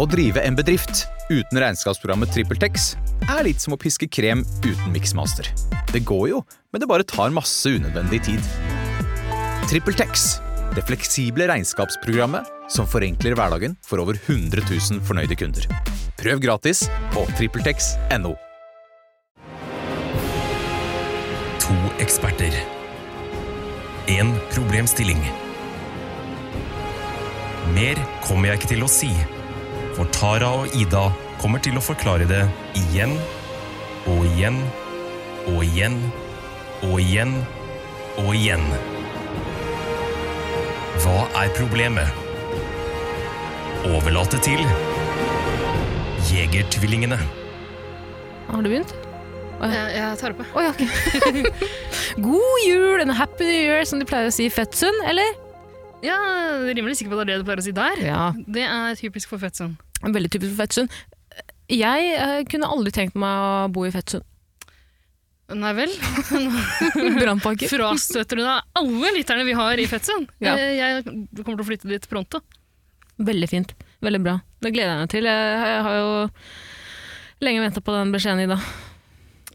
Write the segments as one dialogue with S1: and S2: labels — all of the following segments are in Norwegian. S1: Å drive en bedrift uten regnskapsprogrammet TrippelTex er litt som å piske krem uten miksmaster. Det går jo, men det bare tar masse unødvendig tid. TrippelTex, det fleksible regnskapsprogrammet som forenkler hverdagen for over 100 000 fornøyde kunder. Prøv gratis på TrippelTex.no.
S2: To eksperter. En problemstilling. Mer kommer jeg ikke til å si, for Tara og Ida kommer til å forklare det igjen og igjen og igjen og igjen og igjen. Hva er problemet? Overlate til Jegertvillingene.
S3: Har du begynt?
S4: Jeg, jeg tar det på.
S3: Å, ja, ok. God jul and happy new year, som de pleier å si i Fettsund, eller?
S4: Ja, jeg er rimelig sikker på at det er det du pleier å si der.
S3: Ja.
S4: Det er typisk for Fettsund.
S3: Veldig typisk for Fettsund. Jeg eh, kunne aldri tenkt meg å bo i Fettsund.
S4: Nei vel?
S3: Brannpakker.
S4: Frastøter du da alle lytterne vi har i Fettsund?
S3: Ja.
S4: Eh, Jeg kommer til å flytte dit pronto.
S3: Veldig fint. Veldig bra. Det gleder jeg meg til. Jeg, jeg har jo lenge venta på den beskjeden, Ida.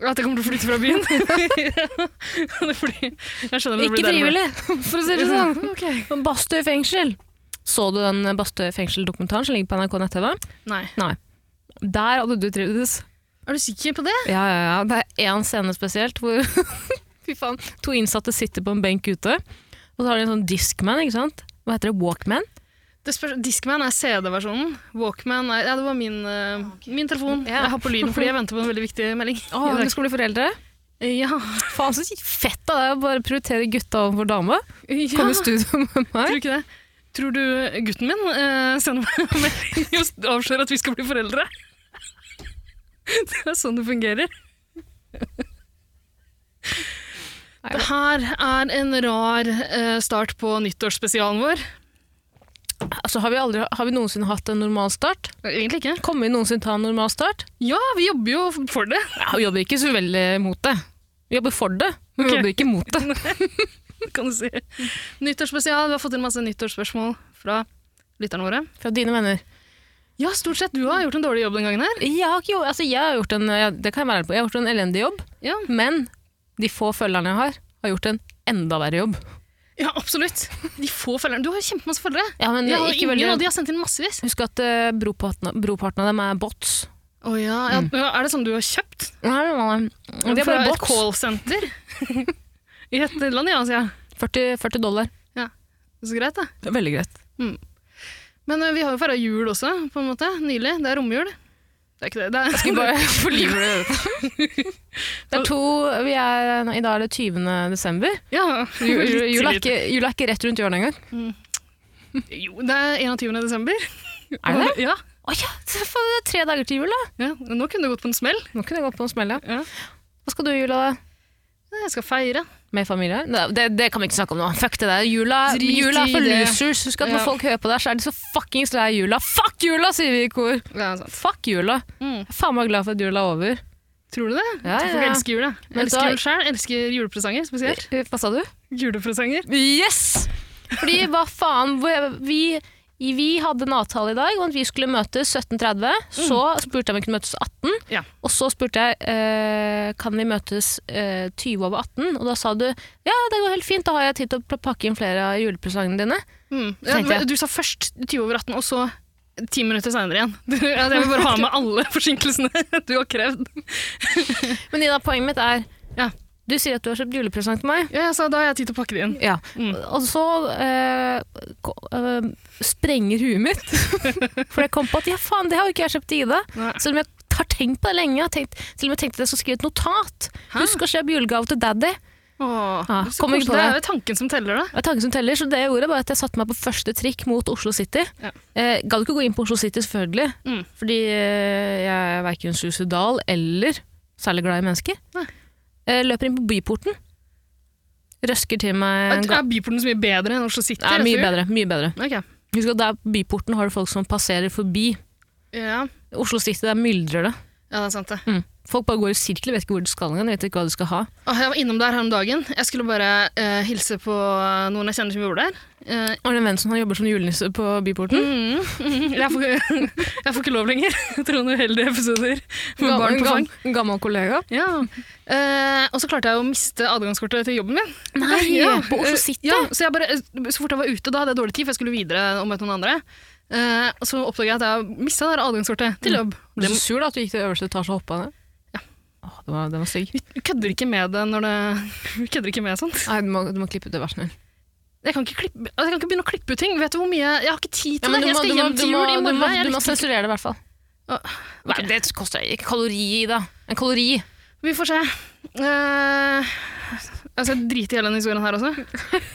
S4: At jeg kommer til å flytte fra byen? det blir, jeg skjønner det
S3: Ikke
S4: blir dermed.
S3: frivillig, for å si det sånn. Men Bastøy fengsel. Så du den Bastøy fengsel-dokumentaren som ligger på NRK nett-TV?
S4: Nei.
S3: Der hadde du trivdes.
S4: Er du sikker på det?
S3: Ja, ja, ja. Det er én scene spesielt hvor fy faen, to innsatte sitter på en benk ute, og så har de en sånn Discman, ikke sant? Hva heter det? Walkman?
S4: det spørs, Discman er CD-versjonen. Walkman er Ja, det var min, eh, min telefon.
S3: Ja.
S4: Jeg har på lyden fordi jeg venter på en veldig viktig melding.
S3: Å,
S4: I dag.
S3: du skal bli foreldre?
S4: ja.
S3: Faen, så fett da, det er å bare prioritere gutta overfor dame.
S4: ja.
S3: Kom i studio med
S4: Tror
S3: meg.
S4: du ikke det? Tror du gutten min eh, sender meg en melding og avslører at vi skal bli foreldre? Det er sånn det fungerer. Det her er en rar eh, start på nyttårsspesialen vår.
S3: Altså, har, vi aldri, har vi noensinne hatt en normal start?
S4: Egentlig ikke.
S3: Kommer vi noensinne til å ha en normal start?
S4: Ja, vi jobber jo for det.
S3: Ja, vi jobber ikke så veldig mot det. Vi jobber for det, men
S4: Ok.
S3: vi jobber ikke mot det.
S4: kan du si. Nyttårsspesial. Vi har fått inn masse nyttårsspørsmål fra lytterne våre.
S3: Fra dine venner.
S4: Ja, stort sett. Du har gjort en dårlig jobb den gangen her.
S3: Jeg har, ikke, jo- altså, jeg har gjort en, jeg, det kan jeg være ærlig på, jeg har gjort en elendig jobb,
S4: Ja,
S3: men de få følgerne jeg har, har gjort en enda verre jobb.
S4: ja absolutt. De få følgerne. Du har jo kjempemasse følgere.
S3: Ja, men
S4: Jeg har
S3: ikke
S4: ingen,
S3: veldig-
S4: og de har sendt inn massevis.
S3: Husk at eh, broparten, broparten av dem er bots.
S4: Å ja, ja. Er det sånn du har kjøpt?
S3: Nei, nei, nei. De Mm. er
S4: Fra
S3: bare
S4: et
S3: bots.
S4: callsenter? I et land, ja, sier jeg.
S3: 40, 40 dollar.
S4: Så greit, da.
S3: Det er veldig greit.
S4: Men ø, vi har jo feira jul også, på en måte. Nylig. Det er romjul. Det er ikke det. det er,
S3: Det er to, vi er, nei, I dag er det 20. desember.
S4: ja,
S3: Ju- ju-
S4: litt
S3: Jula er,
S4: tidlig.
S3: ikke- jula er ikke rett rundt hjørnet engang.
S4: Jo, det er 21. desember.
S3: Er det det?
S4: Ja.
S3: Å ja, så faen, det er tre dager til jul, da!
S4: ja. Nå kunne det gått på en smell.
S3: Nå kunne jeg gått på en smell, ja.
S4: Ja.
S3: Hva skal du i jula, da?
S4: Jeg skal feire.
S3: Med familie? Nei, Det, det kan vi ikke snakke om nå. Fuck det der. Jula,
S4: Drit i
S3: jula er for
S4: det.
S3: losers. Husk at når
S4: Ja.
S3: folk hører på deg, så er de så fuckings lei av jula. Fuck jula, sier vi i kor!
S4: Ja, sant.
S3: Fuck jula.
S4: Mm.
S3: Jeg er faen meg glad for at jula er over.
S4: Tror du det?
S3: Ja,
S4: Folk
S3: ja.
S4: elsker jula.
S3: Men
S4: Elsker
S3: da- Eh,
S4: jul sjøl. Elsker julepresanger spesielt.
S3: Hva sa du?
S4: Julepresanger.
S3: Yes! Fordi hva faen hvor- vi, vi hadde en avtale i dag om at vi skulle møtes 17.30. Så spurte jeg om vi kunne møtes 18.
S4: Ja.
S3: Og så spurte jeg eh, kan vi møtes eh, 20 over 18. Og da sa du ja, det går helt fint, da har jeg tid til å pakke inn flere av julepresangene dine.
S4: Mm. Ja,
S3: Tenkte jeg.
S4: du sa først 20 over 18, og så ti minutter seinere igjen. Ja, Jeg vil bare ha med alle forsinkelsene du har krevd.
S3: Men Ida, poenget mitt er
S4: Ja.
S3: du sier at du har kjøpt julepresang til meg.
S4: Ja, jeg sa da har jeg tid til å pakke det inn.
S3: Ja.
S4: Mm.
S3: Og så eh, ko- eh, sprenger huet mitt. For jeg kom på at ja, faen, det har jo ikke jeg kjøpt til Ida.
S4: Nei.
S3: Selv om jeg har tenkt på det lenge. Jeg har tenkt, selv om jeg tenkte at jeg skulle skrive et notat.
S4: Hæ?
S3: Husk å kjøpe julegave til daddy.
S4: Åh,
S3: Ja,
S4: så
S3: kom ikke
S4: koselig.
S3: på
S4: det
S3: det.
S4: er jo tanken som teller, da.
S3: Det er tanken som teller, så det jeg gjorde var at jeg satte meg på første trikk mot Oslo City.
S4: Ja.
S3: Eh, Gadd ikke gå inn på Oslo City, selvfølgelig.
S4: Mm.
S3: Fordi eh, jeg er verken suicidal eller særlig glad i mennesker.
S4: Nei.
S3: Eh, løper inn på byporten. Røsker til meg en
S4: Er,
S3: ga-
S4: er byporten så mye bedre enn Oslo City?
S3: Nei,
S4: rett og
S3: mye
S4: slett?
S3: bedre. mye bedre.
S4: Ok.
S3: Husk at der byporten har du folk som passerer forbi.
S4: Ja.
S3: Oslo City, der myldrer det.
S4: ja, det er sant, det.
S3: Mm. Folk bare går i sirkler, vet ikke hvor du skal engang. Vet ikke hva du skal ha.
S4: Åh, jeg var innom der her om dagen. Jeg skulle bare eh, hilse på noen jeg kjenner som bor der. Eh,
S3: Arne Wensen han jobber som julenisse på Byporten.
S4: mm, mm, jeg, får, ikke- jeg får ikke lov lenger etter noen uheldige episoder med
S3: Gammel-
S4: barn på fang.
S3: gam- gammel kollega.
S4: Ja. Eh, og så klarte jeg å miste adgangskortet til jobben min.
S3: Nei,
S4: ja.
S3: på Oslo
S4: Eh,
S3: City?
S4: Ja, så, jeg bare, så fort jeg var ute, da hadde jeg dårlig tid, for jeg skulle videre og møte noen andre. Eh, og så oppdaget jeg at jeg mista adgangskortet
S3: Mm.
S4: til jobb.
S3: Ble du så sur da at du gikk til øverste etasje og hoppa ned? Åh, det var, det var stygg.
S4: Vi kødder ikke med det når det Vi kødder ikke med sånt.
S3: Nei, du må, du må klippe ut det, vær snill.
S4: Jeg kan, ikke klippe, altså, jeg kan ikke begynne å klippe ut ting. Vet du hvor mye Jeg har ikke tid
S3: Ja,
S4: til
S3: men
S4: det.
S3: du
S4: Jeg
S3: må-
S4: skal
S3: du må-
S4: hjem til
S3: du må-
S4: jul i
S3: du
S4: morgen.
S3: må- Du må
S4: Jeg rekker ikke-
S3: sensurere det, i hvert fall.
S4: Åh,
S3: Nei, det koster deg ikke kalori i det. En kalori.
S4: Vi får se. Eh, altså, jeg driter i hele denne historien her også.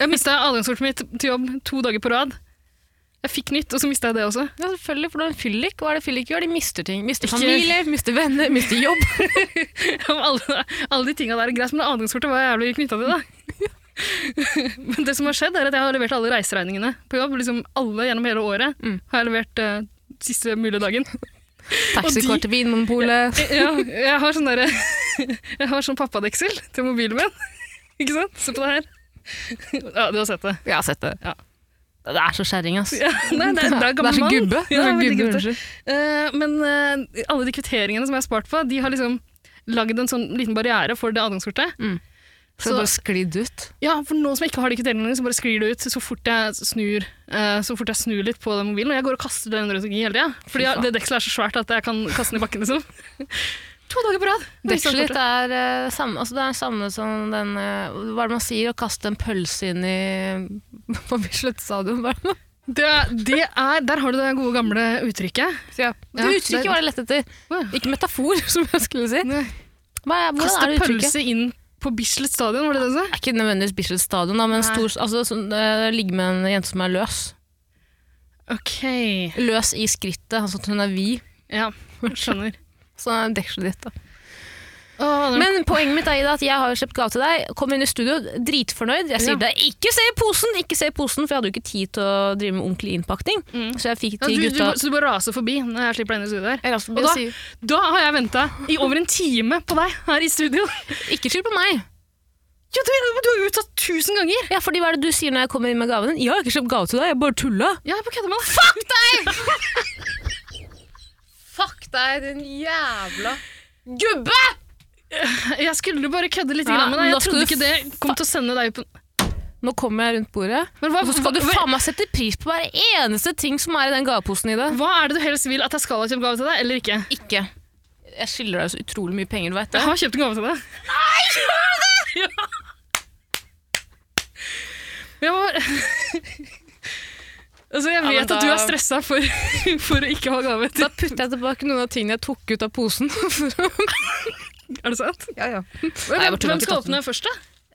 S4: Jeg mista adgangskortet mitt til jobb to dager på rad. Jeg fikk nytt, og så mista jeg det også.
S3: Ja, selvfølgelig, for du er en fyllik. Hva er det fyllik gjør? De mister ting. Mister
S4: Ikke-
S3: familie, mister venner, mister jobb.
S4: alle, alle de tinga der er greit, men det adgangskortet var jævlig knytta til, da. men det som har skjedd, er at jeg har levert alle reiseregningene på jobb. Liksom alle gjennom hele året
S3: Mm.
S4: har jeg levert eh, siste mulige dagen.
S3: Taxikort til Vinmonopolet.
S4: ja, jeg har sånn derre Jeg har sånn pappadeksel til mobilen min. Ikke sant? Se på det her. ja, du har sett det.
S3: Jeg har sett det.
S4: Ja.
S3: Det er så skjæring, ass.
S4: Ja, nei, det, er- det er gammel
S3: så
S4: mann.
S3: gubbe. Det
S4: Ja,
S3: er så
S4: veldig
S3: gubbe,
S4: gubbete.
S3: unnskyld.
S4: Eh, men eh, alle de kvitteringene som jeg har spart på, de har liksom lagd en sånn liten barriere for det adgangskortet.
S3: Så det har bare sklidd ut.
S4: Ja, for nå som jeg ikke har de kriteriene, så bare sklir det ut så fort jeg snur, eh, så fort jeg snur litt på den mobilen. Og jeg går og kaster den rundt omkring hele tida. Fordi
S3: Fy faen.
S4: det dekselet er så svært at jeg kan kaste den i bakken, liksom. to dager på rad.
S3: Dekselet ditt er eh, samme, altså det er samme som den eh, Hva er det man sier? Å kaste en pølse inn i På Bislett stadion. hva er det man-
S4: Det, er- det er, der har du det gode gamle uttrykket.
S3: Ja, det uttrykket var det lett etter.
S4: Wow.
S3: Ikke metafor, som jeg skulle si.
S4: Nei.
S3: Hva er, hvordan er
S4: Kaste
S3: det uttrykket?
S4: pølse inn på Bislett stadion, var det det du sa?
S3: Det er ikke nødvendigvis Bislett stadion, da, men
S4: Nei.
S3: stor, altså, sånn, eh, ligge med en jente som er løs.
S4: Ok.
S3: Løs i skrittet, altså at hun er vid.
S4: Ja, skjønner.
S3: Sånn er dekselet ditt. da.
S4: Åh, den-
S3: Men poenget mitt er Ida, at jeg har jo kjøpt gave til deg. Kom inn i studio, dritfornøyd. Jeg sier
S4: Ja.
S3: deg ikke se i posen, ikke se i posen, for jeg hadde jo ikke tid til å drive med ordentlig innpakning.
S4: Mm.
S3: Så jeg fikk
S4: ja,
S3: til
S4: du, du,
S3: gutta
S4: så du bare raser forbi når jeg slipper deg inn i studio her?
S3: Jeg raste forbi
S4: Og
S3: og
S4: da-
S3: sier,
S4: Da har jeg venta i over en time på deg her i studio.
S3: Ikke skyld på meg.
S4: Ja, du, du har jo utsatt tusen ganger!
S3: Ja, fordi Hva er det du sier når jeg kommer inn med gaven din? Jeg har ikke kjøpt gave til deg, jeg bare tulla.
S4: Ja, jeg bare kødder med deg. Fuck deg!
S3: Fuck deg, din jævla gubbe!
S4: Jeg skulle bare kødde litt
S3: Ja,
S4: grann med deg.
S3: men da
S4: Jeg trodde
S3: skal du
S4: ikke det kom til å sende deg på
S3: Nå kommer jeg rundt bordet,
S4: Men hva,
S3: og så skal du
S4: hva-
S3: faen meg sette pris på hver eneste ting som er i den gaveposen i det.
S4: Hva er det du helst vil at jeg skal ha kjøpt gave til deg, eller ikke?
S3: Ikke. Jeg skylder deg så utrolig mye penger, du veit det.
S4: Jeg har kjøpt en gave til deg. Nei, gjør du det?! Ja. Jeg var... Altså, jeg
S3: Ja,
S4: vet
S3: men
S4: at du
S3: da-
S4: er stressa for, for å ikke ha gave til
S3: Da putter jeg tilbake noen av tingene jeg tok ut av posen.
S4: Er det sant?
S3: Nei, jeg
S4: Hvem,
S3: bare tuller, jeg
S4: hvem skal
S3: har ikke tatt den.
S4: åpne først, da?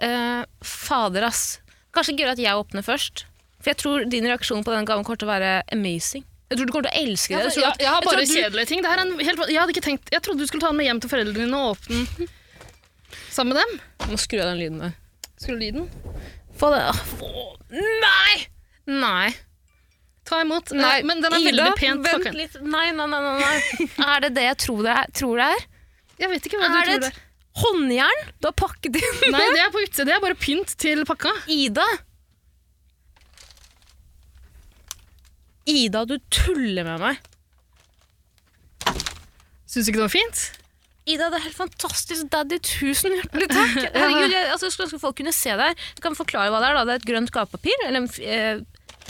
S3: Eh, fader, ass. Kanskje gøyere at jeg åpner først. For jeg tror din reaksjon på den gaven kommer til å være amazing. Jeg tror du kommer til å elske det. Jeg tror at-
S4: altså, jeg har
S3: jeg tror
S4: bare
S3: at du-
S4: kjedelige ting. Det her er en helt, jeg, hadde ikke tenkt, jeg trodde du skulle ta den med hjem til foreldrene dine og åpne den sammen med dem.
S3: Jeg Må skru av den lyden der.
S4: Skulle lyden.
S3: Få det. Få- Nei! Nei.
S4: Ta imot.
S3: Nei,
S4: Eh, Men den er
S3: Ida,
S4: veldig pent
S3: Vent
S4: pakket.
S3: litt. Nei, nei, nei, nei, nei. Er det det jeg tror det er? Tror det er?
S4: Jeg vet ikke hva
S3: Er
S4: du tror
S3: det
S4: det
S3: et håndjern du har pakket
S4: er.
S3: inn?
S4: Nei, det er på utsida. Det er bare pynt til pakka.
S3: Ida? Ida, du tuller med meg.
S4: Syns du ikke det var fint?
S3: Ida, det er helt fantastisk. Daddy, tusen hjertelig takk. Herregud, jeg, altså, jeg skulle ønske folk kunne se det her. Jeg kan forklare hva det er. da. Det er et grønt gavepapir. Eller en f- eh,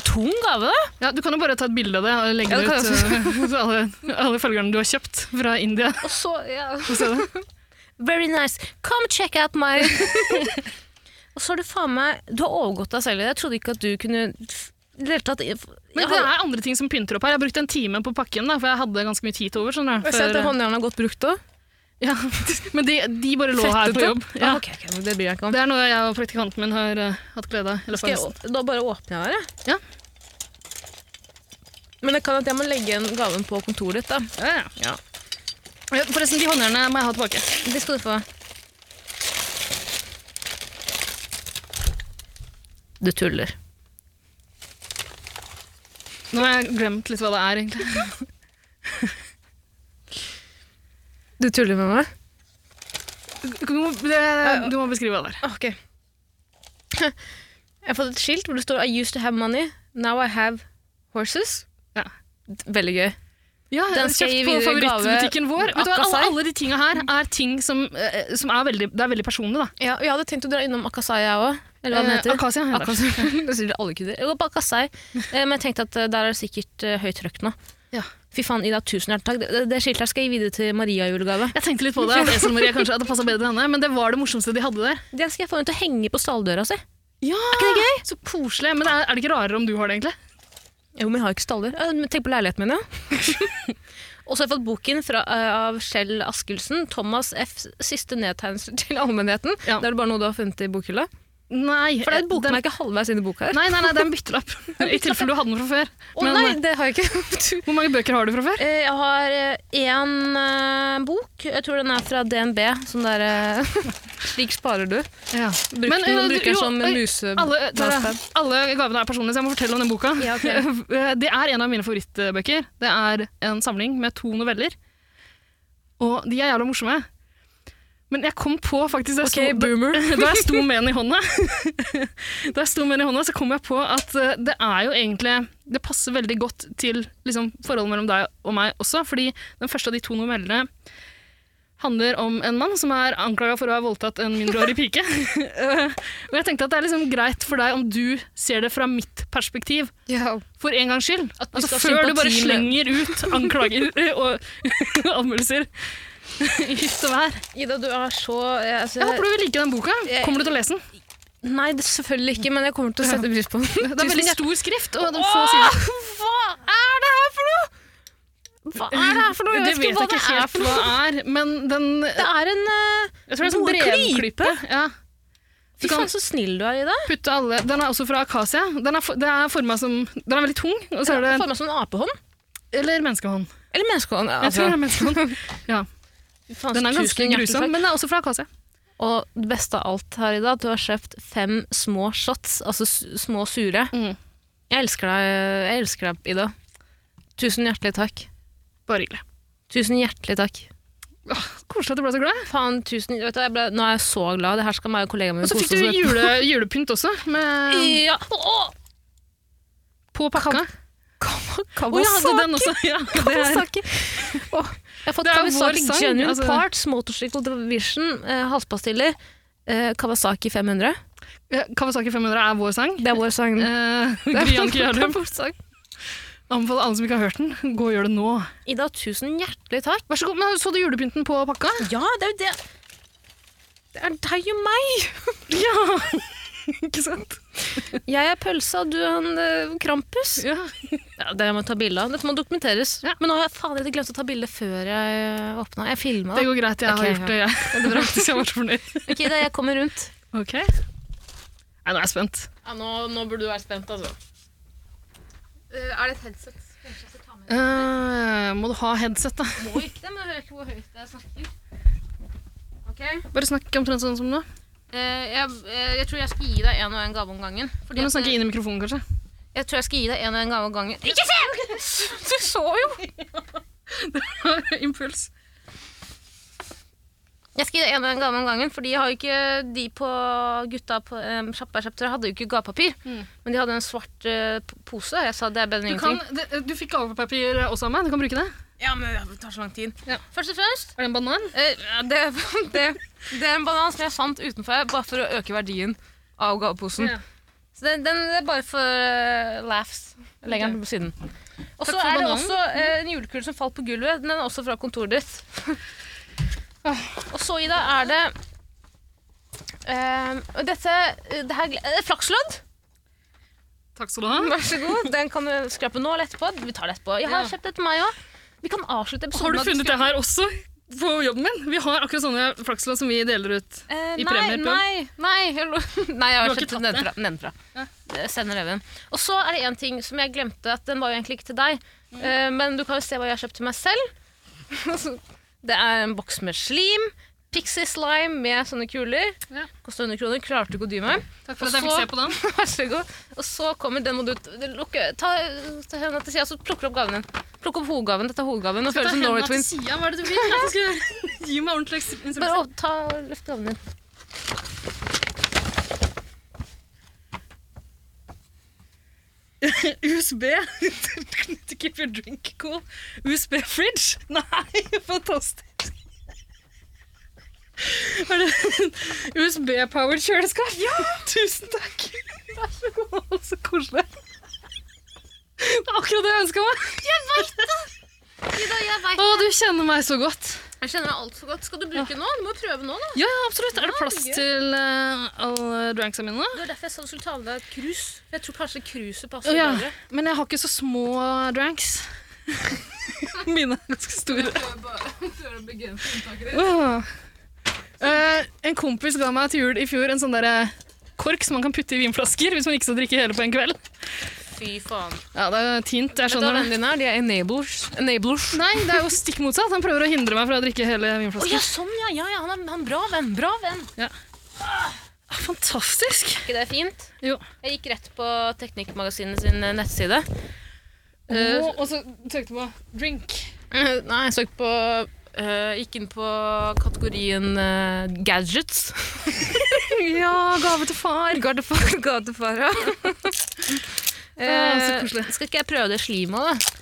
S3: tung gave, da.
S4: Ja, Du kan jo bare ta et bilde av det og legge
S3: Ja, det kan
S4: det ut eh, til alle, alle følgerne du har kjøpt fra India.
S3: Og så, ja.
S4: Få se det.
S3: Very nice. Come check out my Og så har du faen meg Du har overgått deg selv. Jeg trodde ikke at du kunne f- i det hele tatt jeg
S4: Men det
S3: har-
S4: er andre ting som pynter opp her. Jeg brukte en time på pakken, da, for jeg hadde ganske mye tid til over. Sånn,
S3: Jeg ser at
S4: for,
S3: håndjernet har gått brukt òg.
S4: ja. Men de, de bare lå her på jobb. Ja.
S3: Ah, ok, ok, men det bryr jeg ikke om.
S4: Det er noe jeg og praktikanten min har eh, hatt glede av. Eller
S3: Skal jeg,
S4: forresten.
S3: å- da bare åpner jeg her, jeg.
S4: Ja.
S3: Men det kan at jeg må legge igjen gaven på kontoret ditt, da.
S4: Ja, ja. Ja, Forresten, de håndjernene må jeg ha tilbake.
S3: Det skal du få. Du tuller.
S4: Nå har jeg glemt litt hva det er, egentlig.
S3: Du tuller med meg?
S4: Du må, det, du må beskrive hva det er.
S3: Ah, Ok. Jeg har fått et skilt hvor det står I used to have money, now I have horses.
S4: Ja.
S3: Veldig gøy.
S4: Ja,
S3: Den skal
S4: kjøpt
S3: jeg gi
S4: på
S3: videre i gave
S4: favorittbutikken vår. Vet du hva, alle,
S3: Akasai.
S4: alle de tinga her er ting som, eh, som er, veldig, det er veldig personlig, da.
S3: Ja, og jeg hadde tenkt å dra innom Akasai, jeg òg. Eller hva den
S4: Eh,
S3: heter.
S4: Akasia, heter det.
S3: Akasai. Det sier alle kudder. Jeg går på Akasai, Eh, men jeg tenkte at eh, der er det sikkert eh, høyt trøkk nå.
S4: Ja.
S3: Fy faen, Ida, tusen hjertelig takk. Det- Det, det skiltet her skal jeg gi videre til Maria i julegave.
S4: Jeg tenkte litt på det, at Esel-Maria kanskje hadde passa bedre til henne, men det var det morsomste de hadde der.
S3: Den skal jeg få henne til å henge på stalldøra si.
S4: Ja, er ikke det gøy? Så koselig. Men er, er det ikke rarere om du har det, egentlig?
S3: Jo, men jeg har ikke staller. Eh, men Tenk på leiligheten min, ja. Og så har jeg fått boken fra, eh, av Kjell Askildsen, 'Thomas F.s siste nedtegnelser til allmennheten'.
S4: Ja.
S3: Det er det bare noe du har funnet i bokhylla.
S4: Nei.
S3: For det er et
S4: eh, den-
S3: bokmerke halvveis inn i boka her.
S4: Nei, nei, nei, det er en byttelapp. I tilfelle du hadde den fra før.
S3: Å
S4: Men,
S3: nei, det har jeg ikke.
S4: eh, Hvor mange bøker har du fra før?
S3: Eh, Jeg har én bok. Jeg tror den er fra DNB. Sånn der eh, Slik sparer du.
S4: Ja.
S3: Bruk den,
S4: eh,
S3: bruker den
S4: jo,
S3: som
S4: eh,
S3: muse...
S4: alle, der,
S3: master.
S4: er- alle gavene er personlige, så jeg må fortelle om den boka.
S3: Ja, ok.
S4: Eh, det er en av mine favorittbøker. Det er en samling med to noveller. Og de er jævla morsomme. Men jeg kom på faktisk det
S3: Ok,
S4: boomer. Da jeg sto med den i hånda, Da jeg sto med den i hånda, så kom jeg på at eh, det er jo egentlig Det passer veldig godt til liksom, forholdet mellom deg og meg også, fordi den første av de to novellene handler om en mann som er anklaga for å ha voldtatt en mindreårig pike. Eh, og jeg tenkte at det er liksom greit for deg om du ser det fra mitt perspektiv, for en gangs skyld.
S3: At du
S4: Altså,
S3: skal ha
S4: før du
S3: sympati
S4: bare
S3: med-
S4: slenger ut anklager eh, og anmeldelser i hytt og vær.
S3: Ida, du er så eh, altså,
S4: Jeg håper du vil like den boka. Kommer du til å lese den?
S3: Nei, det, selvfølgelig ikke, men jeg kommer til å sette pris på den.
S4: Det er veldig
S3: Tusen
S4: stor skrift. og det er
S3: Åh,
S4: få sider.
S3: Hva er det her for noe?! Hva er det her for noe?
S4: Det
S3: Jeg
S4: vet
S3: vet ikke hva det er for noe.
S4: hva er, men den
S3: Det er en uh,
S4: Jeg tror det er sånn
S3: Noe
S4: brevklippe. Ja. Du
S3: Fy
S4: kan
S3: faen, så snill du er, Ida.
S4: putte alle Den er også fra akasia. Den er, for, det er formet som Den er veldig tung, og så er
S3: Du
S4: det
S3: får meg som altså, en apehånd.
S4: Eller menneskehånd.
S3: Eller menneskehånd.
S4: Jeg
S3: Altså,
S4: tror det er menneskehånd. Ja.
S3: fy faen, så
S4: Den er ganske
S3: tusen hjertelig
S4: grusom,
S3: takk.
S4: men den er også fra akasia.
S3: Og det beste av alt her i dag, du har kjøpt fem små shots, altså s- små sure.
S4: Mm.
S3: Jeg elsker deg, jeg elsker deg, Ida. Tusen hjertelig takk.
S4: Bare hyggelig.
S3: Tusen hjertelig takk.
S4: Åh, Koselig at du ble så glad.
S3: Faen, tusen, vet du, jeg ble, nå er jeg så glad. Det her skal meg og kollegaen min
S4: Og så fikk
S3: kose
S4: du
S3: oss med.
S4: jule, julepynt også, med,
S3: Ja. Åh!
S4: på pakka. Å
S3: Kawasaki.
S4: ja, hadde du den også? Ja, det er,
S3: Kawasaki. Åh, jeg har fått
S4: Det er
S3: Kawasaki
S4: vår sang,
S3: Genuine
S4: altså.
S3: Parts, Motorcycle Division, eh, halspastiller, eh, Kawasaki 500.
S4: Ja, Kawasaki 500 er vår sang.
S3: Det er vår sang.
S4: Eh,
S3: Det er
S4: Grian
S3: det er
S4: Kjærlum.
S3: vår sang.
S4: Anbefaler alle som ikke har hørt den, gå og gjør det nå.
S3: Ida, tusen hjertelig takk.
S4: Vær så god, men Så du julepynten på pakka?
S3: Ja, det er jo det. Det er deg og meg.
S4: Ja! ikke sant?
S3: Jeg er pølsa, du er en eh, krampus.
S4: Ja.
S3: Ja, det må jeg ta bilde av. Dette må dokumenteres.
S4: Ja.
S3: Men nå har jeg faen jeg glemt å ta bilde før jeg åpna. Jeg filma.
S4: Det går greit, jeg
S3: Ok,
S4: har gjort det. Jeg, det er bra, hvis jeg var så fornøyd.
S3: Ok, da, jeg kommer rundt.
S4: Ok. Nei, nå er jeg spent.
S3: nå, burde du være spent, altså. er det et headset?
S4: Eh, må du ha headset, da?
S3: Må ikke det, men jeg hører ikke hvor høyt jeg snakker. Ok. Eh,
S4: Bare snakk omtrent sånn som nå.
S3: jeg, tror jeg skal gi deg en og en gave om gangen.
S4: Du må snakke inn i mikrofonen, kanskje.
S3: Jeg tror jeg skal gi deg en og en gave om gangen. Ikke se! Du så jo!
S4: Impuls.
S3: Jeg skal gi deg en og en gave om gangen, fordi jeg har jo ikke de på gutta på um, sjappa kjøpte, hadde jo ikke gavepapir.
S4: Mm.
S3: Men de hadde en svart eh, p- pose, og jeg sa det er bedre
S4: Du,
S3: enn
S4: kan,
S3: ingenting.
S4: det, eh, du fikk gavepapir også av meg. Du kan bruke det.
S3: Ja, men det tar så lang tid.
S4: Ja.
S3: Først og fremst,
S4: Er det en banan?
S3: eh, ja, det, det, det er en banan som jeg fant utenfor, bare for å øke verdien av gaveposen.
S4: Ja.
S3: Så den, den det er bare for eh, laughs. Jeg legger den på siden. Og så
S4: for
S3: er det
S4: bananen.
S3: også eh, en julekule som falt på gulvet. Den er også fra kontoret ditt. Ah. Og så, Ida, er det eh, og dette, det her, eh, Flakslodd.
S4: Takk skal du ha.
S3: Vær så god. Den kan du skrape nå eller etterpå. Vi tar det etterpå. Jeg har
S4: Ja.
S3: kjøpt det til meg òg. Vi kan avslutte episoden.
S4: Har du
S3: med at
S4: funnet det
S3: skraper-
S4: her også på jobben min? Vi har akkurat sånne flakslodd som vi deler ut.
S3: Eh,
S4: i
S3: nei,
S4: premier på
S3: Nei, nei, jeg lo- nei, jeg
S4: Du
S3: har
S4: har ikke
S3: kjøpt den
S4: tatt
S3: nedenfra. nedenfra. Eh, Sender reven. Og så er det en ting som jeg glemte, at den var jo egentlig ikke til deg. Eh, men du kan jo se hva jeg har kjøpt til meg selv. det er en boks med slim. Pixie slime med sånne kuler.
S4: Ja.
S3: Koster 100 kroner. Klarte ikke å dy meg.
S4: Takk
S3: for at jeg fikk se
S4: på den.
S3: Vær så god. Og så kommer den må du t- lukke, ta, ta henda til sida, så plukker du opp gaven din. Plukk opp hovedgaven. Dette er hovedgaven. Nå føles det som Norway Twins.
S4: Hva er det du vil? at jeg skal gjøre? Gi meg ordentlig instruks.
S3: Bare å, ta og løft gaven din.
S4: USB to keep your drink cool. USB fridge? Nei, fantastisk! Er det USB-powered kjøleskap? Ja! Tusen takk! Det er så, god, så koselig. Det er akkurat det jeg ønska meg.
S3: Ida, jeg vet.
S4: Å, du kjenner meg så godt.
S3: Jeg kjenner meg altfor godt. Skal du bruke nå? Du må jo prøve nå, da.
S4: Ja, ja, absolutt. Er det plass
S3: Ja, gøy.
S4: til eh, alle dranksa mine?
S3: Det var derfor jeg sa du skulle ta med deg krus. For jeg tror kanskje kruset
S4: Å,
S3: passer
S4: Ja,
S3: bedre.
S4: men jeg har ikke så små dranks. Mine er ganske store. Åh. Eh, en kompis ga meg til jul i fjor en sånn derre kork som man kan putte i vinflasker hvis man ikke skal drikke hele på en kveld.
S3: Fy faen.
S4: Ja, det er tint, jeg
S3: Vet du hva
S4: skjønner
S3: den
S4: det.
S3: din er? De er enablers. enablers.
S4: Nei, det er jo stikk motsatt. Han prøver å hindre meg fra å drikke hele
S3: Å ja,
S4: vinflasker.
S3: sånn ja. ja, ja. Han er han er bra venn. Bra venn.
S4: Ah, Fantastisk!
S3: Er ikke det fint?
S4: Jo.
S3: Jeg gikk rett på Teknikkmagasinet sin eh, nettside. Eh,
S4: Og, og så søkte jeg på drink.
S3: Eh, Nei, jeg søkte på eh, Gikk inn på kategorien eh, gadgets.
S4: Ja, gave til far.
S3: Gardefar, gadefara.
S4: Ah, så koselig.
S3: Eh, skal ikke jeg prøve det slimet, da?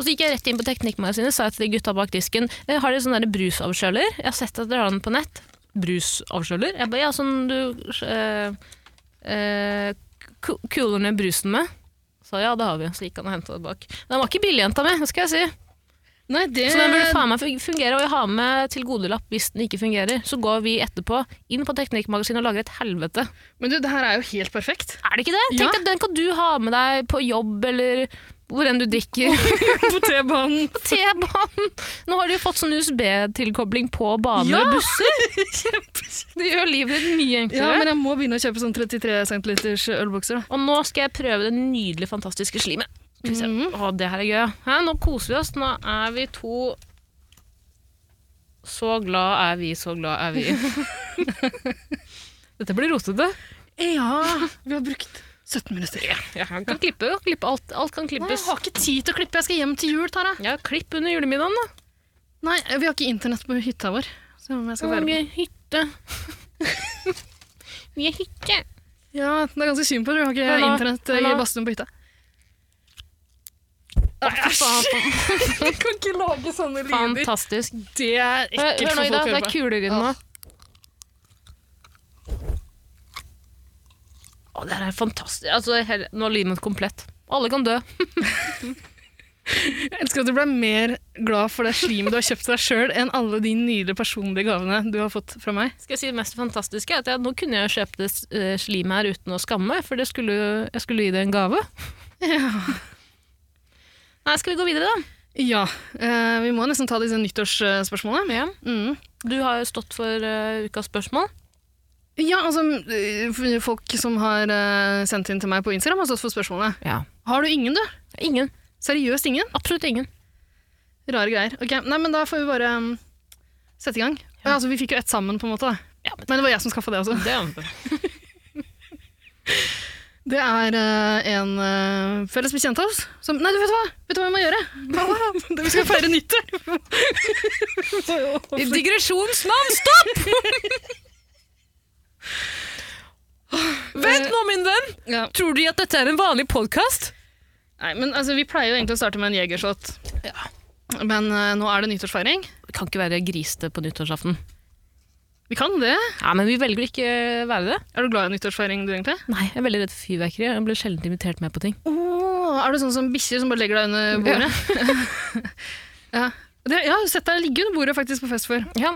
S3: Og så gikk jeg rett inn på Teknikkmagasinet sa jeg til de gutta bak disken «Eh, Har dere sånn der brusavkjøler? Jeg har sett at dere har den på nett. Brusavkjøler? Jeg bare, ja, sånn du eh, eh, ku- kuler ned brusen med. Så ja, det har vi. Så gikk han og henta det bak. Den var ikke billig, jenta mi, det skal jeg si.
S4: Nei, det
S3: Så den burde faen meg fun- fungere, og jeg har med tilgodelapp hvis den ikke fungerer. Så går vi etterpå inn på Teknikkmagasinet og lager et helvete.
S4: Men du, det her er jo helt perfekt.
S3: Er det ikke det? Tenk at den kan du ha med deg på jobb eller hvor enn du drikker.
S4: På T-banen.
S3: På T-banen! Nå har de jo fått sånn USB-tilkobling på baner
S4: Ja.
S3: og busser. Det gjør livet ditt mye
S4: Ja,
S3: enklere.
S4: men jeg må begynne å kjøpe sånn 33 centiliters ølbokser. da.
S3: Og nå skal jeg prøve det nydelige, fantastiske slimet. Skal vi se.
S4: Mm.
S3: Å, det her er gøy. Hæ, nå koser vi oss. Nå er vi to Så glad er vi, så glad er vi. Dette blir rotete.
S4: Ja, vi har brukt 17 minutter.
S3: Ja, han kan klippe, jo. klippe alt, alt kan
S4: Nei, jeg
S3: klippes.
S4: har ikke tid til å klippe. Jeg skal hjem til jul, Tara.
S3: Ja, klipp under julemiddagen, da.
S4: Nei, vi har ikke internett på hytta vår. Så om jeg skal være
S3: vi
S4: med.
S3: er hytte. vi er hytte.
S4: Ja, det er ganske synd på at vi har ikke
S3: Hallo,
S4: internett eh, i
S3: hallo.
S4: badstuen på hytta. Nei, Æsj! Jeg kan ikke lage sånne lyder.
S3: Fantastisk.
S4: Det er
S3: Hør
S4: ekkelt
S3: hør nå,
S4: for
S3: Ida.
S4: folk å
S3: Det
S4: høre
S3: er
S4: på.
S3: kuler i den nå.
S4: Ja.
S3: Å, det her er fantastisk. Altså, hele, nå er livet komplett. Alle kan dø.
S4: Jeg elsker at du ble mer glad for det slimet du har kjøpt til deg sjøl, enn alle de nydelige personlige gavene du har fått fra meg.
S3: Skal jeg si Det mest fantastiske er at jeg, nå kunne jeg kjøpt det eh, slimet her uten å skamme meg, for det skulle, jeg skulle gi det en gave. Nei, skal vi gå videre, da?
S4: Ja, eh, vi må nesten ta disse nyttårsspørsmålene. Mm.
S3: Du har jo stått for eh, ukas spørsmål.
S4: Ja, altså øh, Folk som har øh, sendt inn til meg på Instagram, har stått for spørsmålene.
S3: Ja.
S4: Har du ingen, du?
S3: Ingen.
S4: Seriøst ingen?
S3: Absolutt ingen.
S4: Rare greier. Ok, Nei, men da får vi bare um, sette i gang. Ja. Altså, Vi fikk jo ett sammen, på en måte. da.
S3: Ja, men-
S4: men det var jeg som skaffa det også.
S3: Det
S4: Det er øh, en øh, felles bekjent av oss som Nei, du vet hva! Vet du hva vi må gjøre? Det vi skal feire nyttår!
S3: Digresjonsnavn, stopp! Vent nå, min venn!
S4: ja.
S3: Tror de at dette er en vanlig podkast?
S4: Nei, men altså, Vi pleier jo egentlig å starte med en jegershot, men øh, nå er det nyttårsfeiring.
S3: Vi kan ikke være grisete på nyttårsaften.
S4: Vi kan det.
S3: Ja, men vi velger å ikke være det.
S4: Er du glad i nyttårsfeiring, du, egentlig?
S3: Nei, jeg er veldig redd for fyrverkeri. Jeg blir sjelden invitert med på ting.
S4: Åh, er du sånn som bikkjer som bare legger deg under bordet? Ja. Det, jeg har sett deg ligge under bordet faktisk på fest før.
S3: Ja,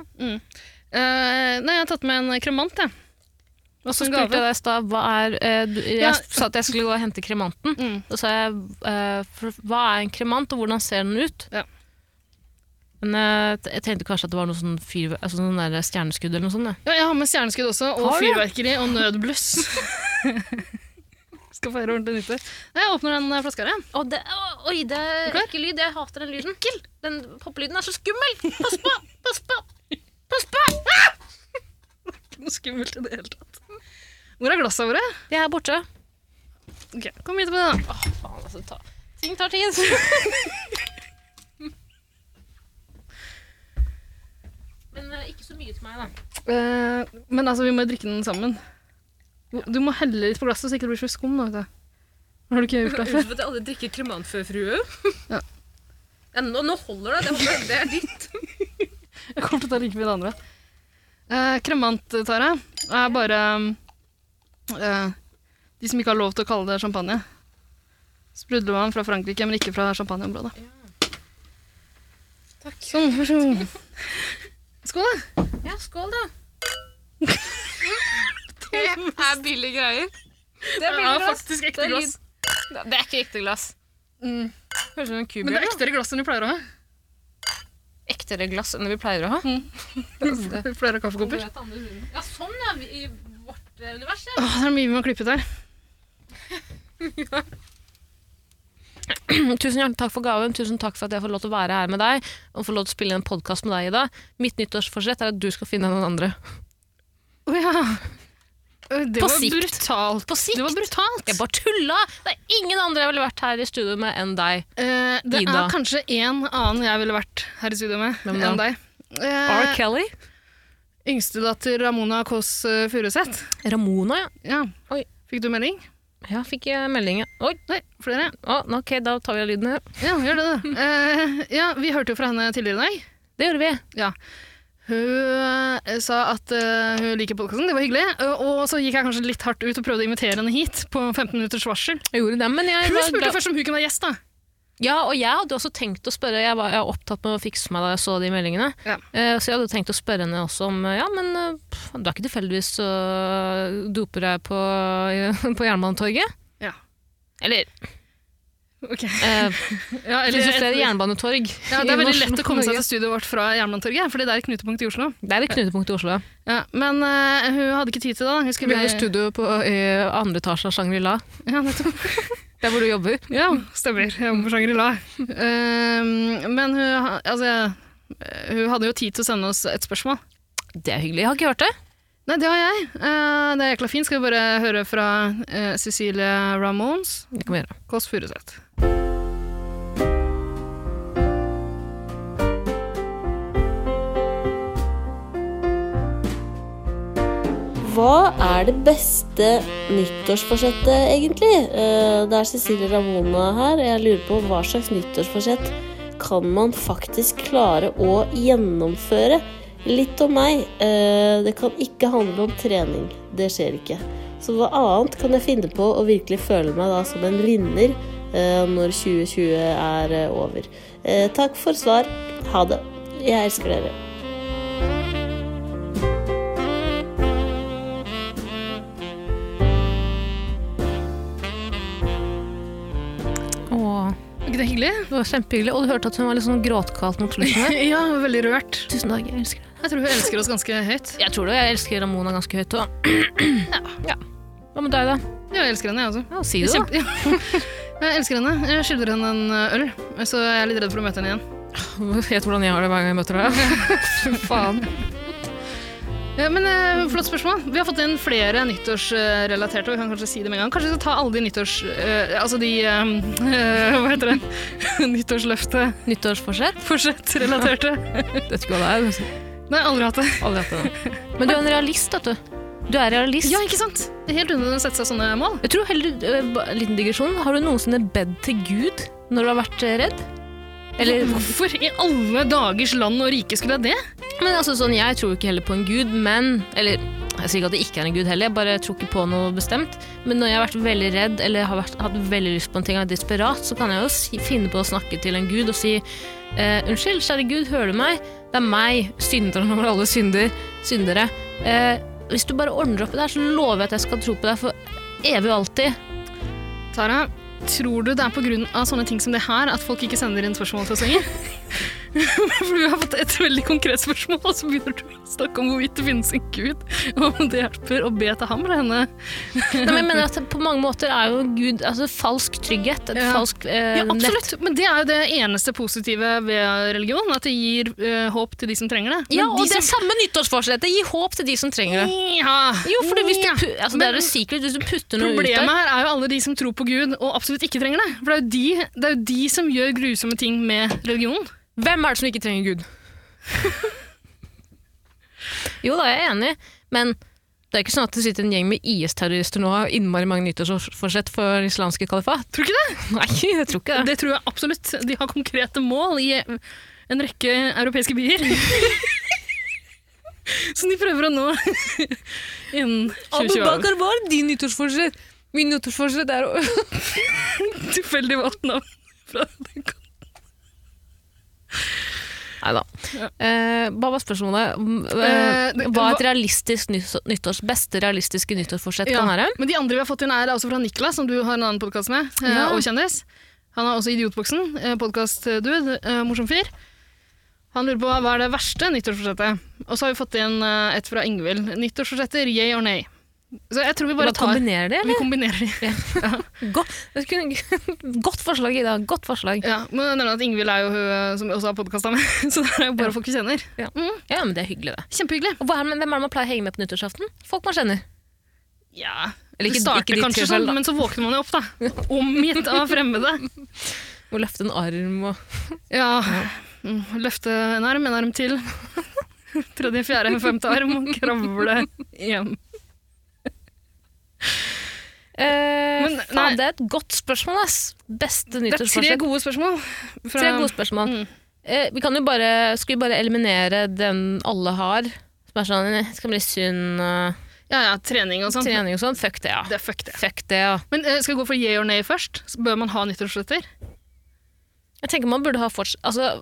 S4: Eh, nei, jeg har tatt med en kremant, jeg.
S3: Og så
S4: en
S3: spurte
S4: gave.
S3: jeg deg i stad hva er eh, du- Jeg
S4: Ja.
S3: sa at jeg skulle gå og hente kremanten.
S4: Mm.
S3: Og så sa jeg eh, for, hva er en kremant, og hvordan ser den ut?
S4: Ja.
S3: Men eh, t- jeg tenkte kanskje at det var noe sånn, fyr, altså sånn der stjerneskudd eller noe sånt. jeg.
S4: Ja, jeg har med stjerneskudd også, og
S3: Har du?
S4: fyrverkeri og nødbluss. Skal feire ordentlig nyttår. Nei, Jeg åpner den eh, flaska her, jeg.
S3: Å, det, å, oi, det
S4: Er du
S3: er
S4: klar?
S3: ekkel lyd. Jeg hater den lyden. Den poplyden er så skummel! Pass på! Pass på! Pass på! Ah!
S4: Det er Noe skummelt i det hele tatt. Hvor er glassene våre?
S3: De er borte.
S4: Ok, Kom hit med det, da.
S3: Faen, altså, ta. Ting tar tid. Men eh, ikke så mye til meg, da.
S4: Eh, men altså, vi må jo drikke den sammen. Du må helle litt på glasset, så ikke det blir så mye skum. Da, vet du. Har du ikke gjort det før?
S3: at jeg aldri drikker kremant før, frue.
S4: Ja.
S3: Ja, nå, nå holder det. Det, holder, det er ditt.
S4: Jeg kommer til å ta like mye det andre. Eh, kremant, Tara, er bare eh, de som ikke har lov til å kalle det champagne. Sprudlevann fra Frankrike, men ikke fra champagneområdet.
S3: Takk.
S4: Sånn, vær så god. Skål, da.
S3: Ja, skål, da. Det er billige greier. Det er billig glass.
S4: faktisk
S3: Det er, lyd. Mm. det er ikke ekte glass. Høres ut som en kubjørn.
S4: Men det er
S3: da.
S4: ektere glass enn vi pleier å ha.
S3: ektere glass enn vi pleier å ha.
S4: Vi pleier å ha kaffekopper.
S3: Ja, sånn ja, vi- i vårt eh, univers. Ja.
S4: Åh, det er mye vi må klippe ut her.
S3: Tusen hjertelig takk for gaven. Tusen takk for at jeg får lov til å være her med deg og får lov til å spille en podkast med deg, Ida. Mitt nyttårsforsett er at du skal finne noen andre.
S4: Å ja. Oi, Det
S3: På
S4: var
S3: sikt.
S4: brutalt.
S3: På sikt.
S4: Det var brutalt.
S3: Jeg bare tulla! Det er ingen andre jeg ville vært her i studio med enn deg.
S4: Eh, det
S3: Ida.
S4: er kanskje en annen jeg ville vært her i studio med
S3: Hvem da?
S4: enn deg.
S3: R.
S4: Eh,
S3: Kelly.
S4: Yngstedatter Ramona Kåss eh, Furuseth.
S3: Ramona, ja.
S4: Ja.
S3: Oi.
S4: Fikk du melding?
S3: Ja, fikk jeg melding. ja. Oi,
S4: Nei, flere.
S3: å, ok, da tar vi av lyden her.
S4: Ja, gjør det, da. Eh, ja, vi hørte jo fra henne tidligere i dag.
S3: Det gjorde vi.
S4: Ja. Hun eh, sa at eh, hun liker podkasten, det var hyggelig. Eh, og så gikk jeg kanskje litt hardt ut og prøvde å invitere henne hit på 15 minutters varsel.
S3: Jeg gjorde det, men jeg
S4: Hun
S3: var
S4: spurte
S3: glad-
S4: først om hun kunne være gjest, da.
S3: Ja, og jeg hadde også tenkt å spørre Jeg var, jeg var opptatt med å fikse meg da jeg så de meldingene.
S4: Ja.
S3: Eh, så jeg hadde tenkt å spørre henne også om eh, Ja, men eh, pff, du er ikke tilfeldigvis uh, doper deg på, eh, på Jernbanetorget?
S4: Ja.
S3: Eller
S4: Ok.
S3: eh,
S4: Ja, eller-
S3: Presiserer jernbanetorg.
S4: ja, det er veldig lett å komme seg til studioet vårt fra Jernbanetorget, fordi det er et knutepunkt i Oslo.
S3: Det er et knutepunkt i Oslo.
S4: Ja, men eh, hun hadde ikke tid til det. da. Hun skulle
S3: Vi har jo studio på eh, andre etasje av Shangri-La,
S4: Ja, nettopp.
S3: der hvor du jobber.
S4: ja stemmer. Jeg jobber på Shangri-La. Ehm, men hun, ha- altså, eh, hun hadde jo tid til å sende oss et spørsmål.
S3: Det er hyggelig. Jeg har ikke hørt det.
S4: Nei, det har jeg. Eh, det er jækla fint. Skal vi bare høre fra eh, Cecilie Ramones,
S3: Det kan vi gjøre.
S4: Kåss Furuseth.
S5: Hva er det beste nyttårsforsettet, egentlig? Eh, Det er Cecilie Ramona her. Jeg lurer på hva slags nyttårsforsett kan man faktisk klare å gjennomføre? Litt om meg. Eh, Det kan ikke handle om trening. Det skjer ikke. Så hva annet kan jeg finne på å virkelig føle meg da som en vinner eh, når 2020 er eh, over? Eh, Takk for svar. Ha det. Jeg elsker dere.
S3: Åh,
S4: Var ikke det hyggelig?
S3: det var kjempehyggelig. Og du hørte at hun var litt sånn gråtkalt mot slutten her.
S4: ja, hun var veldig rørt.
S3: Tusen takk, jeg elsker deg.
S4: Jeg tror hun elsker oss ganske høyt.
S3: Jeg tror det. Jeg elsker Ramona ganske høyt òg. Ja. Hva med deg, da?
S4: Ja, jeg elsker henne, jeg også.
S3: Ja, si
S4: Jeg,
S3: det, da.
S4: kjempe, jeg elsker henne. Jeg skylder henne en eh, øl, så jeg er litt redd for å møte henne igjen.
S3: Jeg vet hvordan jeg har det hver gang jeg møter deg. Faen.
S4: Ja, men eh, Flott spørsmål. Vi har fått inn flere nyttårsrelaterte. og Vi kan Kanskje si det med en gang. Kanskje vi skal ta alle de nyttårs... eh, altså de eh, eh, Hva heter det? Nyttårsløftet.
S3: Nyttårsforsett?
S4: Fortsett-relaterte.
S3: Vet ikke hva det er. altså.
S4: Nei, aldri hatt det.
S3: Aldri hatt det. Men du er en realist, vet du. Du er realist.
S4: Ja, ikke sant? Det er helt unødvendig å sette seg sånne mål.
S3: Jeg tror heller, eh, ba- liten digresjon, har du noensinne bedt til Gud når du har vært eh, redd? Eller,
S4: Hvorfor i alle dagers land og rike skulle jeg det?
S3: men altså sånn, jeg tror jo ikke heller på en Gud, men, eller, jeg sier ikke at det ikke er en Gud heller, jeg bare tror ikke på noe bestemt, men når jeg har vært veldig redd, eller har vært, hatt veldig lyst på en ting, og er desperat, så kan jeg jo si, finne på å snakke til en Gud og si, eh, unnskyld, kjære Gud, hører du meg? Det er meg, synderen over alle synder, syndere. Eh, hvis du bare ordner opp i det her, så lover jeg at jeg skal tro på deg for evig og alltid.
S4: Tara, tror du det er pga. sånne ting som det her at folk ikke sender inn spørsmål til oss lenger? For vi har fått et veldig konkret spørsmål, og så begynner du å snakke om hvorvidt det finnes en gud, og om det hjelper å be til ham eller henne.
S3: Nei, men jeg mener at på mange måter er jo Gud altså, falsk trygghet. Et
S4: Ja.
S3: falsk eh,
S4: Ja,
S3: nett.
S4: absolutt. Men det er jo det eneste positive ved religion, at det gir eh, håp til de som trenger det. Men
S3: Ja, og
S4: de
S3: det er samme nyttårsforsettet. Gi håp til de som trenger det.
S4: som... ja.
S3: Jo, for hvis du,
S4: Mm, Ja.
S3: pu- altså, det er
S4: Men
S3: et secret hvis du putter noe ut
S4: Problemet
S3: der.
S4: her er jo alle de som tror på Gud og absolutt ikke trenger det. For det er jo de, det er jo de som gjør grusomme ting med religionen.
S3: Hvem er det som ikke trenger Gud? Jo da, jeg er enig, men det er ikke sånn at det sitter en gjeng med IS-terrorister nå og har innmari mange nyttårsforsett for islamske kalifat.
S4: Tror du ikke det?
S3: Nei, jeg tror ikke det.
S4: Det tror jeg absolutt. De har konkrete mål i en rekke europeiske byer. Som de prøver å nå innen 2020.
S3: var din nyttårsforsett! Min nyttårsforsett er å
S4: Tilfeldig valgt navn. fra den kan-
S3: Nei da.
S4: Ja.
S3: Eh, hva var spørsmålet? Mm,
S4: Eh,
S3: eh,
S4: det-
S3: hva er
S4: hva-
S3: et realistisk nyttårs, nyttårs, beste realistiske nyttårsforsett
S4: Ja.
S3: kan være?
S4: Men de andre vi har fått inn, er også fra Niklas, som du har en annen podkast med, eh,
S3: Ja.
S4: og kjendis. Han er også Idiotboksen, podkast-dude, morsom fyr. Han lurer på hva er det verste nyttårsforsettet. Og så har vi fått inn eh, et fra Ingvild. Nyttårsforsetter, yay or nay? Så jeg tror vi bare
S3: Bare
S4: tar
S3: kombinere det,
S4: Vi
S3: eller?
S4: kombinerer de.
S3: Godt, det kunne- godt forslag, Ida. Godt forslag.
S4: Ja, men jeg nevner at Ingvild er jo hun eh, som også har podkasta med, så det er jo bare folk vi kjenner.
S3: Ja.
S4: Mm,
S3: Ja, men det er hyggelig, det.
S4: kjempehyggelig.
S3: Og hva er, det- hvem er det man pleier å henge med på nyttårsaften? Folk man kjenner.
S4: Ja,
S3: Eller ikke-
S4: det
S3: ikke
S4: starter
S3: ditt
S4: kanskje
S3: tilfelle,
S4: sånn,
S3: da.
S4: men så våkner man jo opp, da. Omgitt av fremmede.
S3: Å løfte en arm og
S4: Ja, mm, løfte en arm, en arm til. Tredje, fjerde, femte arm, og kravle hjem.
S3: eh,
S4: Men, nei.
S3: Faen, det er et godt spørsmål, ass. Beste
S4: Det er tre
S3: nyttårsforsett.
S4: gode spørsmål. Fra,
S3: Tre gode spørsmål.
S4: Mm.
S3: Eh, vi kan jo bare, skal vi bare eliminere den alle har? Som er sånn, eh, skal bli sunn, eh,
S4: Ja, ja, trening og sånn.
S3: trening og sånn. Fuck det, ja.
S4: Det er fuck det.
S3: Fuck det, ja.
S4: Men eh, skal vi gå for yeah or nay først? Så Bør man ha nyttårsforsetter?
S3: Jeg tenker man burde ha forts... Altså,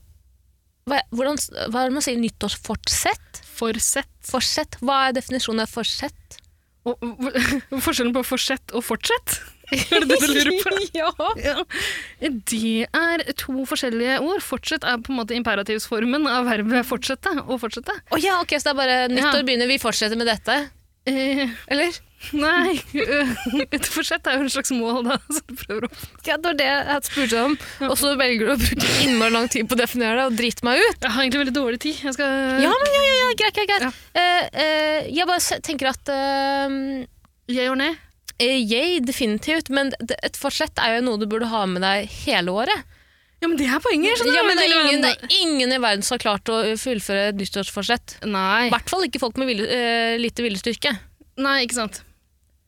S3: hva, hvordan, hva er det man sier? Nyttårsfortsett?
S4: Forsett.
S3: Forsett? Hva er definisjonen av forsett?
S4: Og, og- forskjellen på forsett og fortsett? Er det det du lurer på?
S3: ja.
S4: Ja, det er to forskjellige ord. Fortsett er på en måte imperativsformen av verbet fortsette og fortsette.
S3: Å ja, ok, så det er bare nyttår begynner, vi fortsetter med dette.
S4: Eh,
S3: Eller?
S4: nei, eh, et forsett er jo en slags mål, da. Så du prøver å
S3: Ja, det var det jeg spurte om. Og så velger du å bruke innmari lang tid på å definere det og drite meg ut.
S4: Jeg har egentlig veldig dårlig tid. Jeg skal
S3: Ja, men ja, ja, ja, greit, greit. greit.
S4: Ja.
S3: Eh, eh, jeg bare se- tenker at eh,
S4: Jeg gjør ned.
S3: eh, yay, definitivt, men det- et forsett er jo noe du burde ha med deg hele året.
S4: Ja, men det er poenget. skjønner
S3: Ja,
S4: du,
S3: men det er,
S4: lille
S3: ingen, det
S4: venn.
S3: er ingen i verden som har klart å fullføre et nyttårsforsett. I
S4: Nei.
S3: hvert fall ikke folk med vilje, eh, lite viljestyrke.
S4: nei, ikke sant.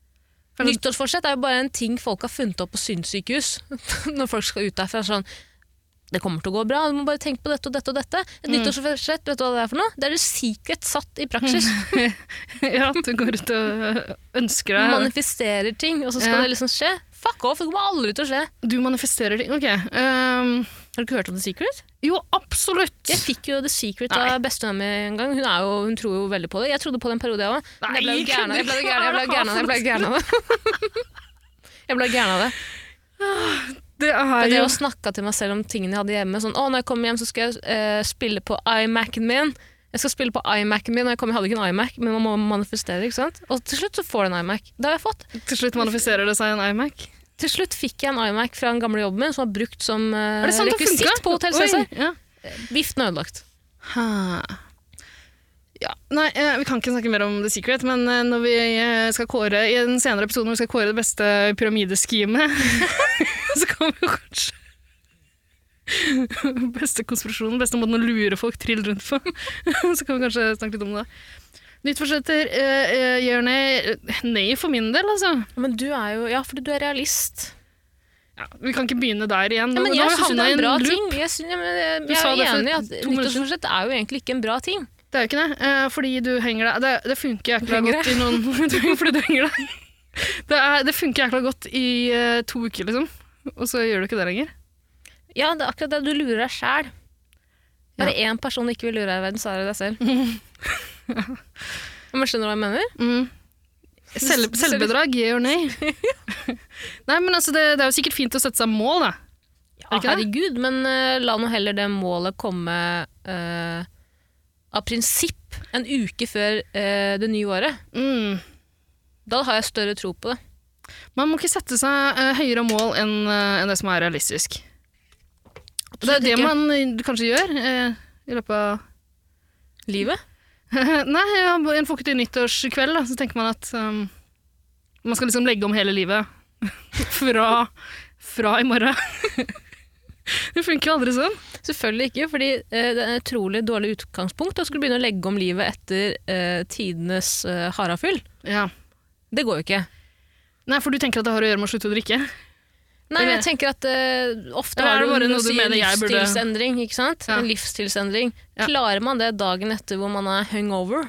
S4: Er det-
S3: Nyttårsforsett er jo bare en ting folk har funnet opp på synssykehus. Når folk skal ut derfra sånn Det kommer til å gå bra, du må bare tenke på dette og dette og dette. Et
S4: Mm.
S3: nyttårsforsett, vet du hva det er for noe? Det er det secret satt i praksis.
S4: Ja, at du går ut og ønsker
S3: Du
S4: deg
S3: manifesterer ting, og så skal
S4: Ja.
S3: det liksom skje. Fuck off, det kommer aldri til å skje.
S4: Du manifesterer ting. Ok. ehm,
S3: Har du ikke hørt om The Secret?
S4: jo, absolutt.
S3: Jeg fikk jo The Secret
S4: Nei.
S3: av bestevenna mi en gang. Hun, er jo, hun tror jo veldig på det. Jeg trodde på det en periode, jeg òg. Men jeg ble jo
S4: Nei,
S3: gæren av det. Jeg ble jo
S4: hva
S3: gæren- jeg ble jo
S4: er det
S3: gæren av det. Jeg ble jo gæren av det. Jeg ble jo gæren av det.
S4: Det er
S3: Jeg
S4: jo
S3: drev og snakka til meg selv om tingene jeg hadde hjemme. Sånn, å, når jeg kommer hjem, så skal jeg eh, spille på iMac-en min. Jeg skal spille på iMac-en min. Og jeg, kom, jeg hadde ikke en iMac, men man må manifestere. ikke sant? Og til slutt så får du en iMac. Det har jeg fått.
S4: Til slutt manifiserer det seg en iMac.
S3: Til slutt fikk jeg en iMac fra den gamle jobben min, som var brukt som eh,
S4: Er det sant det
S3: rekvisitt
S4: funka?
S3: på Hotell
S4: Oi,
S3: Cæsar.
S4: Ja.
S3: Viften er ødelagt.
S4: Ha. Ja, nei, eh, Vi kan ikke snakke mer om The Secret, men eh, når vi eh, skal kåre i den senere episoden når vi skal kåre det beste pyramideschemet, så kan vi jo kanskje Beste konspirasjonen, beste måten å lure folk trill rundt på. så kan vi kanskje snakke litt om det. Nytt forsetter. Eh, eh, gjør nei, nei for min del, altså.
S3: Men du er jo Ja, fordi du er realist.
S4: Ja, vi kan ikke begynne der igjen.
S3: Ja, men
S4: Nå
S3: jeg
S4: har vi
S3: syns jo det er
S4: havnet i en
S3: en bra
S4: loop.
S3: ting. Jeg, synes, ja, men, jeg,
S4: Du
S3: jeg
S4: sa
S3: er
S4: det for
S3: enig i at
S4: to minutter siden.
S3: nyttårsforsett er jo egentlig ikke en bra ting.
S4: Det er jo ikke det, eh, fordi du henger deg Det, det funker jækla
S3: Henger
S4: godt i noen du- Fordi du henger deg. Det, er, det funker jækla godt i eh, to uker, liksom. Og så gjør du ikke det lenger.
S3: Ja, det er akkurat det. Du lurer deg sjæl. Bare én person ikke vil lure deg i verden, så er det deg selv. Men skjønner du hva jeg mener?
S4: Mm. Selv,
S3: Selv-
S4: selvbedrag, yeah or nay? Nei, men altså, det, det er jo sikkert fint å sette seg mål, da.
S3: Ja,
S4: Er det ikke det?
S3: herregud, men eh, la nå heller det målet komme eh, av prinsipp en uke før eh, det nye året.
S4: Mm.
S3: Da har jeg større tro på det.
S4: Man må ikke sette seg eh, høyere mål enn eh, enn det som er realistisk. Det er jo det
S3: ikke.
S4: man eh, kanskje gjør eh, i løpet av
S3: Livet?
S4: Nei, ja, en får ikke til nyttårskveld, da, så tenker man at um, man skal liksom legge om hele livet fra, fra i morgen. Det funker jo aldri sånn.
S3: Selvfølgelig ikke, fordi eh, det er et utrolig dårlig utgangspunkt å skulle begynne å legge om livet etter eh, tidenes eh, harafyll.
S4: Ja.
S3: Det går jo ikke.
S4: Nei, for du tenker at det har å gjøre med å slutte å drikke?
S3: Nei,
S4: Eller-
S3: jeg tenker at eh, ofte har
S4: Eller er det
S3: du
S4: bare
S3: noe
S4: noe
S3: å
S4: du
S3: si
S4: mener jeg burde-
S3: livsstilsendring, ikke sant?
S4: Ja.
S3: En livsstilsendring.
S4: Ja.
S3: Klarer man det dagen etter hvor man er hungover?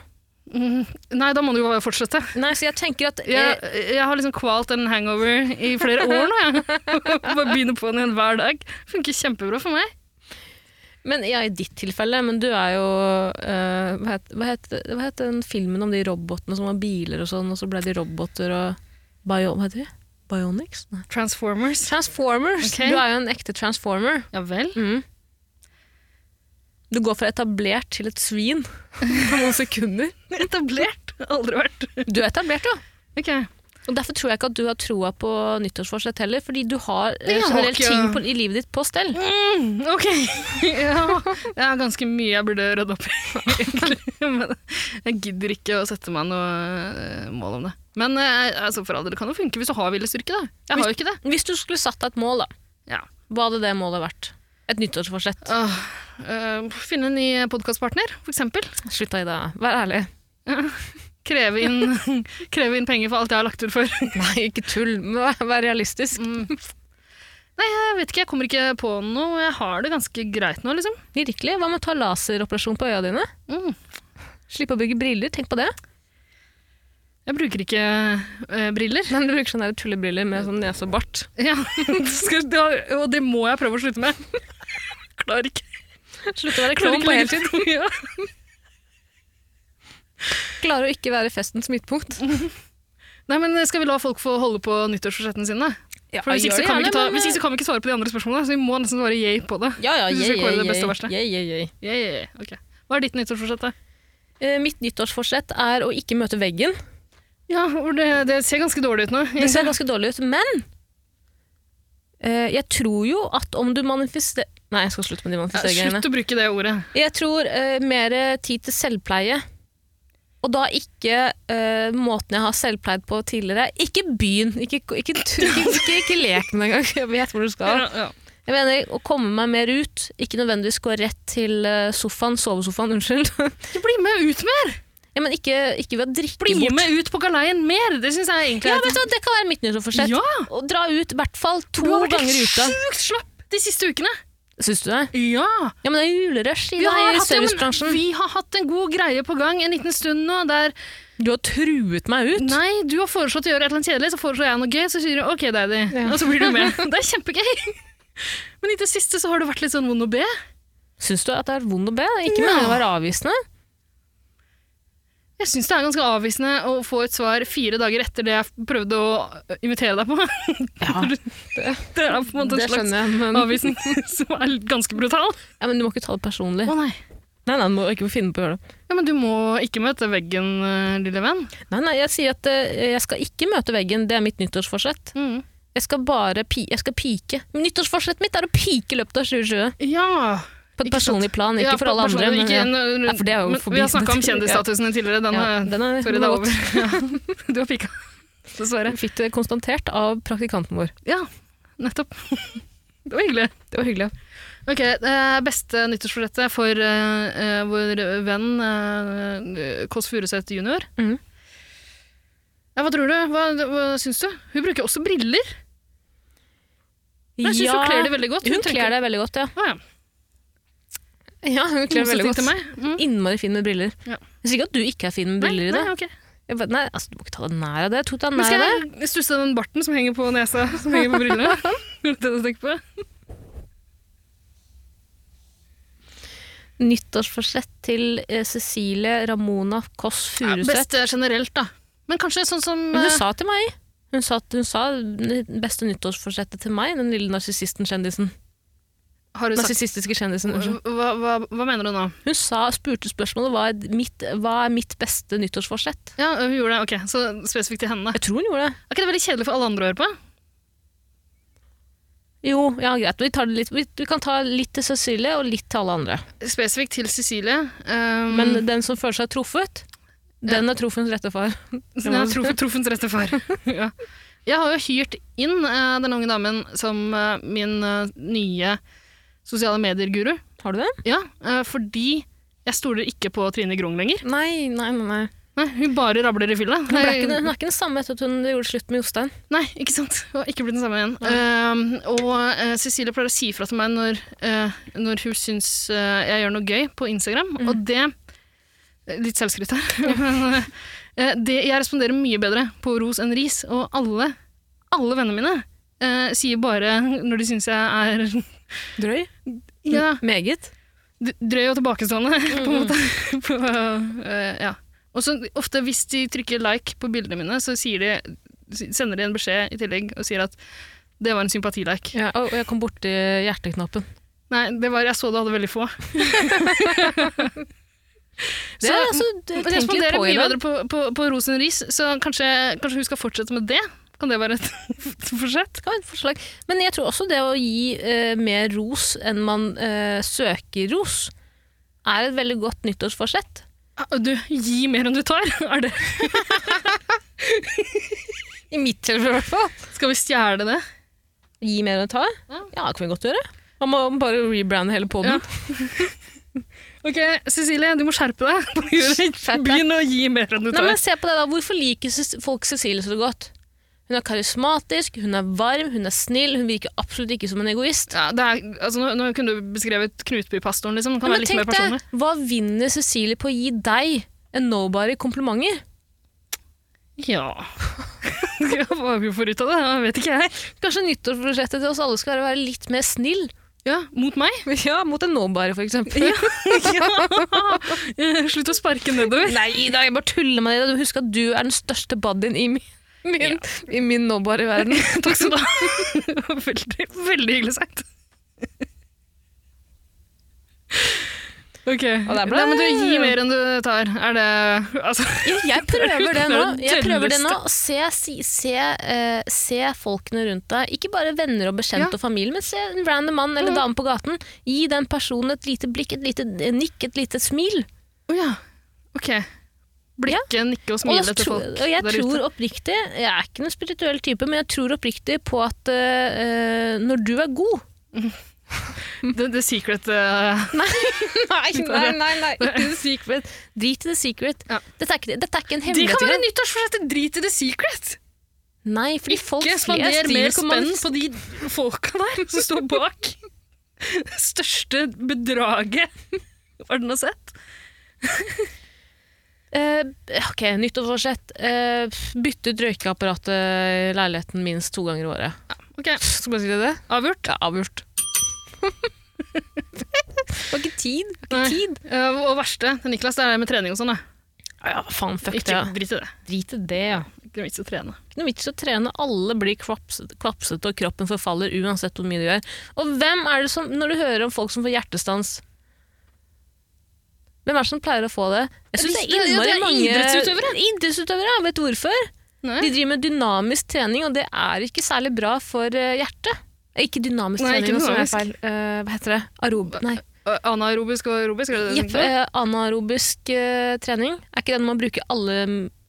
S4: Mm, Nei, da må du jo bare fortsette.
S3: Nei, så jeg tenker at
S4: Jeg,
S3: eh,
S4: jeg har liksom kvalt en hangover i flere år nå, jeg. Bare begynner på den igjen hver dag. Funker kjempebra for meg.
S3: Men ja, i ditt tilfelle, men du er jo eh, hva, het, hva, het, hva het den filmen om de robotene som var biler og sånn, og så ble de roboter og bio, Hva heter de? Bionics? Nei.
S4: Transformers.
S3: Transformers!
S4: Ok.
S3: Du er jo en ekte transformer.
S4: Ja vel.
S3: Du går fra etablert til et svin på noen sekunder.
S4: Etablert. Aldri vært.
S3: Du er etablert, ja.
S4: Ok.
S3: Og Derfor tror jeg ikke at du har troa på nyttårsforsett heller, fordi du har eh,
S4: jeg har
S3: generelt
S4: ikke-
S3: ting på, i livet ditt på stell.
S4: Mm, ok. Ja, det er ganske mye jeg burde rydde opp i, egentlig. Men jeg gidder ikke å sette meg noe eh, mål om det. Men eh, altså, for all del, det kan jo funke hvis du har viljestyrke, da. Jeg har jo ikke det.
S3: Hvis du skulle satt deg et mål, da,
S4: Ja.
S3: hva hadde det målet vært? Et nyttårsforsett.
S4: Åh, eh, finne en ny podkastpartner, for eksempel.
S3: Slutt, da, Ida. Vær ærlig.
S4: Kreve inn, kreve inn penger for alt jeg har lagt ut for. Mm.
S3: Nei, ikke tull. men Vær vær realistisk.
S4: Nei, jeg vet ikke, jeg kommer ikke på noe. Jeg har det ganske greit nå, liksom.
S3: Virkelig. Hva med å ta laseroperasjon på øya dine?
S4: Mm.
S3: Slippe å bygge briller. Tenk på det.
S4: Jeg bruker ikke eh, briller.
S3: Men du bruker sånne der tullebriller med sånn nese og bart.
S4: Ja. Skal- det- Og det må jeg prøve å slutte med. Klarer ikke.
S3: Slutt å være klovn
S4: Klarer ikke
S3: på
S4: lenger.
S3: heltid.
S4: Ja.
S3: Klarer å ikke være festens midtpunkt.
S4: Nei, men skal vi la folk få holde på nyttårsforsettene sine?
S3: Ja,
S4: For hvis ikke, så
S3: gjør
S4: kan vi
S3: gjerne,
S4: ikke ta,
S3: men- eh,
S4: hvis ikke så kan vi ikke svare på de andre spørsmålene, så vi må nesten svare yay på det.
S3: Ja, ja,
S4: Hvis vi
S3: jeg,
S4: skal kåre det beste og
S3: jeg,
S4: verste.
S3: jeg, jeg, jeg.
S4: Yay, yay, yay. Ok. Hva er ditt nyttårsforsett? da?
S3: Eh, Mitt nyttårsforsett er å ikke møte veggen.
S4: Ja, hvor det, det ser ganske dårlig ut nå.
S3: Det ser ganske dårlig ut, men eh, jeg tror jo at om du manifesterer Nei, jeg skal slutte med de
S4: Ja,
S3: manifesteringene.
S4: slutt å bruke det ordet.
S3: Jeg tror eh, mer tid til selvpleie. Og da ikke eh, måten jeg har selvpleid på tidligere. Ikke byen, ikke, ikke, ikke, ikke, ikke lek med den engang. Jeg vet hvor du skal.
S4: Ja, ja.
S3: Jeg mener å komme meg mer ut. Ikke nødvendigvis gå rett til eh, sofaen, sovesofaen, unnskyld.
S4: Ikke bli med ut mer!
S3: Ja, men ikke, ikke ved å drikke
S4: Bli
S3: bort.
S4: med ut på galeien mer! Det syns jeg egentlig
S3: Ja,
S4: er
S3: vet du, hva, det kan være mitt nyttårsforsett.
S4: Ja!
S3: Å dra ut i hvert fall to
S4: Du har vært
S3: ganger i
S4: helt
S3: uka.
S4: sjukt slapp de siste ukene.
S3: Syns du det?
S4: Ja!
S3: Ja, men det er julerush i,
S4: Vi har,
S3: i
S4: hatt, ja, men,
S3: servicebransjen.
S4: vi har hatt en god greie på gang en liten stund nå, der
S3: Du har truet meg ut.
S4: Nei, du har foreslått å gjøre et eller annet kjedelig, så foreslår jeg noe gøy, så sier du OK, daddy. Og så blir du med. Det er kjempegøy! Men i det siste så har du vært litt sånn vond å be.
S3: Syns du at det er vondt å be? Ikke
S4: Ja.
S3: meningen å være avvisende.
S4: Jeg syns det er ganske avvisende å få et svar fire dager etter det jeg prøvde å øh, invitere deg på.
S3: Ja,
S4: Det er på en måte
S3: det
S4: en slags
S3: skjønner jeg, men,
S4: avvisning som er ganske brutal.
S3: ja, men du må ikke ta det personlig.
S4: Å nei.
S3: Nei, nei, du må ikke finne på å gjøre det.
S4: Ja, Men du må ikke møte veggen, eh, lille venn.
S3: Nei, nei, jeg sier at eh, jeg skal ikke møte veggen, det er mitt nyttårsforsett.
S4: Mm.
S3: Jeg skal bare pi jeg skal pike. Men Nyttårsforsettet mitt er å pike i løpet av 2020.
S4: Ja.
S3: På et
S4: Ikke sant?
S3: personlig plan, ikke
S4: Ja,
S3: for alle andre.
S4: personlig-
S3: Men,
S4: ikke
S3: ja.
S4: en- øh,
S3: Nei, for det er jo
S4: men
S3: forbi.
S4: Vi har snakka om kjendisstatusene tidligere. Den, øh,
S3: Ja,
S4: er-
S3: den er,
S4: sorry, det er over. Ja. Du har pika. Dessverre.
S3: Jeg fikk det konstatert av praktikanten vår.
S4: Ja, nettopp. Det var hyggelig.
S3: Det var hyggelig.
S4: Ok, eh, Beste nyttårsforsettet for eh, eh, vår venn eh, Kåss Furuseth jr.
S3: Mhm.
S4: Ja, hva tror du? Hva, hva syns du? Hun bruker også briller. Men jeg syns hun kler det veldig godt.
S3: Hun kler det veldig godt, ja.
S4: Å, ja.
S3: Ja, hun
S4: I
S3: kler det veldig
S4: motsetning
S3: godt.
S4: til meg. Mm.
S3: Innmari fin med briller.
S4: Ja.
S3: Jeg sier ikke at du ikke er fin med briller i
S4: nei,
S3: det.
S4: nei, ok.
S3: Jeg bare, nei, altså, du må ikke ta deg nær av det. Jeg tok deg
S4: Men
S3: nær av det.
S4: skal jeg stusse den barten som henger på nesa, som henger på brillene? Er det det du tenker på?
S3: Nyttårsforsett til eh, Cecilie Ramona Kåss
S4: Ja,
S3: Furuseth.
S4: beste generelt, da. Men kanskje sånn som
S3: Men hun
S4: eh,
S3: sa til meg Hun sa, hun sa beste nyttårsforsettet til meg, den lille narsissisten-kjendisen.
S4: Har du sagt
S3: Narsissistiske kjendisen, unnskyld.
S4: hva, hva, hva mener du nå?
S3: Hun sa, spurte spørsmålet hva er, mitt, hva er mitt beste nyttårsforsett.
S4: Ja, hun gjorde det. Ok, så spesifikt til henne. da.
S3: Jeg tror hun gjorde det.
S4: Er ikke det veldig kjedelig for alle andre å høre på?
S3: Jo, ja, greit. Vi, tar det litt, vi, vi kan ta litt til Cecilie og litt til alle andre.
S4: Spesifikt til Cecilie. Um,
S3: Men den som føler seg truffet, den er truffens rette far.
S4: den er trof, trofens rette far. ja. Jeg har jo hyrt inn eh, den unge damen som eh, min eh, nye sosiale medier-guru.
S3: Har du det?
S4: Ja, eh, fordi jeg stoler ikke på Trine Grung lenger.
S3: Nei, nei, nei. nei.
S4: Nei, hun bare rabler i fylla.
S3: Hun, ble ikke, hun er ikke den samme etter at hun gjorde slutt med Jostein.
S4: Nei, ikke sant. Hun har ikke blitt den samme igjen. Ehm, og eh, Cecilie pleier å si ifra til meg når, eh, når hun syns eh, jeg gjør noe gøy på Instagram, og det eh, Litt selvskryt her. men, eh, det, jeg responderer mye bedre på ros enn ris, og alle, alle vennene mine eh, sier bare når de syns jeg er
S3: Drøy?
S4: ja,
S3: Meget.
S4: d- drøy og tilbakestående, på
S3: Mm-hmm.
S4: en måte. på, eh, ja. Og så ofte hvis de trykker like på bildene mine, så sier de, sender de en beskjed i tillegg og sier at det var en sympatilike.
S3: Ja, og jeg kom borti hjerteknappen.
S4: Nei, det var, jeg så du hadde veldig få.
S3: Det er altså, det,
S4: Men
S3: tenk litt
S4: responderer
S3: på i
S4: mye
S3: dag.
S4: bedre på, på, på ros enn ris, så kanskje, kanskje hun skal fortsette med det? Kan det være et forsett?
S3: Det kan være et forslag. Men jeg tror også det å gi eh, mer ros enn man eh, søker ros, er et veldig godt nyttårsforsett.
S4: Ah, Du, gi mer enn du tar! Er det,
S3: I mitt tilfelle, i hvert fall.
S4: skal vi stjele det?
S3: Gi mer enn å ta.
S4: Ja.
S3: Ja, det kan vi godt gjøre. Man må bare rebrande hele poden.
S4: Ok, Cecilie, du må skjerpe deg.
S3: Skjerp deg.
S4: Begynn å gi mer enn du
S3: Nei,
S4: tar.
S3: men se på det da. Hvorfor liker Cec- folk Cecilie så godt? Hun er karismatisk, hun er varm, hun er snill, hun virker absolutt ikke som en egoist.
S4: Ja, det er, altså, nå, nå kunne du beskrevet Knutby-pastoren, liksom. Den kan
S3: Nei,
S4: være
S3: men
S4: litt mer
S3: tenk
S4: personlig.
S3: deg, hva vinner Cecilie på å gi deg en nobody komplimenter?
S4: Ja. ja Hva vi får ut av det, det vet ikke jeg.
S3: Kanskje nyttårsprosjektet til oss alle skal være å være litt mer snill?
S4: Ja, Mot meg?
S3: Ja, mot en nobody, for eksempel.
S4: Eh, Slutt å sparke nedover.
S3: Nei da, jeg bare tuller med deg. Husk at du er den største buddyen i min, min, i min nobody-verden.
S4: Takk skal du ha. Veldig, veldig hyggelig sagt. Ok.
S3: der ble-
S4: Nei, men du gir mer enn du tar. Er det altså,
S3: Jeg prøver det nå. Jeg prøver det nå.
S4: Tølleste.
S3: Se, si- se, eh, se folkene rundt deg. Ikke bare venner og bekjente
S4: Ja.
S3: og familie, men se en random mann eller dame på gaten. Gi den personen et lite blikk, et lite eh, nikk, et lite smil.
S4: Å ja. Ok. Blikke, nikke og
S3: Og,
S4: smile
S3: jeg
S4: til
S3: tror-
S4: folk
S3: og jeg
S4: der ute.
S3: tror oppriktig, jeg er ikke noen spirituell type, men jeg tror oppriktig på at eh, eh, når du er god
S4: The, the secret eh,
S3: Nei, nei, nei, nei, ikke The Secret. Drit i The Secret.
S4: Ja.
S3: Dette, er ikke, dette er ikke en
S4: De
S3: hemmelighet.
S4: kan være
S3: engang.
S4: nyttårsforsettet! Drit i The Secret!
S3: Nei, fordi folk
S4: Ikke
S3: flest
S4: spander
S3: driver
S4: mer
S3: ikke med-
S4: spenn på de folka der som står bak. Største bedraget verden har sett.
S3: Eh, ok, nyttårsforsett. Uh, bytte ut røykeapparatet i leiligheten minst to ganger i året.
S4: Ok,
S3: Skal man si det? det?
S4: Avgjort.
S3: Ja, avgjort. det var ikke tid. Det var
S4: Nei.
S3: ikke tid.
S4: Eh, og verste, Niklas, det er det med trening og sånn. da.
S3: Ja, faen, fuck
S4: Ikke
S3: det.
S4: drit i det.
S3: Drit i det, ja.
S4: Ikke noe vits i å trene.
S3: Ikke noe vits i å trene. Alle blir kvapsete, kvapsete, og kroppen forfaller uansett hvor mye du gjør. Og hvem er det som, når du hører om folk som får hjertestans Hvem er det som pleier å få det? Jeg synes
S4: Det er
S3: innmari mange-
S4: idrettsutøvere.
S3: Idrettsutøvere, ja. Vet du hvorfor?
S4: Nei.
S3: De driver med dynamisk trening, og det er ikke særlig bra for eh, hjertet. Eh, Ikke dynamisk
S4: Nei,
S3: trening,
S4: ikke
S3: også, det er
S4: dynamisk.
S3: feil. Eh, hva heter det? Arob... Nei.
S4: Eh, Anaerobisk og aerobisk, er det det?
S3: Jepp,
S4: du
S3: eh,
S4: tenker på?
S3: anaerobisk eh, trening. Er ikke den man bruker alle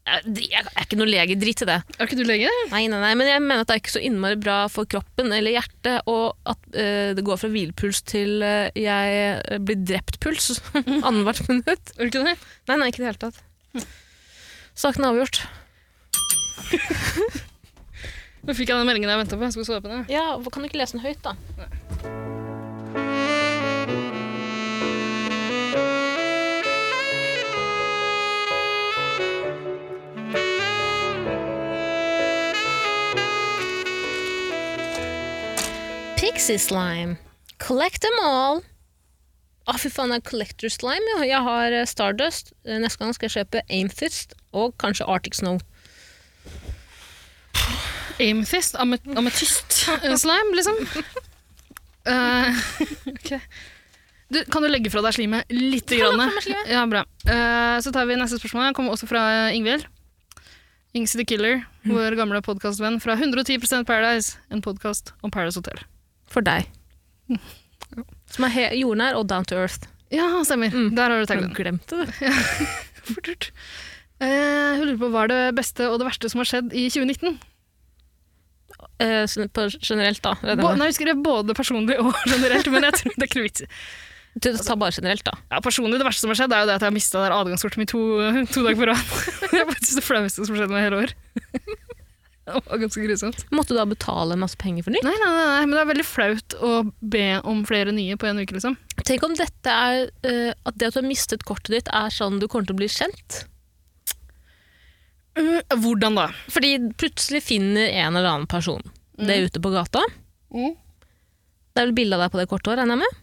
S3: Eh, Jeg jeg er ikke noen lege, drit i det.
S4: Er ikke du lege?
S3: Nei, nei, nei, men jeg mener at det er ikke så innmari bra for kroppen eller hjertet, og at eh, det går fra hvilepuls til eh, jeg eh, blir drept-puls annethvert minutt.
S4: Er du ikke det?
S3: Nei, nei, ikke i det hele tatt. Saken er avgjort.
S4: Nå fikk jeg den meldingen jeg venta på. Jeg skal svare på den.
S3: Ja, hvor- Kan du ikke lese den høyt, da? Pixie slime. Collect them all. Å, fy faen, det er collector slime. jo. Jeg har eh, Stardust. Eh, Neste gang skal jeg kjøpe Amethyst og kanskje Arctic Snow.
S4: Amethyst? Amet ametyst? eh, Slime, liksom? Eh, ok. Du, kan du legge fra deg slimet lite grann? Ja, bra. Eh, så tar vi neste spørsmål. Det kommer også fra eh, Ingvild. Ingsi the Killer, vår gamle podkastvenn fra 110 Paradise. En podkast om Paradise Hotel.
S3: For deg. Som er he jordnær og down to earth.
S4: Ja, stemmer. Der har du
S3: Har du
S4: taglinen.
S3: glemt det?
S4: Mm. Forturt. Eh, hun lurer på hva er det beste og det verste som har skjedd i 2019.
S3: eh, sånn på generelt, da. regner jeg
S4: Bo,
S3: med.
S4: nei, jeg husker det både personlig og generelt, men jeg tror det er ikke noe vits. i.
S3: Du tar bare generelt, da.
S4: Ja, personlig, det verste som har skjedd, er jo det at jeg har mista adgangskortet mitt to, to dager på rad. Det er faktisk det flaueste som har skjedd meg i hele år. Det var ganske grusomt.
S3: Måtte du da betale masse penger for nytt?
S4: Nei, nei, nei, nei, men det er veldig flaut å be om flere nye på en uke, liksom.
S3: Tenk om dette er eh, at det at du har mistet kortet ditt, er sånn du kommer til å bli kjent?
S4: Mm, Hvordan da?
S3: Fordi plutselig finner en eller annen person det ute på gata.
S4: Mm.
S3: Det er vel bilde av deg på det kortet, regner jeg med.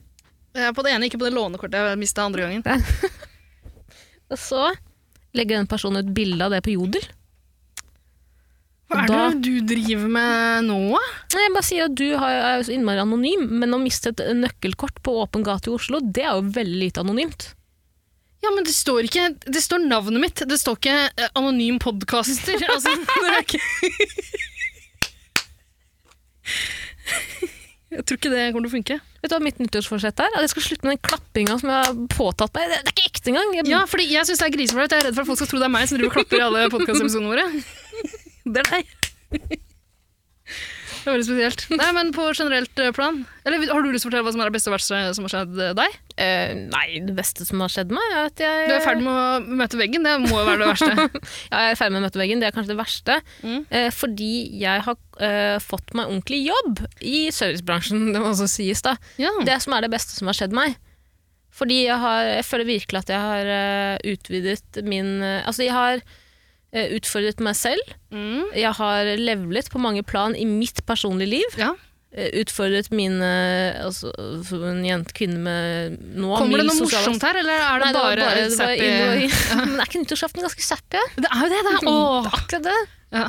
S4: Jeg er på det ene, ikke på det lånekortet jeg mista andre gangen.
S3: Og så legger den personen ut bilde av det på Jodel.
S4: Hva er
S3: Da-
S4: det du driver med nå?
S3: Nei, Jeg bare sier at du har, er jo så innmari anonym, men å miste et nøkkelkort på åpen gate i Oslo, det er jo veldig lite anonymt.
S4: Ja, men det står ikke Det står navnet mitt, det står ikke eh, anonym podkaster. Altså, det er ikke Jeg tror ikke det kommer til å funke.
S3: Vet du hva mitt nyttårsforsett er? At jeg skal slutte med den klappinga som jeg har påtatt meg. Det, det er ikke ekte engang! Jeg,
S4: Ja, fordi Jeg synes det er griseflaut. Jeg er redd for at folk skal tro det er meg som driver og klapper i alle podkastepisodene våre.
S3: det er deg.
S4: Det er veldig spesielt. Nei, men på generelt eh, plan Eller Har du lyst til å fortelle hva som er det beste og verste som har skjedd eh, deg?
S3: Eh, nei, det beste som har skjedd meg, er at jeg
S4: Du er i ferd med å møte veggen. Det må jo være det verste.
S3: Ja, jeg er ferdig med å møte veggen. Det er kanskje det verste.
S4: Mm.
S3: Eh, fordi jeg har eh, fått meg ordentlig jobb i servicebransjen, det må også sies, da.
S4: Ja.
S3: Det som er det beste som har skjedd meg. Fordi jeg, har, jeg føler virkelig at jeg har eh, utvidet min eh, Altså, jeg har eh, utfordret meg selv.
S4: Mm.
S3: Jeg har levlet på mange plan i mitt personlige liv.
S4: ja.
S3: Eh, utfordret mine altså, Som en jente, kvinne med nå
S4: Kommer det
S3: mild
S4: noe
S3: sosial-
S4: morsomt her, eller er
S3: Nei,
S4: det
S3: det var
S4: bare,
S3: bare det var
S4: sappy-
S3: innvåg- Men er ikke nyttårsaften ganske sappy? ja? Mm,
S4: Det er jo det, det er
S3: Det
S4: Åh.
S3: er Akkurat det.
S4: Ja.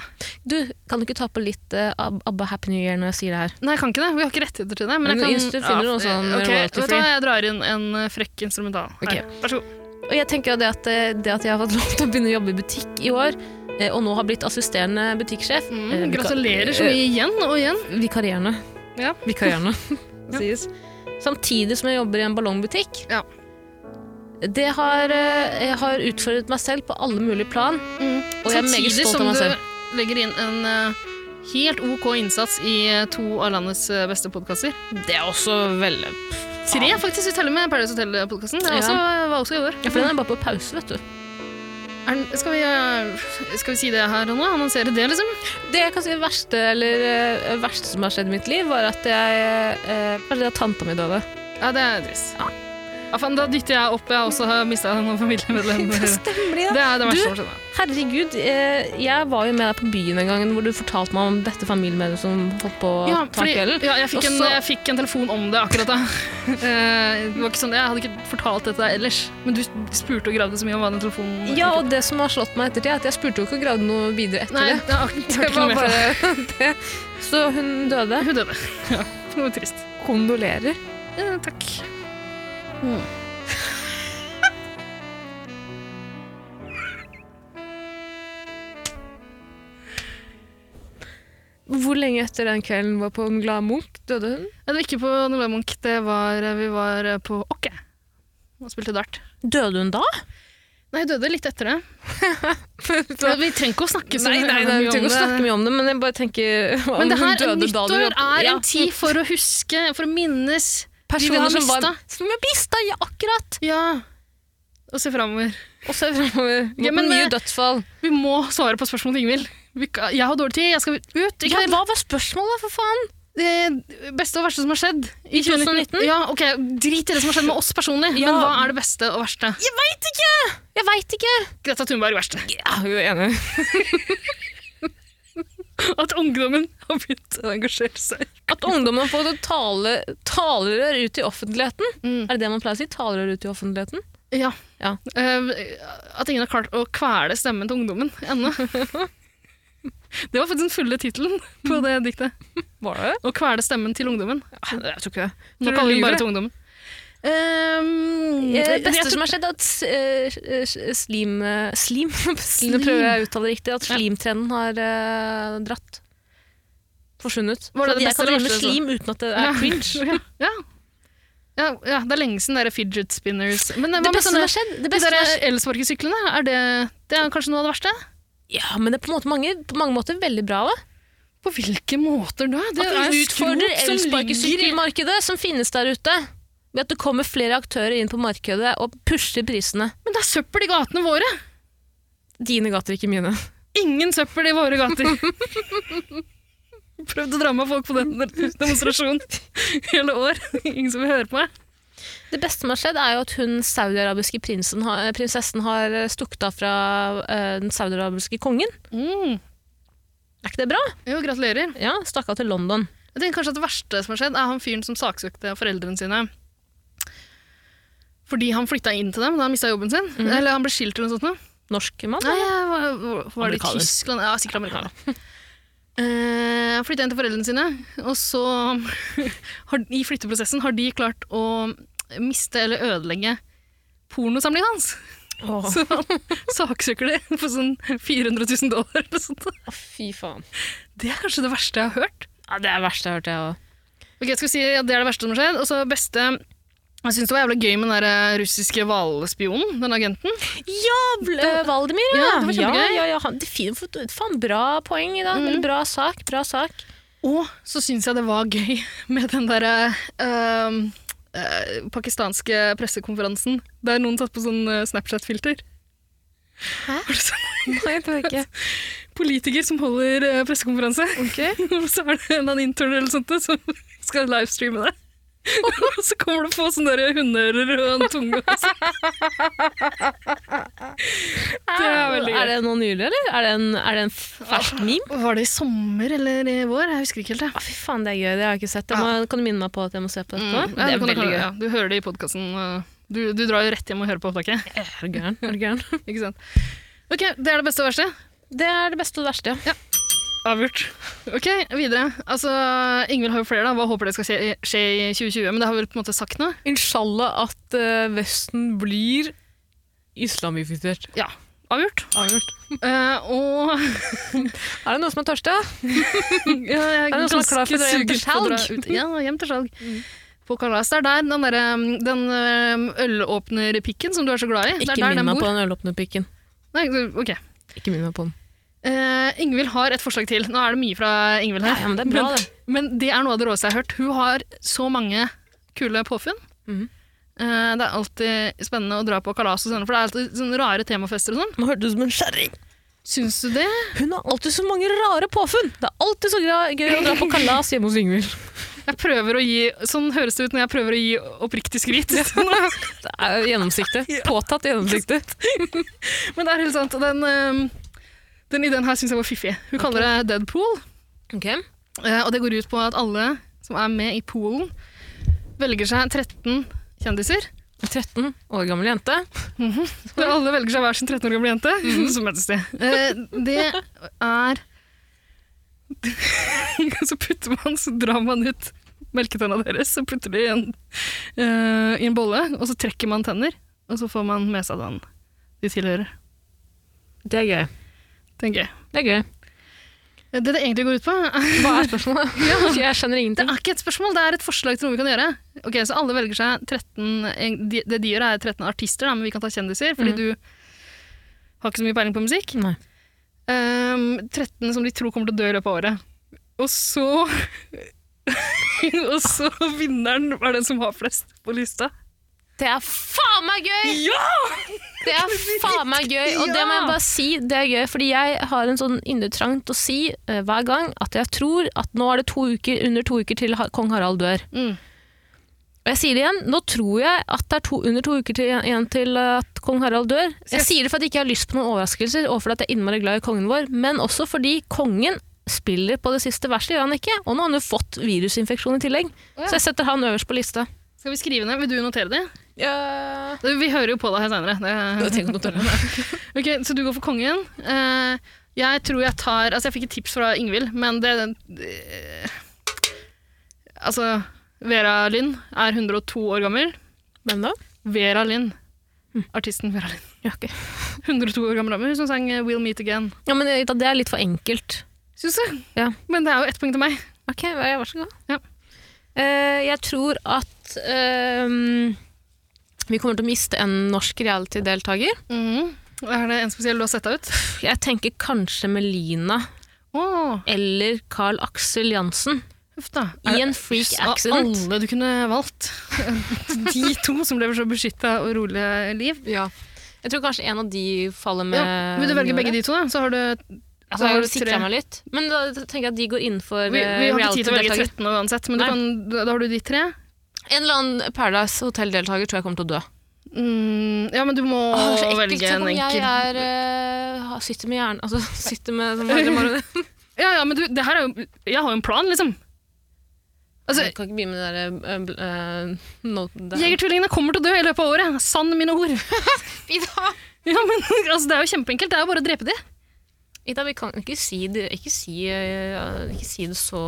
S3: Du, kan du ikke ta på litt eh, Ab- ABBA Happy New Year når jeg sier det her?
S4: Nei, jeg kan ikke det. Vi har ikke rettigheter til det. Men
S3: Men
S4: jeg kan,
S3: instru- finner du noe sånn
S4: ok,
S3: royalty
S4: Vet du
S3: free?
S4: hva, jeg drar inn en eh, frekk instrumental. Her, Vær så god.
S3: Og jeg tenker jo det at, eh, det at jeg har fått lov til å begynne å jobbe i butikk i år, eh, og nå har blitt assisterende butikksjef
S4: Mm,
S3: eh, vika-
S4: gratulerer så mye igjen og igjen.
S3: eh, Vikarierende.
S4: Ja.
S3: Vikarierende, sies. Samtidig som jeg jobber i en ballongbutikk.
S4: Ja.
S3: Det har, eh, jeg har utfordret meg selv på alle mulige plan, og jeg er meget
S4: Mm. Samtidig
S3: stolt
S4: som
S3: av meg
S4: du
S3: selv.
S4: legger inn en eh, helt OK innsats i eh, to av landets eh, beste podkaster.
S3: Det er også veldig
S4: Tre, faktisk. Vi teller med Paradise Hotel-podkasten. Det er
S3: Ja.
S4: også, var også i år. Mm.
S3: Ja, for den er bare på pause, vet du.
S4: Er den- skal, vi, eh, skal vi si det her og nå? Annonsere det, liksom?
S3: Det jeg kan si verste, eller, eh, verste som har skjedd i mitt liv, var at jeg eh, Kanskje det at tanta mi døde.
S4: Ja, det er trist.
S3: Ja.
S4: Ja, faen, da dytter jeg opp. Jeg har også mista noen familiemedlemmer.
S3: stemmer
S4: Det er det
S3: Du-
S4: verste som har skjedd. meg.
S3: Herregud, eh, jeg var jo med deg på byen en gang hvor du fortalte meg om dette familiemedlemmet som holdt på å
S4: Ja,
S3: ta
S4: fordi,
S3: kvelden.
S4: ja jeg, fikk
S3: Og
S4: en,
S3: så-
S4: jeg fikk en telefon om det akkurat da. Eh, det var ikke sånn, jeg hadde ikke fortalt dette ellers, men du spurte og gravde så mye om hva den telefonen
S3: Ja, og det som har slått meg ettertid, er at jeg spurte jo ikke og gravde noe videre etter
S4: Nei, jeg
S3: det.
S4: har ikke jeg hørte
S3: Det
S4: ikke noe
S3: var
S4: mer fra det.
S3: bare det. Så hun døde.
S4: Hun døde. Ja, noe trist.
S3: Kondolerer.
S4: Eh, takk.
S3: Hvor lenge etter den kvelden var på Den glade Munch døde hun?
S4: Nei, Det var ikke på Nordland Munch, det var, vi var på Åkke og spilte dart.
S3: Døde hun da?
S4: Nei, hun døde litt etter det. Men
S3: nei,
S4: vi trenger ikke å snakke så
S3: nei, nei, vi
S4: mye om
S3: trenger ikke å
S4: det.
S3: snakke mye om det, men jeg bare tenker om
S4: Men det
S3: hun
S4: her,
S3: døde da du
S4: nyttår
S3: jobbet-
S4: er
S3: Ja.
S4: en tid for å huske, for å minnes de vi
S3: personer
S4: har
S3: som var
S4: mista.
S3: Som jeg mista, ja, akkurat!
S4: Ja, og se framover.
S3: Og så fremover mot
S4: Ja, men,
S3: nye
S4: eh,
S3: dødsfall.
S4: Vi må svare på spørsmålet, Ingvild. Vi ka- Jeg har dårlig tid, jeg skal ut. Ikke
S3: Ja,
S4: sant?
S3: hva var spørsmålet, for faen?
S4: Det beste og verste som har skjedd
S3: I 2019?
S4: Ja, ok, Drit i det som har skjedd med oss personlig,
S3: Ja.
S4: men hva er det beste og verste?
S3: Jeg veit ikke! Jeg veit ikke!
S4: Greta Thunberg verste.
S3: Ja, hun er enig.
S4: At ungdommen har begynt å engasjere seg.
S3: At ungdommen har fått et tale, talerør ut i offentligheten. Er det det man pleier å si? Talerør ut i offentligheten?
S4: Ja.
S3: Ja.
S4: Eh, at ingen har klart å kvele stemmen til ungdommen ennå. Det var faktisk den fulle tittelen på det diktet.
S3: Var det det?
S4: Å kvele stemmen til ungdommen.
S3: Jeg tror ikke det.
S4: Nå
S3: du
S4: kaller
S3: lyver?
S4: vi den bare til ungdommen. Eh,
S3: Det
S4: jeg
S3: beste
S4: tror-
S3: som har skjedd, er at eh, eh, slim... eh, Slim? Nå prøver jeg å uttale det riktig. At slimtrenden har eh, dratt. Forsvunnet.
S4: Var det
S3: Så
S4: det
S3: jeg
S4: beste
S3: kan
S4: eller
S3: drive med
S4: verste, så?
S3: slim uten at det er cringe.
S4: Ja. Ja. Ja, ja, det er lenge siden der fidget spinners. Men eh, hva
S3: Det
S4: med
S3: beste som
S4: sånne
S3: har skjedd? Det
S4: de
S3: beste som har
S4: der
S3: skjedd
S4: elsparkesyklene? Er det, det er kanskje noe av det verste?
S3: Ja, men det er på, en måte mange, på mange måter veldig bra. Da.
S4: På hvilke måter da?
S3: At
S4: Det er
S3: du
S4: skrot
S3: utfordrer
S4: som ligger i
S3: elsparkesykkelmarkedet som finnes der ute. Ved at det kommer flere aktører inn på markedet og pusher prisene.
S4: Men det er søppel i gatene våre!
S3: Dine gater, ikke mine.
S4: Ingen søppel i våre gater! Prøvd å dra med folk på den demonstrasjonen hele år. Ingen som vil høre på meg.
S3: Det beste som har skjedd, er jo at hun saudiarabiske prinsen har- prinsessen har eh, stukket av fra eh, den saudiarabiske kongen.
S4: Mm.
S3: Er ikke det bra?
S4: Jo, gratulerer.
S3: Ja, stakk av til London.
S4: Jeg tenker kanskje at det verste som har skjedd, er han fyren som saksøkte foreldrene sine. Fordi han flytta inn til dem da han mista jobben sin. Eller han ble skilt eller noe sånt. noe.
S3: Norsk mann?
S4: Nei, var, var, var det i
S3: Amerikaner.
S4: Tyskland? Ja, sikkert amerikaner. Eh, Han flytta inn til foreldrene sine, og så har, i flytteprosessen har de klart å miste eller ødelegge pornosamlingen hans.
S3: Åh,
S4: Så han saksøker det for sånn 400 000 dollar eller sånt.
S3: ah, fy faen.
S4: Det er kanskje det verste jeg har hørt.
S3: Ja, det er det verste jeg har hørt, jeg òg.
S4: Ok, jeg skal si at Det er det verste som har skjedd. Og så beste Jeg syns det var jævla gøy med den der eh, russiske hvalspionen, den agenten.
S3: Jable Valdemir, ja.
S4: Ja, det var kjempegøy.
S3: Ja, ja, ja. Han- det er fint, for- faen, bra poeng i dag. Eller Bra sak, bra sak.
S4: Og så syns jeg det var gøy med den derre øhm, øh, pakistanske pressekonferansen der noen satt på sånn øh, Snapchat-filter. Hæ? Var det sånn
S3: Nei, det var ikke.
S4: politiker som holder øh, pressekonferanse, og så er det en eller annen intern eller sånt som skal livestreame det. Og så kommer det på sånne der hundeører og en tunge. og sånn. Det er veldig gøy.
S3: Er det noe nylig, eller? Er det en, er det en fersk meme?
S4: Var det i sommer eller i vår? Jeg husker ikke helt det.
S3: Å, fy faen, det er gøy. Det har jeg ikke sett. Jeg må, Kan du minne meg på at jeg må se på dette?
S4: Ja,
S3: det
S4: du
S3: er
S4: kan-
S3: veldig gøy.
S4: Ja, du hører det i podkasten. Du, du drar jo rett hjem og hører på opptaket.
S3: Er du gæren? Er du gæren?
S4: Ikke sant? Ok, Det er det beste og verste.
S3: Det er det beste og det verste. Ja.
S4: Avgjort. Ok, Videre. Altså, Ingvild har jo flere. da. Hva håper dere skal skje, skje i 2020? Men det har vi vel på en måte sagt nå?
S3: Inshallah at eh, Vesten blir islamifisert.
S4: Ja. Avgjort.
S3: Avgjort.
S4: Eh, og
S3: Er det noen som er tørste?
S4: ja, jeg
S3: Er det noen som er klar for å dra hjem til salg? Mm.
S4: Ja, hjem til salg. På kalas. Det er der den, der, um, den um, ølåpnerpikken som du er så glad i. det
S3: Ikke
S4: er der
S3: minn
S4: den
S3: meg på
S4: bor.
S3: den ølåpnerpikken.
S4: Nei, ok.
S3: Ikke minn meg på den.
S4: Eh, Ingvild har et forslag til. Nå er det mye fra Ingvild her.
S3: Ja, ja, men det er bra,
S4: men, men det er noe av det råeste jeg har hørt. Hun har så mange kule påfunn.
S3: Mhm.
S4: Eh, det er alltid spennende å dra på kalas og sånn, for det er alltid sånne rare temafester og sånn.
S3: Nå hørtes ut som en kjerring.
S4: Syns du det?
S3: Hun har alltid så mange rare påfunn. Det er alltid så gra- gøy å dra på kalas hjemme hos Yngvild.
S4: Jeg prøver å gi, Sånn høres det ut når jeg prøver å gi oppriktig skryt. men
S3: Det er jo gjennomsiktig. Påtatt gjennomsiktig.
S4: det er helt sant. Og den, eh, den ideen her syns jeg var fiffig. Hun kaller det Deadpool.
S3: Ok.
S4: Eh, Og det går ut på at alle som er med i poolen, velger seg 13 kjendiser.
S3: 13 år gammel jente.
S4: Når alle velger seg hver sin 13 år gamle jente, som heter Stig. Eh, Det er Så putter man, så drar man ut melketenna deres, så putter de i en, eh, i en bolle, og så trekker man tenner, og så får man med seg den de tilhører.
S3: Det er gøy.
S4: Tenker jeg.
S3: Det er gøy.
S4: Eh, Det det egentlig går ut på, er-
S3: Hva er spørsmålet? Jeg skjønner
S4: det
S3: ingenting.
S4: er ikke et spørsmål, det er et forslag til noe vi kan gjøre. Ok, Så alle velger seg 13 en- de- Det de gjør, er 13 artister, da, men vi kan ta kjendiser, fordi
S3: Mhm.
S4: du har ikke så mye peiling på musikk.
S3: Nei.
S4: Ehm, 13 som de tror kommer til å dø i løpet av året. Og så Og så vinneren er den som har flest på lista.
S3: Det er faen meg gøy!
S4: Ja!
S3: Det er faen meg gøy, og det må jeg bare si, det er gøy, fordi jeg har en sånn indre trang til å si eh, hver gang at jeg tror at nå er det to uker, under to uker til ha- kong Harald dør.
S4: Mm.
S3: Og jeg sier det igjen, nå tror jeg at det er to, under to uker til, igjen til at kong Harald dør. Jeg sier det fordi jeg ikke har lyst på noen overraskelser, og fordi at jeg er innmari glad i kongen vår, men også fordi kongen spiller på det siste verset, gjør han ikke? Og nå har han jo fått virusinfeksjon i tillegg,
S4: ja.
S3: så jeg setter han øverst på lista.
S4: Skal vi skrive ned? Vil du notere det?
S3: Ja.
S4: Vi hører jo på deg her seinere.
S3: tenker jeg å notere
S4: Ok, så du går for kongen. Eh, jeg tror jeg tar Altså, jeg fikk et tips fra Ingvild, men det, det- Altså, Vera Lind er 102 år gammel.
S3: Hvem da?
S4: Vera Lind.
S3: Hm.
S4: Artisten Vera Lind.
S3: Ja, ok.
S4: 102 år gammel dame hun som sang eh, 'We'll Meet Again'.
S3: ja, men Rita, det er litt for enkelt.
S4: Syns du?
S3: Ja.
S4: Men det er jo ett poeng til meg.
S3: Ok, vær vær så god.
S4: Ja.
S3: Eh, jeg tror at ehm, vi kommer til å miste en norsk reality-deltaker.
S4: Mhm. Er det en spesiell du har sett deg ut?
S3: Jeg tenker kanskje Melina
S4: Åh,
S3: eller Carl Axel Jansen
S4: huff da.
S3: i en freak
S4: Av
S3: accident.
S4: alle du kunne valgt. De to som lever så beskytta og rolige liv.
S3: Ja. Jeg tror kanskje en av de faller med
S4: Ja, vil du velge
S3: nyåret.
S4: begge de to, da? Så har du
S3: Altså,
S4: har
S3: jeg
S4: du
S3: har sikra
S4: tre.
S3: meg litt. Men da tenker jeg at de går innenfor
S4: Vi, vi har ikke tid til å velge
S3: Eh, reality-deltaker.
S4: 13 nå uansett, men du
S3: Nei.
S4: kan, da da har du de tre.
S3: En eller annen Paradise Hotel-deltaker tror jeg kommer til å dø.
S4: Mm, ja, men du må
S3: Åh, det er så ekkelt.
S4: velge
S3: Tenk
S4: en
S3: om
S4: enkel.
S3: Jeg er, eh, har- sitter med hjernen Altså, sitter med sånn, hva er det man-
S4: Ja, ja, men du, det her er jo Jeg har jo en plan, liksom. Altså,
S3: Jeg kan ikke begynne med det derre eh, noten der.
S4: Jegertvillingene kommer til å dø i løpet av året. Sann mine ord.
S3: Ida!
S4: Ja, men altså, Det er jo kjempeenkelt. Det er jo bare å drepe de.
S3: Ida, vi kan ikke si det, ikke si, eh, ikke si det så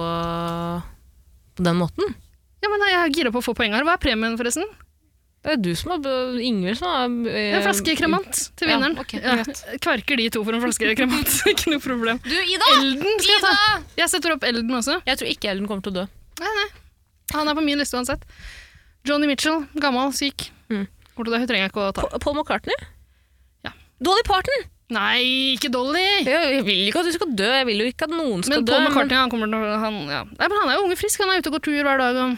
S3: på den måten.
S4: Ja, men Jeg er gira på å få poeng her. Hva er premien, forresten?
S3: Det er du som har bø- Ingvild som har eh,
S4: En flaske kremant til
S3: ja,
S4: vinneren.
S3: ok,
S4: Kverker de to for en flaske kremant. Ikke noe problem.
S3: Du, Ida!
S4: Elden skal jeg ta.
S3: Ida!
S4: Jeg setter opp Elden også.
S3: Jeg tror ikke Ellen kommer til å dø.
S4: Nei, nei. Han er på min liste uansett. Johnny Mitchell, gammel, syk.
S3: Mm.
S4: Hvor du da, Hun trenger jeg ikke å ta.
S3: Pa- Paul McCartney?
S4: Ja.
S3: Dolly Parton!
S4: Nei, ikke Dolly!
S3: Jeg, jeg vil ikke at du skal dø. Jeg vil jo ikke at noen skal
S4: Men
S3: dø.
S4: Paul McCartney han kommer til å han, ja. Nei, men han er jo unge frisk. Han er ute og går tur hver dag. Og...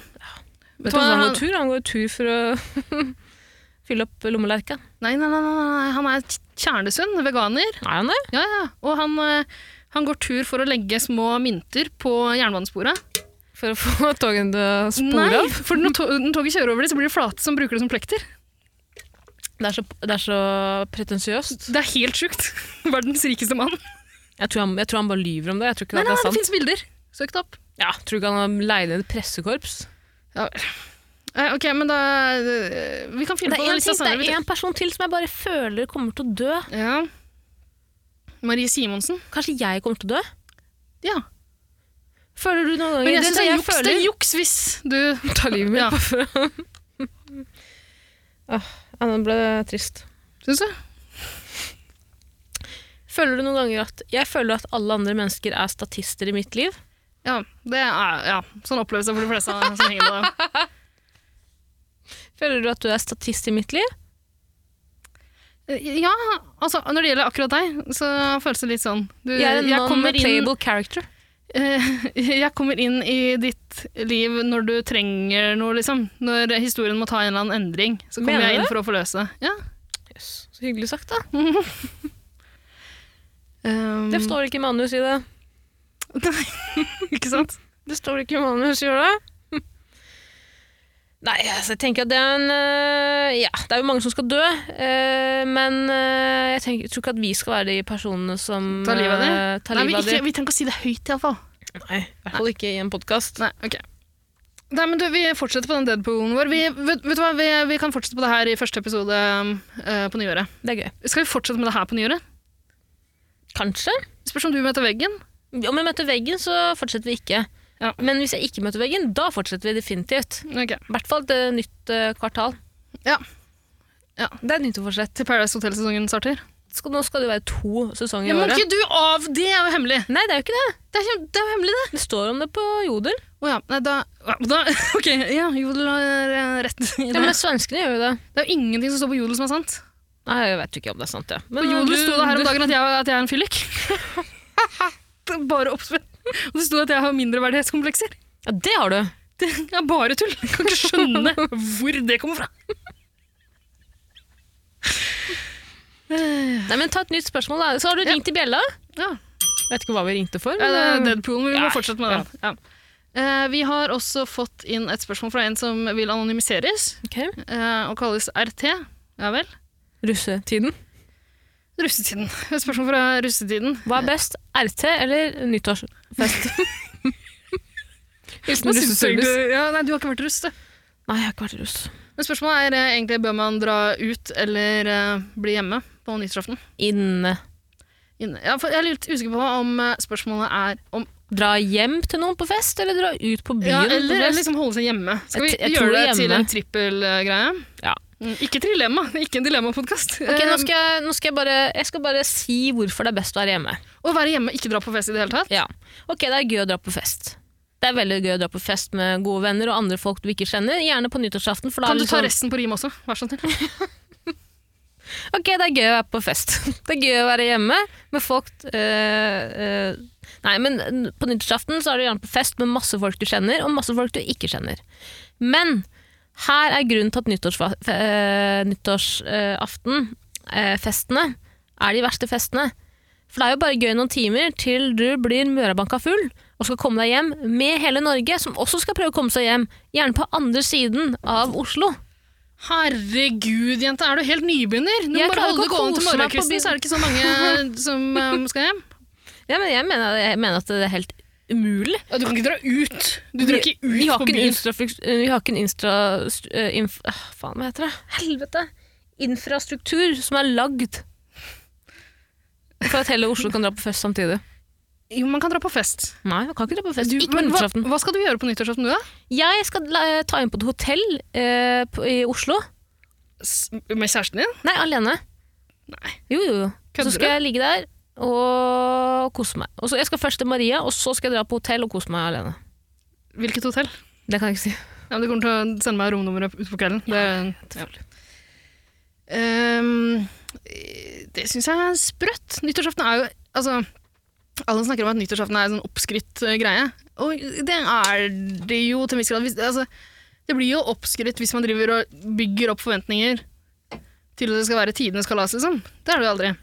S3: Vet du
S4: Vet du
S3: hva,
S4: hva,
S3: han
S4: han-
S3: går tur, han går tur for å fylle opp lommelerka.
S4: Nei, nei, nei, nei, nei, han er kjernesund, veganer.
S3: Er han det?
S4: Ja, ja. Og han, eh, han går tur for å legge små mynter på jernbanesporet.
S3: For å få togene til å spore
S4: Nei,
S3: av?
S4: for når, to når toget kjører over det, så blir det flate som bruker det som plekter.
S3: Det er så, det er så pretensiøst.
S4: Det er helt sjukt. Verdens rikeste mann.
S3: Jeg, tror han- jeg tror han bare lyver om det. Jeg tror ikke
S4: Nei, nei,
S3: det
S4: nei,
S3: er
S4: det
S3: sant.
S4: fins bilder. Søk det opp.
S3: Ja, tror du ikke han har leid inn et pressekorps?
S4: Ja. Eh, Ok, men da eh, Vi kan
S3: Det
S4: finne på
S3: er
S4: den
S3: en,
S4: lista
S3: ting,
S4: senere.
S3: det
S4: vi
S3: er en person til som jeg bare føler kommer til å dø.
S4: tar- Ja. Marie Simonsen.
S3: Kanskje jeg kommer til å dø?
S4: Ja.
S3: Føler du noen ganger
S4: Men jeg
S3: Det
S4: syns
S3: er
S4: det
S3: det
S4: er sånn juks, det er juks hvis du tar livet mitt. Ja.
S3: Ja, nå ble det trist.
S4: Syns du?
S3: Føler du noen ganger at jeg føler at alle andre mennesker er statister i mitt liv?
S4: Ja, det er, ja. Sånn oppleves det for de fleste av- som henger med deg.
S3: Føler du at du er statist i mitt liv?
S4: Ja, altså når det gjelder akkurat deg, så føles det litt sånn. Du,
S3: Jeg er en
S4: kommer inn-
S3: non-playable character.
S4: Eh, jeg kommer inn i ditt liv når du trenger noe, liksom. Når historien må ta en eller annen endring. Så kommer
S3: Mener du
S4: jeg inn
S3: det?
S4: for å forløse. Ja.
S3: Yes. Så hyggelig sagt, da.
S4: Um,
S3: Det står ikke i manus i det.
S4: Ehm, ikke sant?
S3: Det står ikke i manus, gjør det? Nei, altså, jeg tenker at det er en øh, Ja, det er jo mange som skal dø, øh, men øh, jeg, tenker, jeg tror ikke at vi skal være de personene som
S4: Ta livet av
S3: øh,
S4: dem?
S3: tar
S4: Nei, vi,
S3: livet av
S4: ikke,
S3: dem.
S4: vi trenger ikke å si det høyt, iallfall.
S3: Nei, i hvert fall ikke i en podkast.
S4: Nei, ok. Nei, men du, vi fortsetter på den deadpoolen vår. Vi, vet, vet du hva, vi, vi kan fortsette på det her i første episode um, eh, på nyåret.
S3: Det er gøy.
S4: Skal vi fortsette med det her på nyåret?
S3: Kanskje.
S4: Spørs om du møter veggen.
S3: Om jeg møter veggen, så fortsetter vi ikke.
S4: Ja.
S3: Men hvis jeg ikke møter veggen, da fortsetter vi definitivt.
S4: Ok.
S3: I hvert fall et nytt øh, kvartal.
S4: Ja. Ja.
S3: Det er nyttårsforsett.
S4: Til Paradise Hotel-sesongen starter.
S3: Skal- Nå skal det jo være to sesonger
S4: Ja,
S3: i
S4: men
S3: året.
S4: ikke du av! Det er jo hemmelig!
S3: Nei, det er jo ikke det.
S4: Det er, kjem- det er jo hemmelig, det!
S3: Det står om det på Jodel.
S4: Å ja. Nei, da, ja, da Ok, ja, Jodel har eh, rett. i
S3: Ja, men
S4: det.
S3: svenskene gjør jo det.
S4: Det er jo ingenting som står på Jodel som er sant.
S3: Nei, jeg vet ikke om det er sant, ja.
S4: På
S3: Men
S4: Jodel
S3: du-
S4: sto det
S3: du-
S4: her om dagen at jeg, at jeg er en fyllik. Det er bare oppspill. Og det sto at jeg har mindreverdighetskomplekser.
S3: Ja, det har du.
S4: Det er bare tull. Jeg kan ikke skjønne hvor det kommer fra.
S3: Nei, men ta et nytt spørsmål, da. Så har du
S4: Ja.
S3: ringt i bjella.
S4: Ja.
S3: Vet ikke hva vi ringte for.
S4: Ja, det er
S3: Men, eh,
S4: Deadpoolen, men vi må
S3: Ja,
S4: fortsette med den. Ja. Eh, vi har også fått inn et spørsmål fra en som vil anonymiseres,
S3: ok.
S4: eh, og kalles RT. Ja vel.
S3: Russetiden.
S4: Russetiden. Et spørsmål fra russetiden.
S3: Hva er best, RT eller nyttårsfest? Hilsen
S4: Hva syns du
S3: russeservice.
S4: egentlig? Ja, nei, du har ikke vært russ, du.
S3: Nei, jeg har ikke vært russ.
S4: Men spørsmålet er eh, egentlig bør man dra ut eller eh, bli hjemme på nyttårsaften?
S3: Inne.
S4: Inne. Ja, for jeg er litt usikker på om eh, spørsmålet er om
S3: Dra hjem til noen på fest, eller dra ut på byen
S4: ja,
S3: på
S4: eller,
S3: fest?
S4: eller liksom holde seg hjemme. Skal vi
S3: Jeg t- jeg tror
S4: gjøre det til
S3: hjemme.
S4: en trippelgreie?
S3: Ja.
S4: Mm, Ikke trilemma, ikke en dilemmapodkast.
S3: Ok, nå
S4: Eh,
S3: skal, jeg, nå skal jeg bare Jeg skal bare si hvorfor det er best å være hjemme.
S4: Å være hjemme, ikke dra på fest i det hele tatt?
S3: Ja. Ok, det er gøy å dra på fest. Det er veldig gøy å dra på fest med gode venner og andre folk du ikke kjenner. Gjerne på nyttårsaften. For da
S4: Kan
S3: er det
S4: du ta
S3: sånn-
S4: resten på rim også? Vær så snill.
S3: Ok, det er gøy å være på fest. Det er gøy å være hjemme med folk eh, eh, Nei, men eh, på nyttårsaften så er du gjerne på fest med masse folk du kjenner, og masse folk du ikke kjenner. Men her er grunnen til at nyttårsfestene nyttårsaften, eh, festene, er de verste festene. For det er jo bare gøy noen timer til du blir mørabanka full og skal komme deg hjem med hele Norge, som også skal prøve å komme seg hjem, gjerne på andre siden av Oslo.
S4: Herregud, jente, er du helt nybegynner? Du må
S3: Jeg
S4: bare
S3: klarer
S4: holde
S3: ikke å
S4: gående til
S3: kose meg på
S4: morgenkvisten,
S3: byen.
S4: så er det ikke så mange som eh, skal hjem.
S3: Ja, men jeg mener, jeg mener at det er helt umulig.
S4: Ja, Du kan ikke dra ut. Du drar ikke
S3: Vi
S4: ut
S3: har
S4: på
S3: ikke en
S4: byen.
S3: infrastruktur Vi har ikke en instra... st- eh, Inf, ah, faen, hva heter det? Helvete! Infrastruktur som er lagd for at hele Oslo kan dra på fest samtidig.
S4: Jo, man kan dra på fest.
S3: Nei, man kan ikke dra på fest.
S4: Du,
S3: ikke på
S4: men hva,
S3: nyttårsaften.
S4: hva skal du gjøre på nyttårsaften, du, da?
S3: Jeg skal la- ta inn på et hotell eh, på, i Oslo.
S4: S med kjæresten din?
S3: Nei, alene.
S4: Nei.
S3: Jo, jo, jo.
S4: Kødder
S3: Så skal jeg ligge der og kose meg. Og så jeg skal først til Maria, og så skal jeg dra på hotell og kose meg alene.
S4: Hvilket hotell?
S3: Det kan jeg ikke si.
S4: Ja, men Du kommer til å sende meg romnummeret utpå kvelden. Det, ja. Ehm, det syns jeg er sprøtt. Nyttårsaften er jo altså, Alle snakker om at nyttårsaften er en sånn oppskrytt eh, greie. Og det er det jo til en viss grad. Hvis, altså, det blir jo oppskrytt hvis man driver og bygger opp forventninger til at det skal være tidenes kalas, liksom. Det er det jo aldri.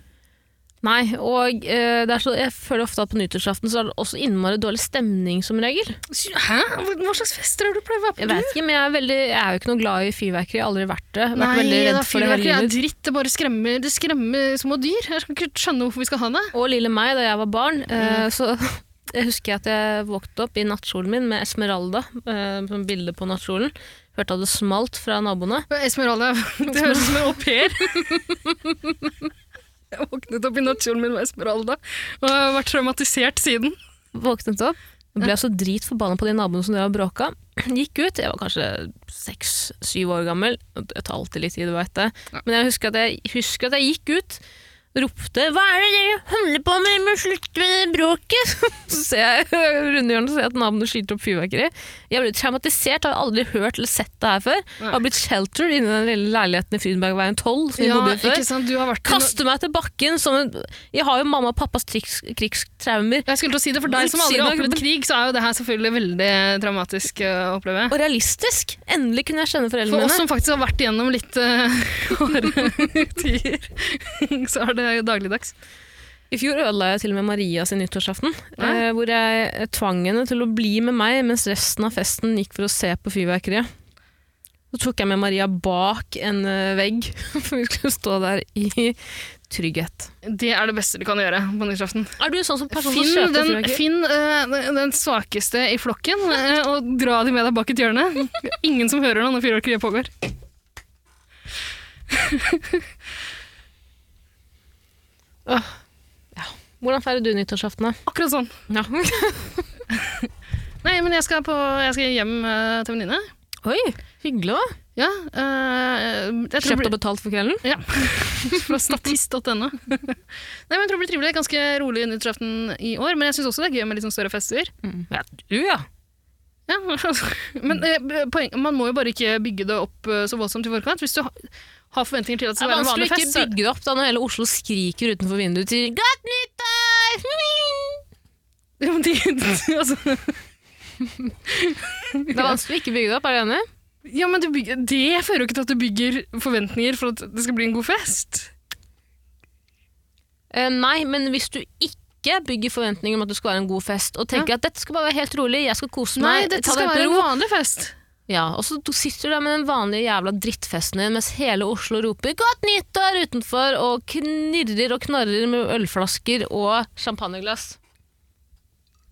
S3: Nei, og eh, det er så, jeg føler ofte at på nyttårsaften så er det også innmari dårlig stemning som regel.
S4: Hæ? Hva slags fester har du pleid å være
S3: Jeg vet ikke, men jeg er, veldig, jeg er jo ikke noe glad i fyrverkeri. Jeg har aldri vært det. Jeg har
S4: Nei,
S3: Vært veldig redd
S4: da,
S3: for det hele
S4: fyrverkeri er
S3: livet.
S4: dritt. Det bare skremmer, det skremmer små dyr. Jeg kan ikke skjønne hvorfor vi skal ha det.
S3: Og lille meg da jeg var barn, eh, så jeg husker jeg at jeg våknet opp i nattkjolen min med Esmeralda eh, som bilde på nattkjolen. Hørte at det smalt fra naboene.
S4: Esmeralda, det høres ut som en au pair. Jeg våknet opp i nattkjolen min med Esmeralda og har vært traumatisert siden.
S3: Våknet opp. Jeg ble altså dritforbanna på de naboene som drev og bråka. Gikk ut, jeg var kanskje seks-syv år gammel. Det tar alltid litt tid, du veit det. Men jeg husker, at jeg husker at jeg gikk ut, ropte 'Hva er det dere holder på med? Dere må slutte med det bråket!' Så ser jeg rundt hjørnet og ser at naboene skyter opp fyrverkeri. Jeg ble traumatisert, har aldri hørt eller sett det her før. Jeg har blitt sheltered inni den lille leiligheten i Frydenbergveien 12 som vi bodde i før.
S4: sant? Du har vært
S3: Kaste meg til bakken som en Jeg har jo mamma og pappas triks, krigstraumer.
S4: Jeg skulle til å si det, for deg som aldri har opplevd krig, så er jo det her selvfølgelig veldig traumatisk eh, å oppleve.
S3: og realistisk. Endelig kunne jeg kjenne foreldrene
S4: For oss
S3: mine.
S4: som faktisk har vært igjennom litt eh, harde tider, så er det jo dagligdags.
S3: I fjor ødela jeg til og med Maria sin nyttårsaften,
S4: Nei.
S3: eh, hvor jeg eh, tvang henne til å bli med meg mens resten av festen gikk for å se på fyrverkeriet. Så tok jeg med Maria bak en eh, vegg, for vi skulle stå der i trygghet.
S4: Det er det beste du kan gjøre på nyttårsaften.
S3: Er du en sånn som person som
S4: Finn,
S3: kjøper
S4: den,
S3: fyrverkeri?
S4: finn eh, den svakeste i flokken eh, og dra de med deg bak et hjørne. Ingen som hører noe når fyrverkeriet pågår.
S3: Hvordan feirer du nyttårsaften, da?
S4: Akkurat sånn. Nei, men jeg skal, på, jeg skal hjem eh, til venninne.
S3: Oi, hyggelig da.
S4: Ja, eh, jeg tror det
S3: Kjøpt
S4: blir-
S3: og betalt for kvelden.
S4: Ja, fra statist.no. Nei, men jeg tror det blir trivelig. Ganske rolig nyttårsaften i år, men jeg syns også det er gøy med litt sånn større fester.
S3: Ja, du ja.
S4: Ja, men eh, poeng, man må jo bare ikke bygge det opp eh, så voldsomt i forkant. Hvis du ha, har forventninger til
S3: Det
S4: at det skal
S3: er
S4: være en
S3: vanskelig å
S4: vanlig fest,
S3: ikke
S4: så-
S3: bygge det opp da når hele Oslo skriker utenfor vinduet til 'Godt nyttår!'
S4: Ja, men de, altså,
S3: Det er vanskelig å ikke bygge det opp, er du enig?
S4: ja, men du bygger, det fører jo ikke til at du bygger forventninger for at det skal bli en god fest.
S3: Eh, nei, men hvis du ikke bygger forventninger om at det skal være en god fest, og tenker at dette skal bare være helt rolig, jeg skal kose meg,
S4: Nei, dette
S3: ta
S4: skal
S3: det
S4: være
S3: helt
S4: en
S3: med ro.
S4: vanlig fest.
S3: Ja, og så du sitter du der med den vanlige jævla drittfesten din mens hele Oslo roper 'godt nyttår' utenfor og knirrer og knarrer med ølflasker og champagneglass.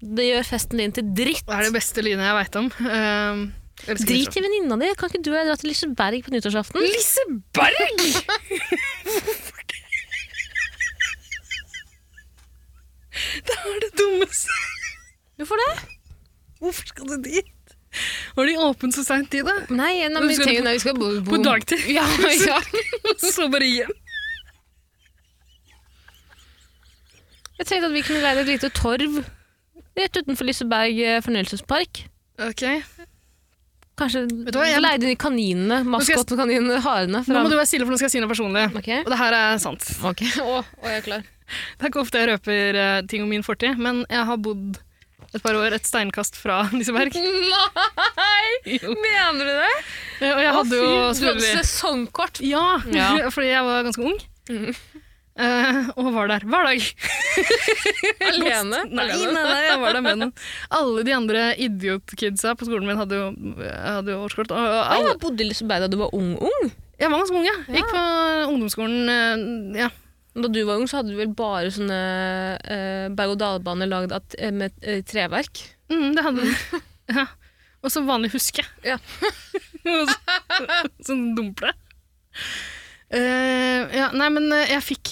S3: Det gjør festen din til dritt.
S4: Det er det beste lynet jeg veit om. Um,
S3: Drit i venninna di. Kan ikke du og jeg dra til Liseberg på nyttårsaften?
S4: Liseberg! Hvorfor det? Det er det dummeste.
S3: Hvorfor det?
S4: Hvorfor skal du dit? Var de åpne så seint i det?
S3: Nei, nei, men vi,
S4: Skal du
S3: tenker,
S4: på-
S3: nei, vi skal bo, bo
S4: På dagtid?
S3: Mm. Ja, ja.
S4: så bare hjem.
S3: Jeg tenkte at vi kunne leie et lite torv rett utenfor Liseberg eh, fornøyelsespark.
S4: Ok.
S3: Kanskje
S4: du hva, jeg-
S3: leide de kaninene,
S4: skal jeg-
S3: maskotkaninene, harene
S4: Nå
S3: fra
S4: må du være stille, for nå skal jeg si noe personlig.
S3: Ok.
S4: Og det her er sant.
S3: Ok, å, å, jeg er klar.
S4: Det er ikke ofte jeg røper eh, ting om min fortid, men jeg har bodd et par år et steinkast fra Liseberg.
S3: Nei!
S4: Jo.
S3: Mener du det?
S4: Eh, Og jeg hadde
S3: Å, fy,
S4: jo
S3: du hadde
S4: selvfølgelig
S3: sesongkort.
S4: Ja,
S3: Ja. Mhm.
S4: fordi jeg var ganske ung. Eh, og var der hver dag.
S3: Alene?
S4: Nei, nei, nei, jeg var der med den. Alle de andre idiotkidsa på skolen min hadde jo, hadde jo årskort. Og, og
S3: Å,
S4: alle,
S3: jeg bodde i Liseberg da du var ung-ung.
S4: jeg var ganske ung, jeg. Gikk på ungdomsskolen eh, ja.
S3: Da du var ung, så hadde du vel bare sånne eh, berg-og-dal-baner lagd av- eh, med eh, treverk.
S4: Mm, det hadde vi. ja. Og så vanlig huske.
S3: Ja.
S4: Og så- sånn dumple. Eh, ja, nei, men eh, jeg fikk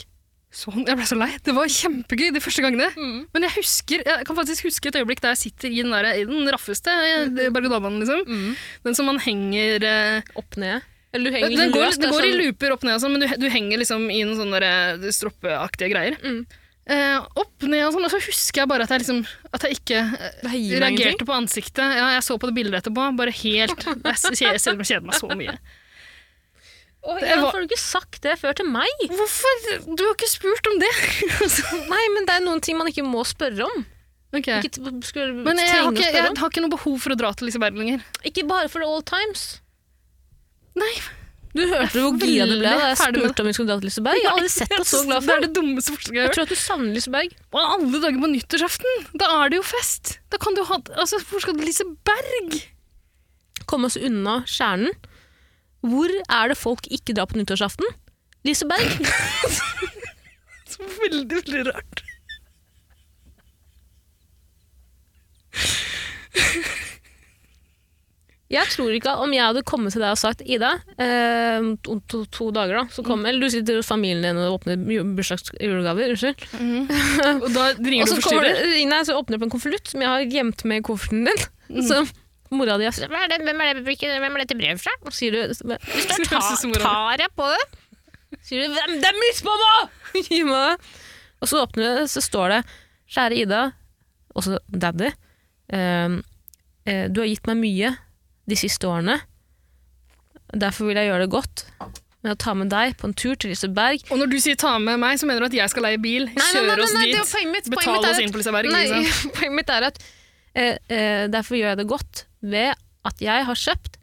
S4: sånn, jeg ble så lei. Det var kjempegøy de første gangene.
S3: Mm.
S4: Men jeg husker, jeg kan faktisk huske et øyeblikk der jeg sitter i den, der, i den raffeste eh,
S3: Mm.
S4: berg-og-dal-banen. Liksom. Den som man henger eh,
S3: Opp ned. Eller du Mm. henger
S4: Den
S3: litt
S4: går,
S3: løst,
S4: det
S3: er
S4: går i
S3: sånn-
S4: looper opp ned, og sånn, men du, du henger liksom i noen sånne der, eh, stroppeaktige greier.
S3: Mm.
S4: Eh, opp ned og sånn, og så husker jeg bare at jeg, liksom, at jeg ikke eh,
S3: Det gir meg ingenting.
S4: reagerte på ansiktet. Ja, jeg så på det bildet etterpå. Bare helt Jeg s- jeg selv om jeg kjeder meg så mye.
S3: Å,
S4: Det
S3: Jan,
S4: var-
S3: Hvorfor har du ikke sagt det før til meg?
S4: Hvorfor? Du har ikke spurt om det!
S3: Nei, men det er noen ting man ikke må spørre om. Ikke t- skulle
S4: Men jeg, har
S3: trenge å
S4: ikke,
S3: spørre
S4: jeg har ikke noe behov for å dra til Liseberg lenger.
S3: om. Ikke bare for the old times.
S4: Nei,
S3: Du hørte hvor
S4: er
S3: gira du ble da jeg
S4: veldig ferdig med
S3: spurte om vi skulle dra til Liseberg. Jeg har aldri sett deg så glad
S4: Det
S3: før.
S4: er det dummeste forslaget jeg har
S3: Jeg
S4: hørt.
S3: tror at du savner Liseberg.
S4: Og alle dager på nyttårsaften! Da er det jo fest! Da kan du ha Altså, hvor skal du Liseberg?
S3: Komme oss unna kjernen. Hvor er det folk ikke drar på nyttårsaften? Liseberg.
S4: Så veldig, veldig rart.
S3: Jeg tror ikke at om jeg hadde kommet til deg og sagt Ida, eh, om to, to, to dager da, så kommer Eller du sitter hos familien din og åpner ju- bursdags julegaver, unnskyld.
S4: Og da ringer
S3: Og
S4: du
S3: så
S4: og
S3: kommer
S4: forstyrrer.
S3: det, nei, så åpner du opp en konvolutt som jeg har gjemt med i kofferten din. Så mora di har sagt Mm. Hvem er det, hvem er det, hvilke- hvem er dette brevet fra? Og sier du Hvis du
S4: Skal jeg se
S3: tar,
S4: mora di?
S3: tar jeg på det, sier du Hvem, det er mitt, mamma! Gi meg det. Og så åpner du, så står det Kjære Ida, også daddy. ehm, Eh, du har gitt meg mye de siste årene. Derfor vil jeg gjøre det godt med å ta med deg på en tur til Liseberg.
S4: Og når du sier ta med meg, så mener du at jeg skal leie bil, kjøre oss dit,
S3: poenget mitt.
S4: betale oss inn på Liseberg?
S3: Nei,
S4: Liksom.
S3: poenget mitt er at eh, eh, derfor gjør jeg det godt ved at jeg har kjøpt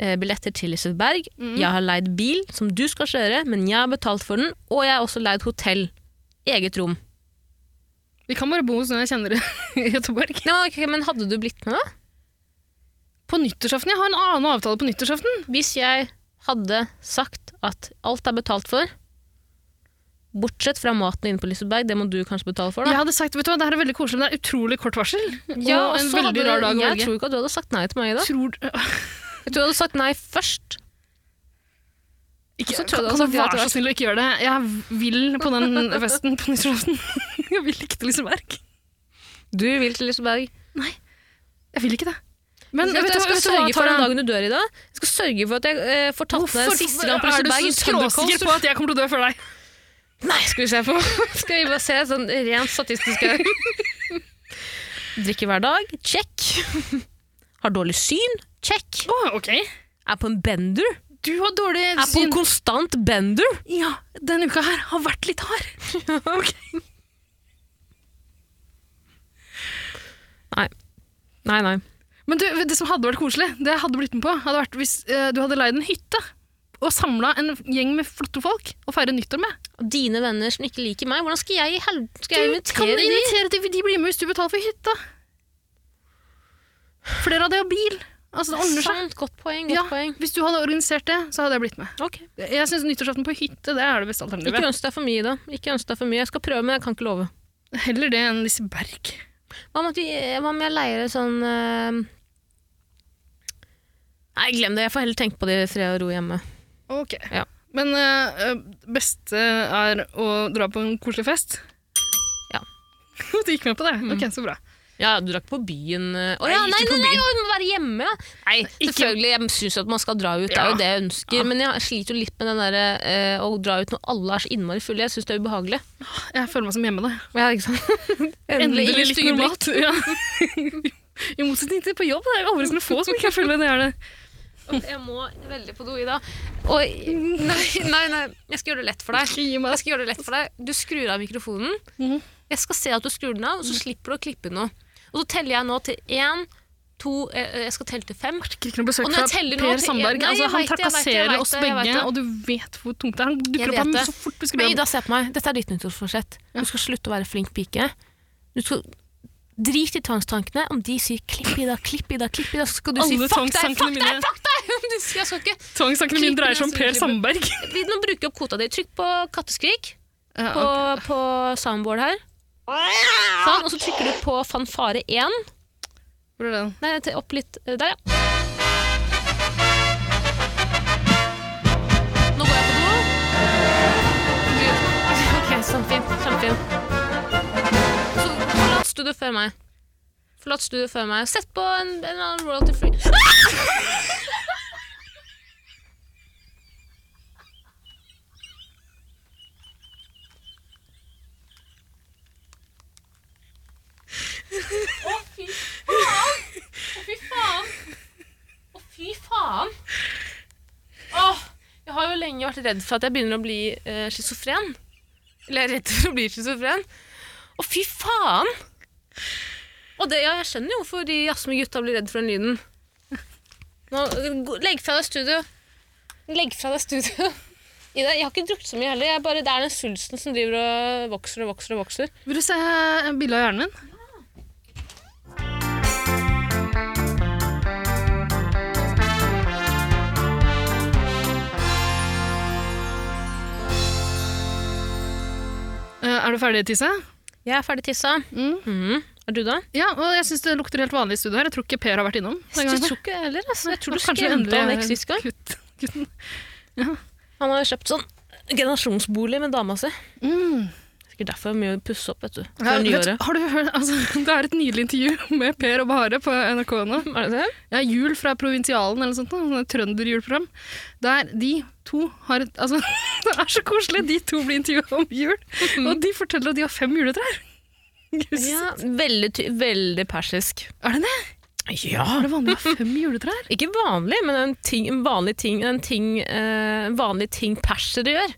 S3: eh, billetter til Liseberg.
S4: Mm.
S3: Jeg har leid bil som du skal kjøre, men jeg har betalt for den, og jeg har også leid hotell. Eget rom.
S4: Vi kan bare bo hos noen jeg kjenner i Göteborg.
S3: Ja, ok, men hadde du blitt med, da?
S4: På nyttårsaften? Jeg har en annen avtale på nyttårsaften.
S3: Hvis jeg hadde sagt at alt er betalt for, bortsett fra maten inne på Liseberg, det må du kanskje betale for,
S4: Jeg
S3: da.
S4: hadde sagt, vet du hva, det her er veldig koselig, men det er utrolig kort varsel. og en
S3: så hadde
S4: veldig
S3: du-
S4: rar dag å
S3: Jeg
S4: velge.
S3: tror ikke at du hadde sagt nei til meg i dag.
S4: Tror... Øh,
S3: Jeg tror du hadde sagt nei først.
S4: Ikke,
S3: Så tror jeg du
S4: kan kan
S3: hadde sagt
S4: du
S3: ja
S4: være
S3: til
S4: så
S3: alt.
S4: snill å ikke gjøre det? Jeg vil på den festen på nyttårsaften. Jeg vil ikke til Liseberg.
S3: Du vil til Liseberg.
S4: Jeg vil ikke det. Men
S3: jeg,
S4: vet du hva,
S3: skal
S4: vet du hva,
S3: sørge for den
S4: Tara?
S3: dagen du dør i dag. Jeg skal sørge for at jeg eh, får tatt med
S4: Hvorfor
S3: deg siste gang på
S4: er du
S3: Liseberg.
S4: så
S3: i
S4: skråsikker
S3: Thundercoats.
S4: på at jeg kommer til å dø før deg?
S3: Nei, skal vi se på. skal vi bare se sånn rent statistisk her. Drikker hver dag. Check. Har dårlig syn. Check.
S4: Å, ok.
S3: Er på en bender.
S4: Du har dårlig
S3: Er på en
S4: syn.
S3: konstant bender.
S4: Ja, denne uka her har vært litt hard.
S3: Nei, nei.
S4: Men du, det som hadde vært koselig, det jeg hadde blitt med på, hadde vært hvis eh, du hadde leid en hytte og samla en gjeng med flotte folk og feire nyttår med.
S3: Dine venner som ikke liker meg, hvordan skal jeg, i hel- skal jeg
S4: Du kan
S3: invitere de?
S4: invitere til de blir med hvis du betaler for hytta. Flere av de har bil. Altså, det ordner seg.
S3: Sant, Sånn godt poeng, godt
S4: Ja,
S3: poeng.
S4: hvis du hadde organisert det, så hadde jeg blitt med. Jeg syns nyttårsaften på hytte det er det beste
S3: Ikke
S4: alternativet.
S3: ønsk deg for mye, da. Ikke ønsk deg for mye. Jeg skal prøve, men jeg kan ikke love.
S4: Heller det enn Liseberg.
S3: Hva om, at vi, eh, hva om jeg leier en sånn eh, Nei, glem det. Jeg får heller tenke på det i fred og ro hjemme.
S4: Ok.
S3: Ja.
S4: Men eh, beste er å dra på en koselig fest?
S3: Ja. Mm.
S4: du gikk med på det? Ok, så bra.
S3: Ja, du drar ikke på byen eh, Å
S4: Nei,
S3: ja, nei,
S4: ikke på
S3: nei, nei,
S4: byen.
S3: å, du må være hjemme, ja. Nei, selvfølgelig. Jeg syns at man skal dra ut, det er
S4: Ja.
S3: jo det jeg ønsker. Men jeg sliter jo litt med den derre eh, å dra ut når alle er så innmari fulle. Jeg syns det er ubehagelig.
S4: Jeg føler meg som hjemme, da.
S3: Ja, ikke sant? Endelig,
S4: Endelig litt
S3: styrblikk.
S4: normalt. Ja. I motsetning til på jobb. Det er jo overraskende få som ikke føler det er det.
S3: Jeg må veldig på do, Ida. Og, nei, nei, nei, jeg skal gjøre det lett for deg.
S4: Ikke gi meg.
S3: Jeg skal gjøre det lett for deg. Du skrur av mikrofonen.
S4: Mhm.
S3: Jeg skal se at du skrur den av, og så slipper du å klippe noe. Og så teller jeg nå til én, to eh, Jeg skal telle til fem.
S4: Ikke noe besøk
S3: Og når
S4: fra
S3: jeg teller nå
S4: Per
S3: til-
S4: Sandberg.
S3: Nei, jeg
S4: altså, han
S3: vet det, jeg vet det, jeg
S4: trakasserer
S3: vet
S4: oss
S3: det, jeg vet
S4: begge,
S3: det.
S4: og du vet hvor tungt det er. Han dukker
S3: Jeg
S4: opp
S3: vet
S4: ham
S3: det.
S4: så fort vi skal
S3: Men
S4: be
S3: Ida, se på meg. Dette er ditt nyttårsforsett. Du skal slutte å være flink pike. Du skal Drit i tvangstankene. Om de sier 'klipp, Ida, klipp, Ida', klipp, Ida, så skal du si
S4: Alle
S3: 'fuck deg, fuck
S4: tvangstankene
S3: deg'!
S4: mine-
S3: fuck deg! Du sier, Jeg skal ikke
S4: Tvangstankene mine
S3: Klipper
S4: dreier seg om
S3: nesten
S4: Per
S3: ut i
S4: Sandberg.
S3: Vi må bruke opp kvota di. Trykk på katteskrik
S4: Ja,
S3: på, på soundboard her. Sånn, og så trykker du på fanfare 1.
S4: Hvor er den?
S3: Nei, til opp litt eh, Der, ja. Nå går jeg på do. Du- Ok, sånn fint. Kjempefint. Så forlat studio før meg. Forlat studio før meg. Sett på en, en eller annen royalty free Fy faen! Å, fy faen! Åh, jeg har jo lenge vært redd for at jeg begynner å bli eh, schizofren. Eller jeg er redd for å bli schizofren. Å, fy faen! Og det, ja, jeg skjønner jo hvorfor de jazzme-gutta blir redd for den lyden. Nå, gå- legg fra deg studio. Legg fra deg studio. Ida, jeg har ikke drukket så mye heller. Jeg bare, det er den svulsten som driver og vokser og vokser og vokser.
S4: Vil du se bilde av hjernen min? Eh, Er du ferdig, Tisse?
S3: Jeg er ferdig tissa.
S4: Mm.
S3: Mhm. Er du da?
S4: Ja, og jeg syns det lukter helt vanlig i studio her. Jeg tror ikke Per har vært innom. den
S3: Jeg
S4: gangen.
S3: tror ikke jeg heller. Altså. Jeg tror du
S4: Kanskje vi
S3: skremte
S4: endelig
S3: han
S4: er
S3: vekk sist gang.
S4: kutt- kutten.
S3: Han har jo kjøpt sånn generasjonsbolig med dama si.
S4: Mm.
S3: Sikkert derfor mye å pusse opp, vet du.
S4: Ja,
S3: Før
S4: vet,
S3: nyåret.
S4: har du hørt, altså, det er et nydelig intervju med Per og Bahare på NRK nå.
S3: Er det det?
S4: Ja, Jul fra Provinsialen eller noe sånt. noe sånt Trønderjulprogram. Der de to har et Altså, det er så koselig! De to blir intervjua om jul, og de forteller at de har fem juletrær! Gud,
S3: Ja, veldig, ty- veldig persisk.
S4: Er det det?
S3: Ja.
S4: Er det vanlig å ha fem juletrær?
S3: Ikke vanlig, men en, ting, en vanlig ting, en ting, eh, en vanlig ting persere gjør.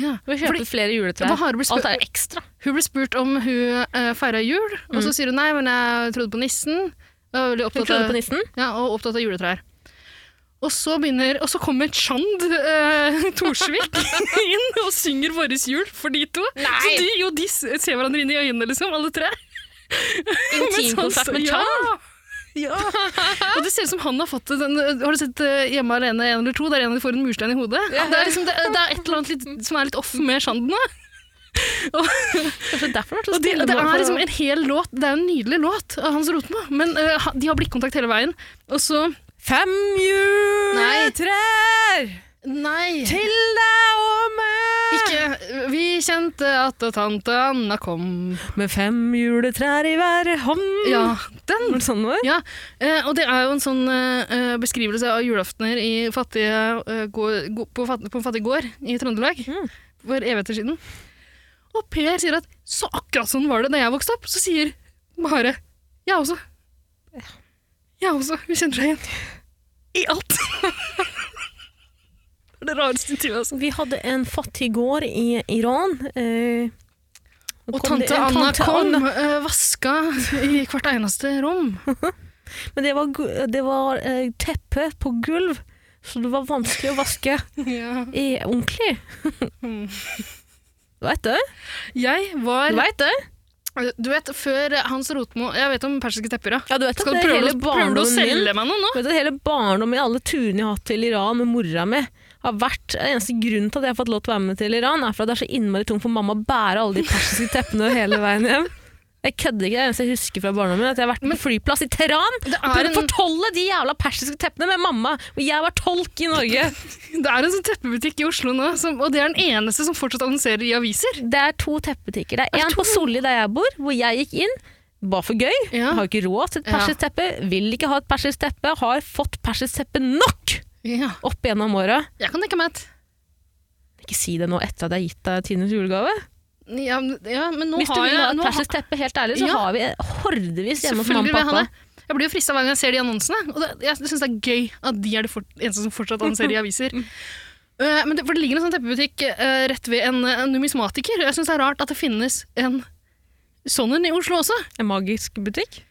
S4: Ja.
S3: Vi
S4: Fordi
S3: kjøper flere juletrær.
S4: Hva har du blitt spurt-
S3: Alt er ekstra.
S4: hun ble spurt om hun uh, feira jul, og så sier hun nei, men jeg trodde på nissen. Jeg var veldig
S3: Hun
S4: opptatt
S3: trodde
S4: av-
S3: på nissen.
S4: Ja, og opptatt av juletrær. Og så, begynner, og så kommer Chand eh, Torsvik inn og synger 'Vårres jul' for de to. Så de, jo, de s- ser hverandre inn i øynene, liksom, alle tre.
S3: Intimkonsert med Chan.
S4: Ja. Og det ser ut som han har fått den Har du sett eh, 'Hjemme alene en eller to'? Der en av de får en murstein i hodet. Det, er liksom, det, er- det er et eller annet litt, som er litt off med Chand nå.
S3: Kanskje derfor
S4: Og det, det er liksom en hel låt. Det er jo en nydelig låt av Hans Rotmo, men eh, ha- de har blikkontakt hele veien. Og så
S3: Fem juletrær
S4: Nei!
S3: til deg og meg.
S4: Ikke Vi kjente at tante Anna kom.
S3: Med fem juletrær i hver hånd.
S4: Ja, den.
S3: Var det sånn det var?
S4: Ja, eh, og det er jo en sånn eh, beskrivelse av julaftener i fattige, eh, gå- gå- på, fatt, på en fattig gård i Trøndelag
S3: Mm.
S4: for evigheter siden. Og Per sier at så akkurat sånn var det da jeg vokste opp. Så sier Mare jeg også. Jeg også. Hun kjenner seg igjen. I alt. det er det rareste intervjuet, altså.
S3: Vi hadde en fattig gård i Iran. Eh,
S4: Og
S3: kom det-
S4: tante
S3: en
S4: Anna
S3: tante
S4: kom,
S3: Anna.
S4: eh, vaska i hvert eneste rom.
S3: Men det var, gu- det var eh, teppe på gulv, så det var vanskelig å vaske
S4: Ja.
S3: i ordentlig. Du veit det?
S4: Jeg var eh,
S3: Du vet det?
S4: Du vet, før Hans Rotmo Jeg vet om persiske tepper, ja.
S3: Ja, du vet at
S4: Skal
S3: det er
S4: du prøve,
S3: hele
S4: å- prøver du å
S3: barndommen min.
S4: selge meg noe nå?
S3: Du Vet at hele barndommen min, alle turene jeg har hatt til Iran med mora mi, har vært Den eneste grunnen til at jeg har fått lov til å være med til Iran, er for at det er så innmari tungt for mamma å bære alle de persiske teppene hele veien hjem. Jeg kødder ikke, det er det eneste jeg husker fra barndommen, min, at jeg har vært på flyplass i Teheran
S4: Det
S3: Jeg
S4: er,
S3: prøvde å
S4: en,
S3: fortolle de jævla persiske teppene med mamma, og jeg var tolk i Norge.
S4: det er en sånn teppebutikk i Oslo nå, som, og det er den eneste som fortsatt annonserer i aviser.
S3: Det er to teppebutikker. Det er én på Solli der jeg bor, hvor jeg gikk inn. Bare for gøy.
S4: Ja.
S3: Har ikke råd til et
S4: Ja.
S3: persisk teppe. Vil ikke ha et persisk teppe. Har fått persisk teppe nok
S4: Ja.
S3: opp gjennom åra.
S4: Jeg kan tenke meg et
S3: Ikke si det nå etter at jeg har gitt deg Tines julegave.
S4: ja, men- ja, men nå
S3: Hvis du
S4: har
S3: vil
S4: jeg
S3: ha et
S4: nå har-
S3: persisk teppe, helt ærlig, så
S4: Ja.
S3: har vi hordevis hjemme hos
S4: Selvfølgelig
S3: mamma
S4: vil
S3: og
S4: jeg ha
S3: pappa.
S4: det. Jeg blir jo frista hver gang jeg ser de annonsene. Og det, jeg syns det er gøy at de er de for, eneste som fortsatt annonserer i aviser. Eh, men det, for det ligger en sånn teppebutikk eh, rett ved en, eh, en numismatiker. og Jeg syns det er rart at det finnes en sånn en i Oslo også.
S3: En magisk butikk?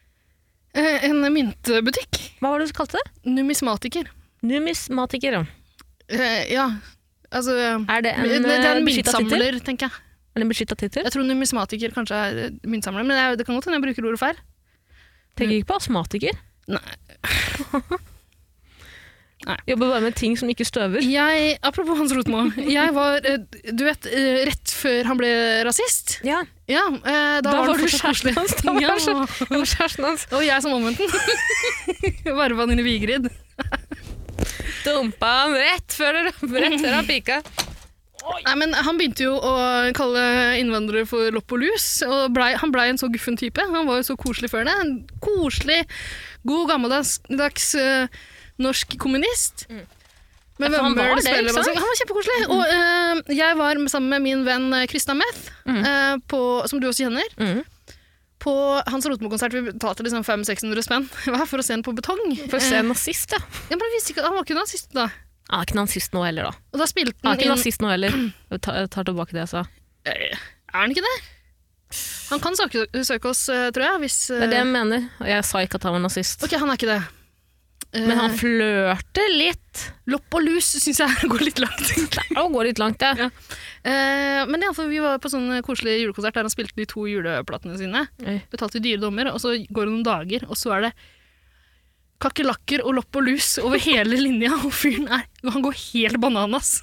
S4: Eh, en myntbutikk.
S3: Hva var det du kalte det?
S4: Numismatiker.
S3: Numismatiker, ja.
S4: Eh, ja, altså
S3: Er det en,
S4: det, det er en
S3: beskytta tittel?
S4: myntsamler, tenker jeg.
S3: Er det en beskytta tittel?
S4: Jeg tror numismatiker kanskje er eh, myntsamler, men jeg, det kan godt hende jeg bruker ordet feil.
S3: Tenker ikke på astmatiker.
S4: Nei.
S3: Jobber bare med ting som ikke støver.
S4: Jeg, apropos Hans Rotmo, jeg var eh, Du vet, eh, rett før han ble rasist
S3: Ja,
S4: Ja, eh, da,
S3: Da var
S4: var
S3: du
S4: det fortsatt
S3: kjæresten
S4: koselig.
S3: hans, da var
S4: Ja,
S3: han det var kjæresten hans.
S4: og jeg som omvendt den. Varva den inn i Vigrid.
S3: Dumpa han rett før, rett før han pika.
S4: Nei, men Han begynte jo å kalle innvandrere for lopp og lus. og blei- Han blei en så guffen type. Han var jo så koselig før det. En koselig, god, gammeldags dags, eh, norsk kommunist. Men
S6: Ja, for han var
S4: Vømmøl
S6: det,
S4: spiller
S6: ikke
S4: masse-
S6: sant?
S4: Han var kjempekoselig. Og eh, jeg var med- sammen med min venn eh, Krista Meth, eh, på, som du også kjenner.
S3: Mhm.
S4: På hans Rotmo-konsert vi betalte liksom 500-600 spenn hver for å se den på betong.
S3: For å se nazist, ja.
S4: Eh, ja, men jeg visste ikke, han var ikke nazist da.
S3: Han er ikke nazist nå heller, da.
S4: Og da spilte
S3: Han
S4: han
S3: er ikke
S4: inn
S3: nazist nå heller. Jeg tar, jeg tar tilbake det jeg sa.
S4: Eh, Er han ikke det? Han kan søke, søke oss, eh, tror jeg. Hvis, eh,
S3: Det er det jeg mener. Og jeg sa ikke at han var nazist.
S4: Ok, han er ikke det. Eh,
S3: Men han flørter litt.
S4: Lopp og lus syns jeg går litt langt.
S3: Det går litt langt, det.
S4: Eh, men iallfall, vi var på sånn koselig julekonsert der han spilte de to juleplatene sine.
S3: Oi.
S4: Betalte dyre dommer, og så går det noen dager, og så er det kakerlakker og lopp og lus over hele linja, og fyren er Han går helt bananas.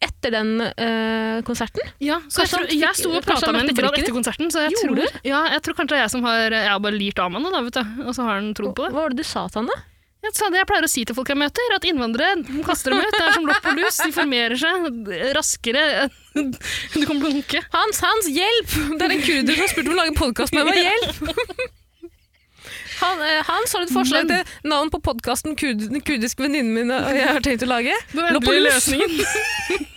S3: Etter den eh, konserten.
S4: Ja,
S3: Kanskje
S4: så jeg, tror,
S3: han fikk-
S4: jeg sto og
S3: kanskje
S4: prata
S3: han
S4: med henne
S3: møtte
S4: etter,
S3: blikket
S4: etter konserten, så jeg
S3: Gjorde
S4: tror, ja, jeg tror kanskje det er jeg som har Jeg har bare lirt av meg noe, da, vet du. Og så har han trodd på det.
S3: Hva var det du sa til han, da?
S4: Jeg sa det jeg pleier å si til folk jeg møter, at innvandrere de kaster dem ut. Det er som lopp og lus. De formerer seg raskere. enn- Du kan blunke.
S3: Hans, Hans, hjelp! Det er en kurder som har spurt om å lage podkast med meg. Hjelp! Han, eh, Hans, har du et forslag til navn på podkasten kud, 'Den kurdiske venninnen min og jeg har tenkt å lage'?
S4: Det var
S3: Lopp og
S4: endelig
S3: lus.
S4: løsningen.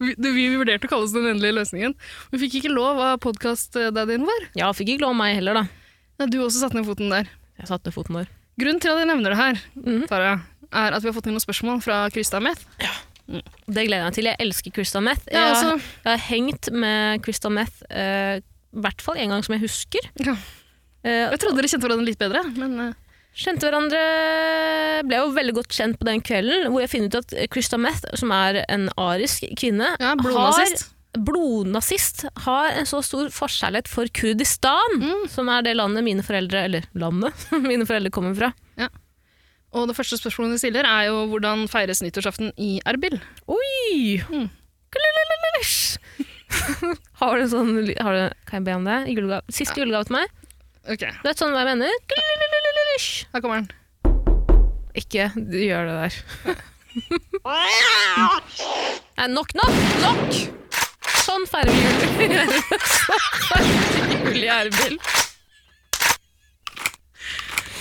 S4: Vi, det, vi vurderte å kalle oss den endelige løsningen. Vi fikk ikke lov av podkast-daddyen vår.
S3: Ja, fikk ikke lov av meg heller, da.
S4: Nei, Du også satte ned foten der.
S3: Jeg satte ned foten vår.
S4: Grunnen til at jeg nevner det her,
S3: Mhm.
S4: Tara, er at vi har fått inn noen spørsmål fra Krista Meth.
S3: Det gleder jeg meg til. Jeg elsker Christa Meth. Jeg,
S4: Ja,
S3: har-
S4: altså,
S3: jeg har hengt med Christa Meth eh, i hvert fall en gang som jeg husker.
S4: Ja.
S3: Eh,
S4: jeg trodde dere kjente hverandre litt bedre, men eh,
S3: Kjente hverandre Ble jo veldig godt kjent på den kvelden, hvor jeg finner ut at Christa Meth, som er en arisk kvinne,
S4: ja,
S3: har
S4: blodnazist.
S3: blodnazist har en så stor forskjærlighet for Kurdistan,
S4: Mm.
S3: som er det landet mine foreldre Eller landet mine foreldre kommer fra.
S4: Og det første spørsmålet de stiller, er jo hvordan feires nyttårsaften i Erbil?
S3: Oi!
S4: Mm.
S3: Kulululululusj. har du en sånn ly- har du, Kan jeg be om det? I julegave- Siste julegave til meg?
S4: Ok,
S3: Du vet sånn hva jeg mener? Kulululululusj.
S4: her kommer den.
S3: Ikke du gjør det der. Nei, nok, nok, nok! Sånn feirer vi jul. Sånn feirer vi jul i Erbil.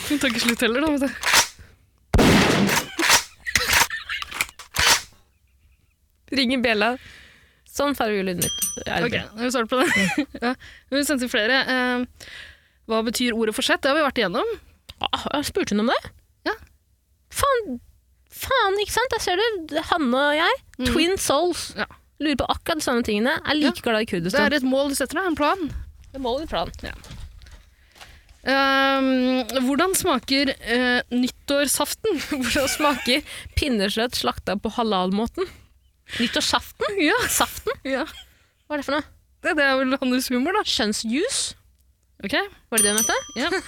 S4: Hun tar ikke slutt heller, da. vet du.
S3: Ringer bjella. Sånn feirer vi jul i nytt. Erbil.
S4: Ok, vi starter på det. ja. Vi sendte flere. Eh, hva betyr ordet forsett? Det har vi vært igjennom.
S3: Ah, Spurte hun om det?
S4: Ja.
S3: Faen, faen, ikke sant? Der ser du, Hanne og jeg, twin souls.
S4: Mm. Ja.
S3: Lurer på akkurat de samme tingene. Er like glad i
S4: Det
S3: Kurdistan.
S4: er et mål du setter deg, en plan.
S3: Det må jo plan.
S4: Eh, hvordan smaker eh, nyttårsaften?
S3: Hvordan smaker pinnekjøtt slakta på halalmåten? Nyttårsaften?
S4: ja,
S3: Saften?
S4: ja.
S3: Hva er det for noe?
S4: Det, det er vel hans humor, da.
S3: Kjønnsjuice?
S4: Ok.
S3: Var det det hun het?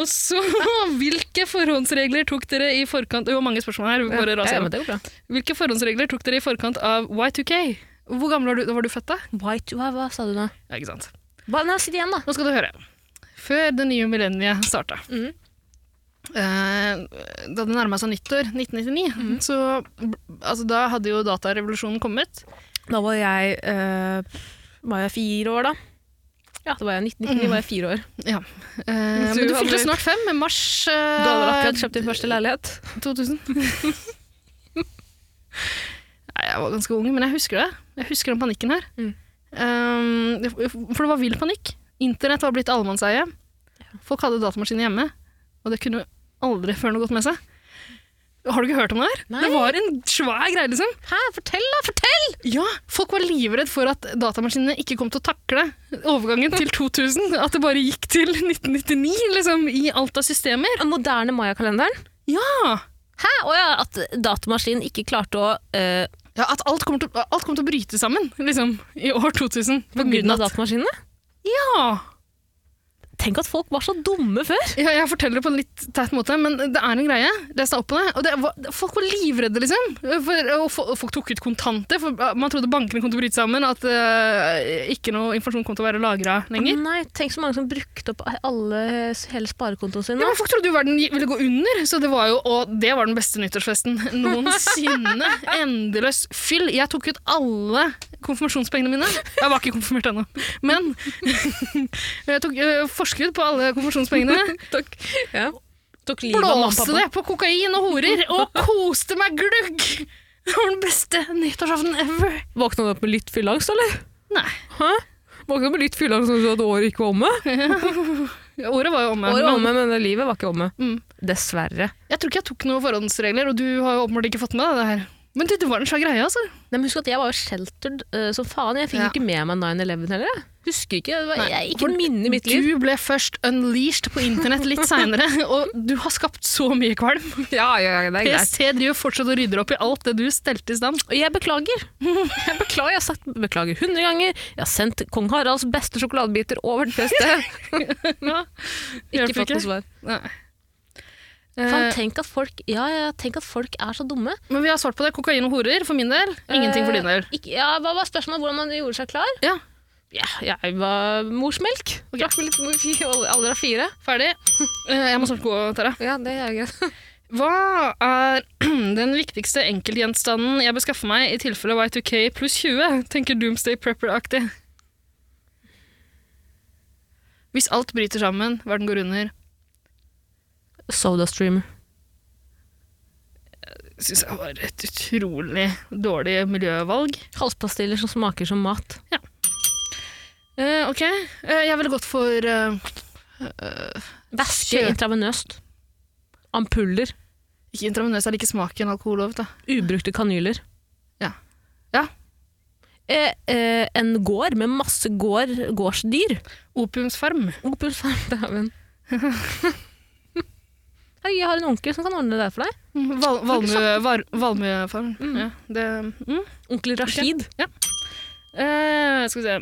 S4: Og så, hvilke forhåndsregler tok dere i forkant Det var mange spørsmål her. vi Bare
S3: Ja,
S4: raser. gjennom.
S3: men det går bra.
S4: Hvilke forhåndsregler tok dere i forkant av Y2K? Hvor gammel var du, var du født da?
S3: White, hva, hva sa du nå?
S4: Ja, ikke sant.
S3: Hva er det sitt igjen, da?
S4: Nå skal du høre. Før det nye millenniet starta,
S3: Mhm.
S4: eh, da det nærma seg nyttår 1999,
S3: Mm.
S4: så altså, da hadde jo datarevolusjonen kommet.
S3: Da var jeg, eh, fire år, da. Ja, Mm. da var jeg 1999, var jeg fire år.
S4: Eh, men
S3: du
S4: du fylte
S3: hadde-
S4: snart fem, i mars
S3: Du hadde
S4: eh,
S3: akkurat kjøpt din første leilighet.
S4: 2000. Nei, jeg var ganske ung, men jeg husker det. Jeg husker den panikken her.
S3: Mm.
S4: Um, det- for det var vill panikk. Internett var blitt allemannseie. Folk hadde datamaskiner hjemme. Og det kunne aldri før noe godt med seg. Har du ikke hørt om det der? Det var en svær greie, liksom.
S3: Hæ, fortell da, fortell!
S4: Ja, folk var livredd for at datamaskinene ikke kom til å takle overgangen til 2000. At det bare gikk til 1999, liksom, i alt av systemer.
S7: Den moderne mayakalenderen.
S4: Ja!
S3: Hæ, åja, at datamaskinen ikke klarte å eh,
S4: ja at alt kommer, til, alt kommer til å bryte sammen, liksom, i år 2000.
S7: På grunn av datamaskinene.
S4: Ja!
S3: Tenk at folk var så dumme før!
S4: Ja, jeg forteller det på en litt teit måte, men det er en greie. Les deg opp på det. Og det var, folk var livredde, liksom. For, og fo- og folk tok ut kontanter. For man trodde bankene kom til å bryte sammen, at eh, ikke noe informasjon kom til å være lagra lenger.
S3: Mm, Nei, tenk så mange som brukte opp alle, eh, hele sparekontoen sin.
S4: Ja, men folk trodde jo verden gi- ville gå under, så det var jo, og det var den beste nyttårsfesten noensinne. Endeløs fyll. Jeg tok ut alle konfirmasjonspengene mine. Jeg var ikke konfirmert ennå, men jeg tok eh, forskudd på alle konfirmasjonspengene.
S7: Takk. Ja. Tok livet av mamma og
S4: blåste
S7: pappa.
S4: det på kokain og horer og koste meg glugg. Det var den beste nyttårsaften ever.
S7: Våkna du opp med litt fylleangst, eller?
S4: Nei,
S7: Våkna med litt fylleangst når du sa at året ikke var omme?
S4: året var jo omme.
S7: Året var
S4: men
S7: omme, men det livet var ikke omme.
S4: Mm.
S7: Dessverre.
S4: Jeg tror ikke jeg tok noen forhåndsregler, og du har jo åpenbart ikke fått med deg det her. Men det, det var en svær greie, altså.
S3: Nei, men husk at jeg var jo sheltered uh, som faen. Jeg fikk
S4: Ja.
S3: jo ikke med meg 9-11 heller. jeg. Husker ikke. Det var,
S4: Nei,
S3: jeg, ikke et minne i mitt liv.
S4: Du ble først unleashed på internett litt seinere, og du har skapt så mye kvalm.
S7: Ja, ja, ja, det er greit.
S4: PST driver fortsatt og rydder opp i alt det du stelte i stand.
S3: Og jeg beklager. Jeg beklager, jeg har sagt beklager hundre ganger. Jeg har sendt kong Haralds beste sjokoladebiter over til PST.
S4: Hjelper
S3: Ikke fått noe svar.
S4: Nei.
S3: Faen,
S4: Eh,
S3: tenk at folk, ja, ja, tenk at folk er så dumme.
S4: men vi har svart på det. Kokain og horer for min del. Ingenting for din del.
S3: Eh, Ikke, ja, hva var spørsmålet? Hvordan man gjorde seg klar?
S4: Ja.
S3: Ja, jeg var morsmelk. Og Drakk med litt morfin i al- alder av fire.
S4: Ferdig. Eh, jeg må snart gå, Tara.
S7: Ja, det er greit.
S4: Hva er den viktigste enkeltgjenstanden jeg bør skaffe meg i tilfelle Y2K pluss 20? Tenker Doomsday Prepper-aktig. Hvis alt bryter sammen, verden går under,
S3: Sodastream.
S4: syns jeg var et utrolig dårlig miljøvalg.
S3: Halspastiller som smaker som mat.
S4: Eh, ok, eh, jeg ville gått for eh, eh,
S3: Væske
S4: Kjø.
S3: intravenøst. Ampuller.
S4: Ikke intravenøs, jeg liker smaken alkohol over. da.
S3: Ubrukte kanyler.
S4: Ja. Ja.
S3: Eh, eh, en gård med masse gård, gårdsdyr.
S4: Opiumsfarm.
S3: Opus Dæven. Hei, Jeg har en onkel som kan ordne det der for deg.
S4: Mm, Val valmue- var- Valmuefarm. Ja, det, mm.
S3: Onkel Rashid.
S4: Eh, skal vi se.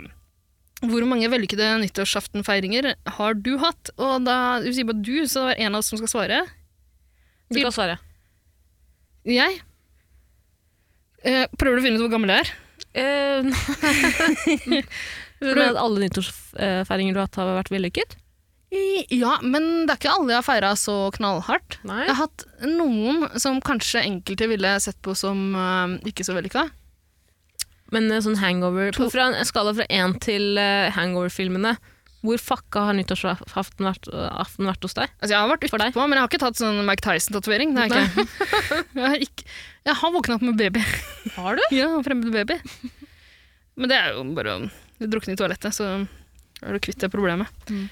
S4: Hvor mange vellykkede nyttårsaftenfeiringer har du hatt? Og da, du sier bare du, så det er en av oss som skal svare.
S3: Du kan svare.
S4: Jeg. Eh, prøver du å finne ut hvor gammel jeg er?
S3: Eh, Tror du at alle nyttårsfeiringer du har hatt, har vært vellykket?
S4: Ja, men det er ikke alle jeg har feira så knallhardt.
S3: Nei.
S4: Jeg har hatt noen som kanskje enkelte ville sett på som eh, ikke så vellykka.
S3: Men eh, sånn hangover på, Fra en skala fra én til eh, hangover-filmene, hvor fucka har nyttårsaften vært, eh, aften vært hos deg?
S4: Altså, jeg har vært
S3: For deg?
S4: utpå, men jeg har ikke tatt sånn Mike Tyson-tatovering. Det har jeg ikke. jeg, har ikke. jeg har våkna opp med baby.
S3: Har du?
S4: Ja, fremmed baby. Men det er jo bare å drukne i toalettet, så er du kvitt det problemet.
S3: Mm.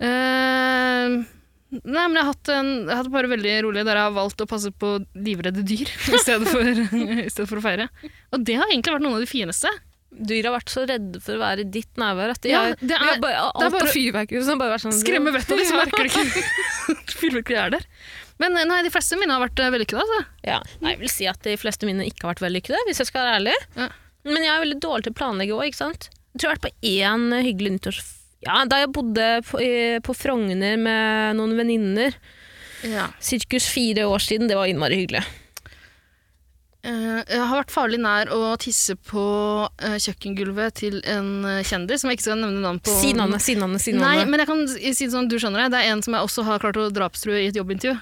S4: Eh, nei, men jeg har hatt, en, jeg har hatt et par veldig rolige der jeg har valgt å passe på livredde dyr i stedet, for, i stedet for å feire. Og det har egentlig vært noen av de fineste.
S3: Dyr har vært så redde for å være i ditt nærvær at de
S4: Ja,
S3: har,
S4: det
S3: de
S4: er-
S3: har bare,
S4: det er
S3: alt
S4: bare-
S3: av fyrverkeri som har bare vært sånn
S4: Skremme vettet av dem, så merker du Mm. ikke at fyrverkeri er der. Men eh, nei, de fleste mine har vært eh, vellykkede. Altså.
S3: Ja, nei, jeg vil si at de fleste mine ikke har vært vellykkede, hvis jeg skal være ærlig.
S4: Ja.
S3: Men jeg er veldig dårlig til å planlegge òg, ikke sant. Jeg tror jeg har vært på én eh, hyggelig nyttårs... Ja, da jeg bodde på, i- på Frogner med noen venninner, sirkus fire år siden, det var innmari hyggelig.
S4: Eh, jeg har vært farlig nær å tisse på eh, kjøkkengulvet til en eh, kjendis som jeg ikke skal nevne navn på.
S3: Si navnet, si navnet, si
S4: Nei,
S3: navnet.
S4: men jeg kan si det sånn, du skjønner det. Det er en som jeg også har klart å drapstrue i et jobbintervju.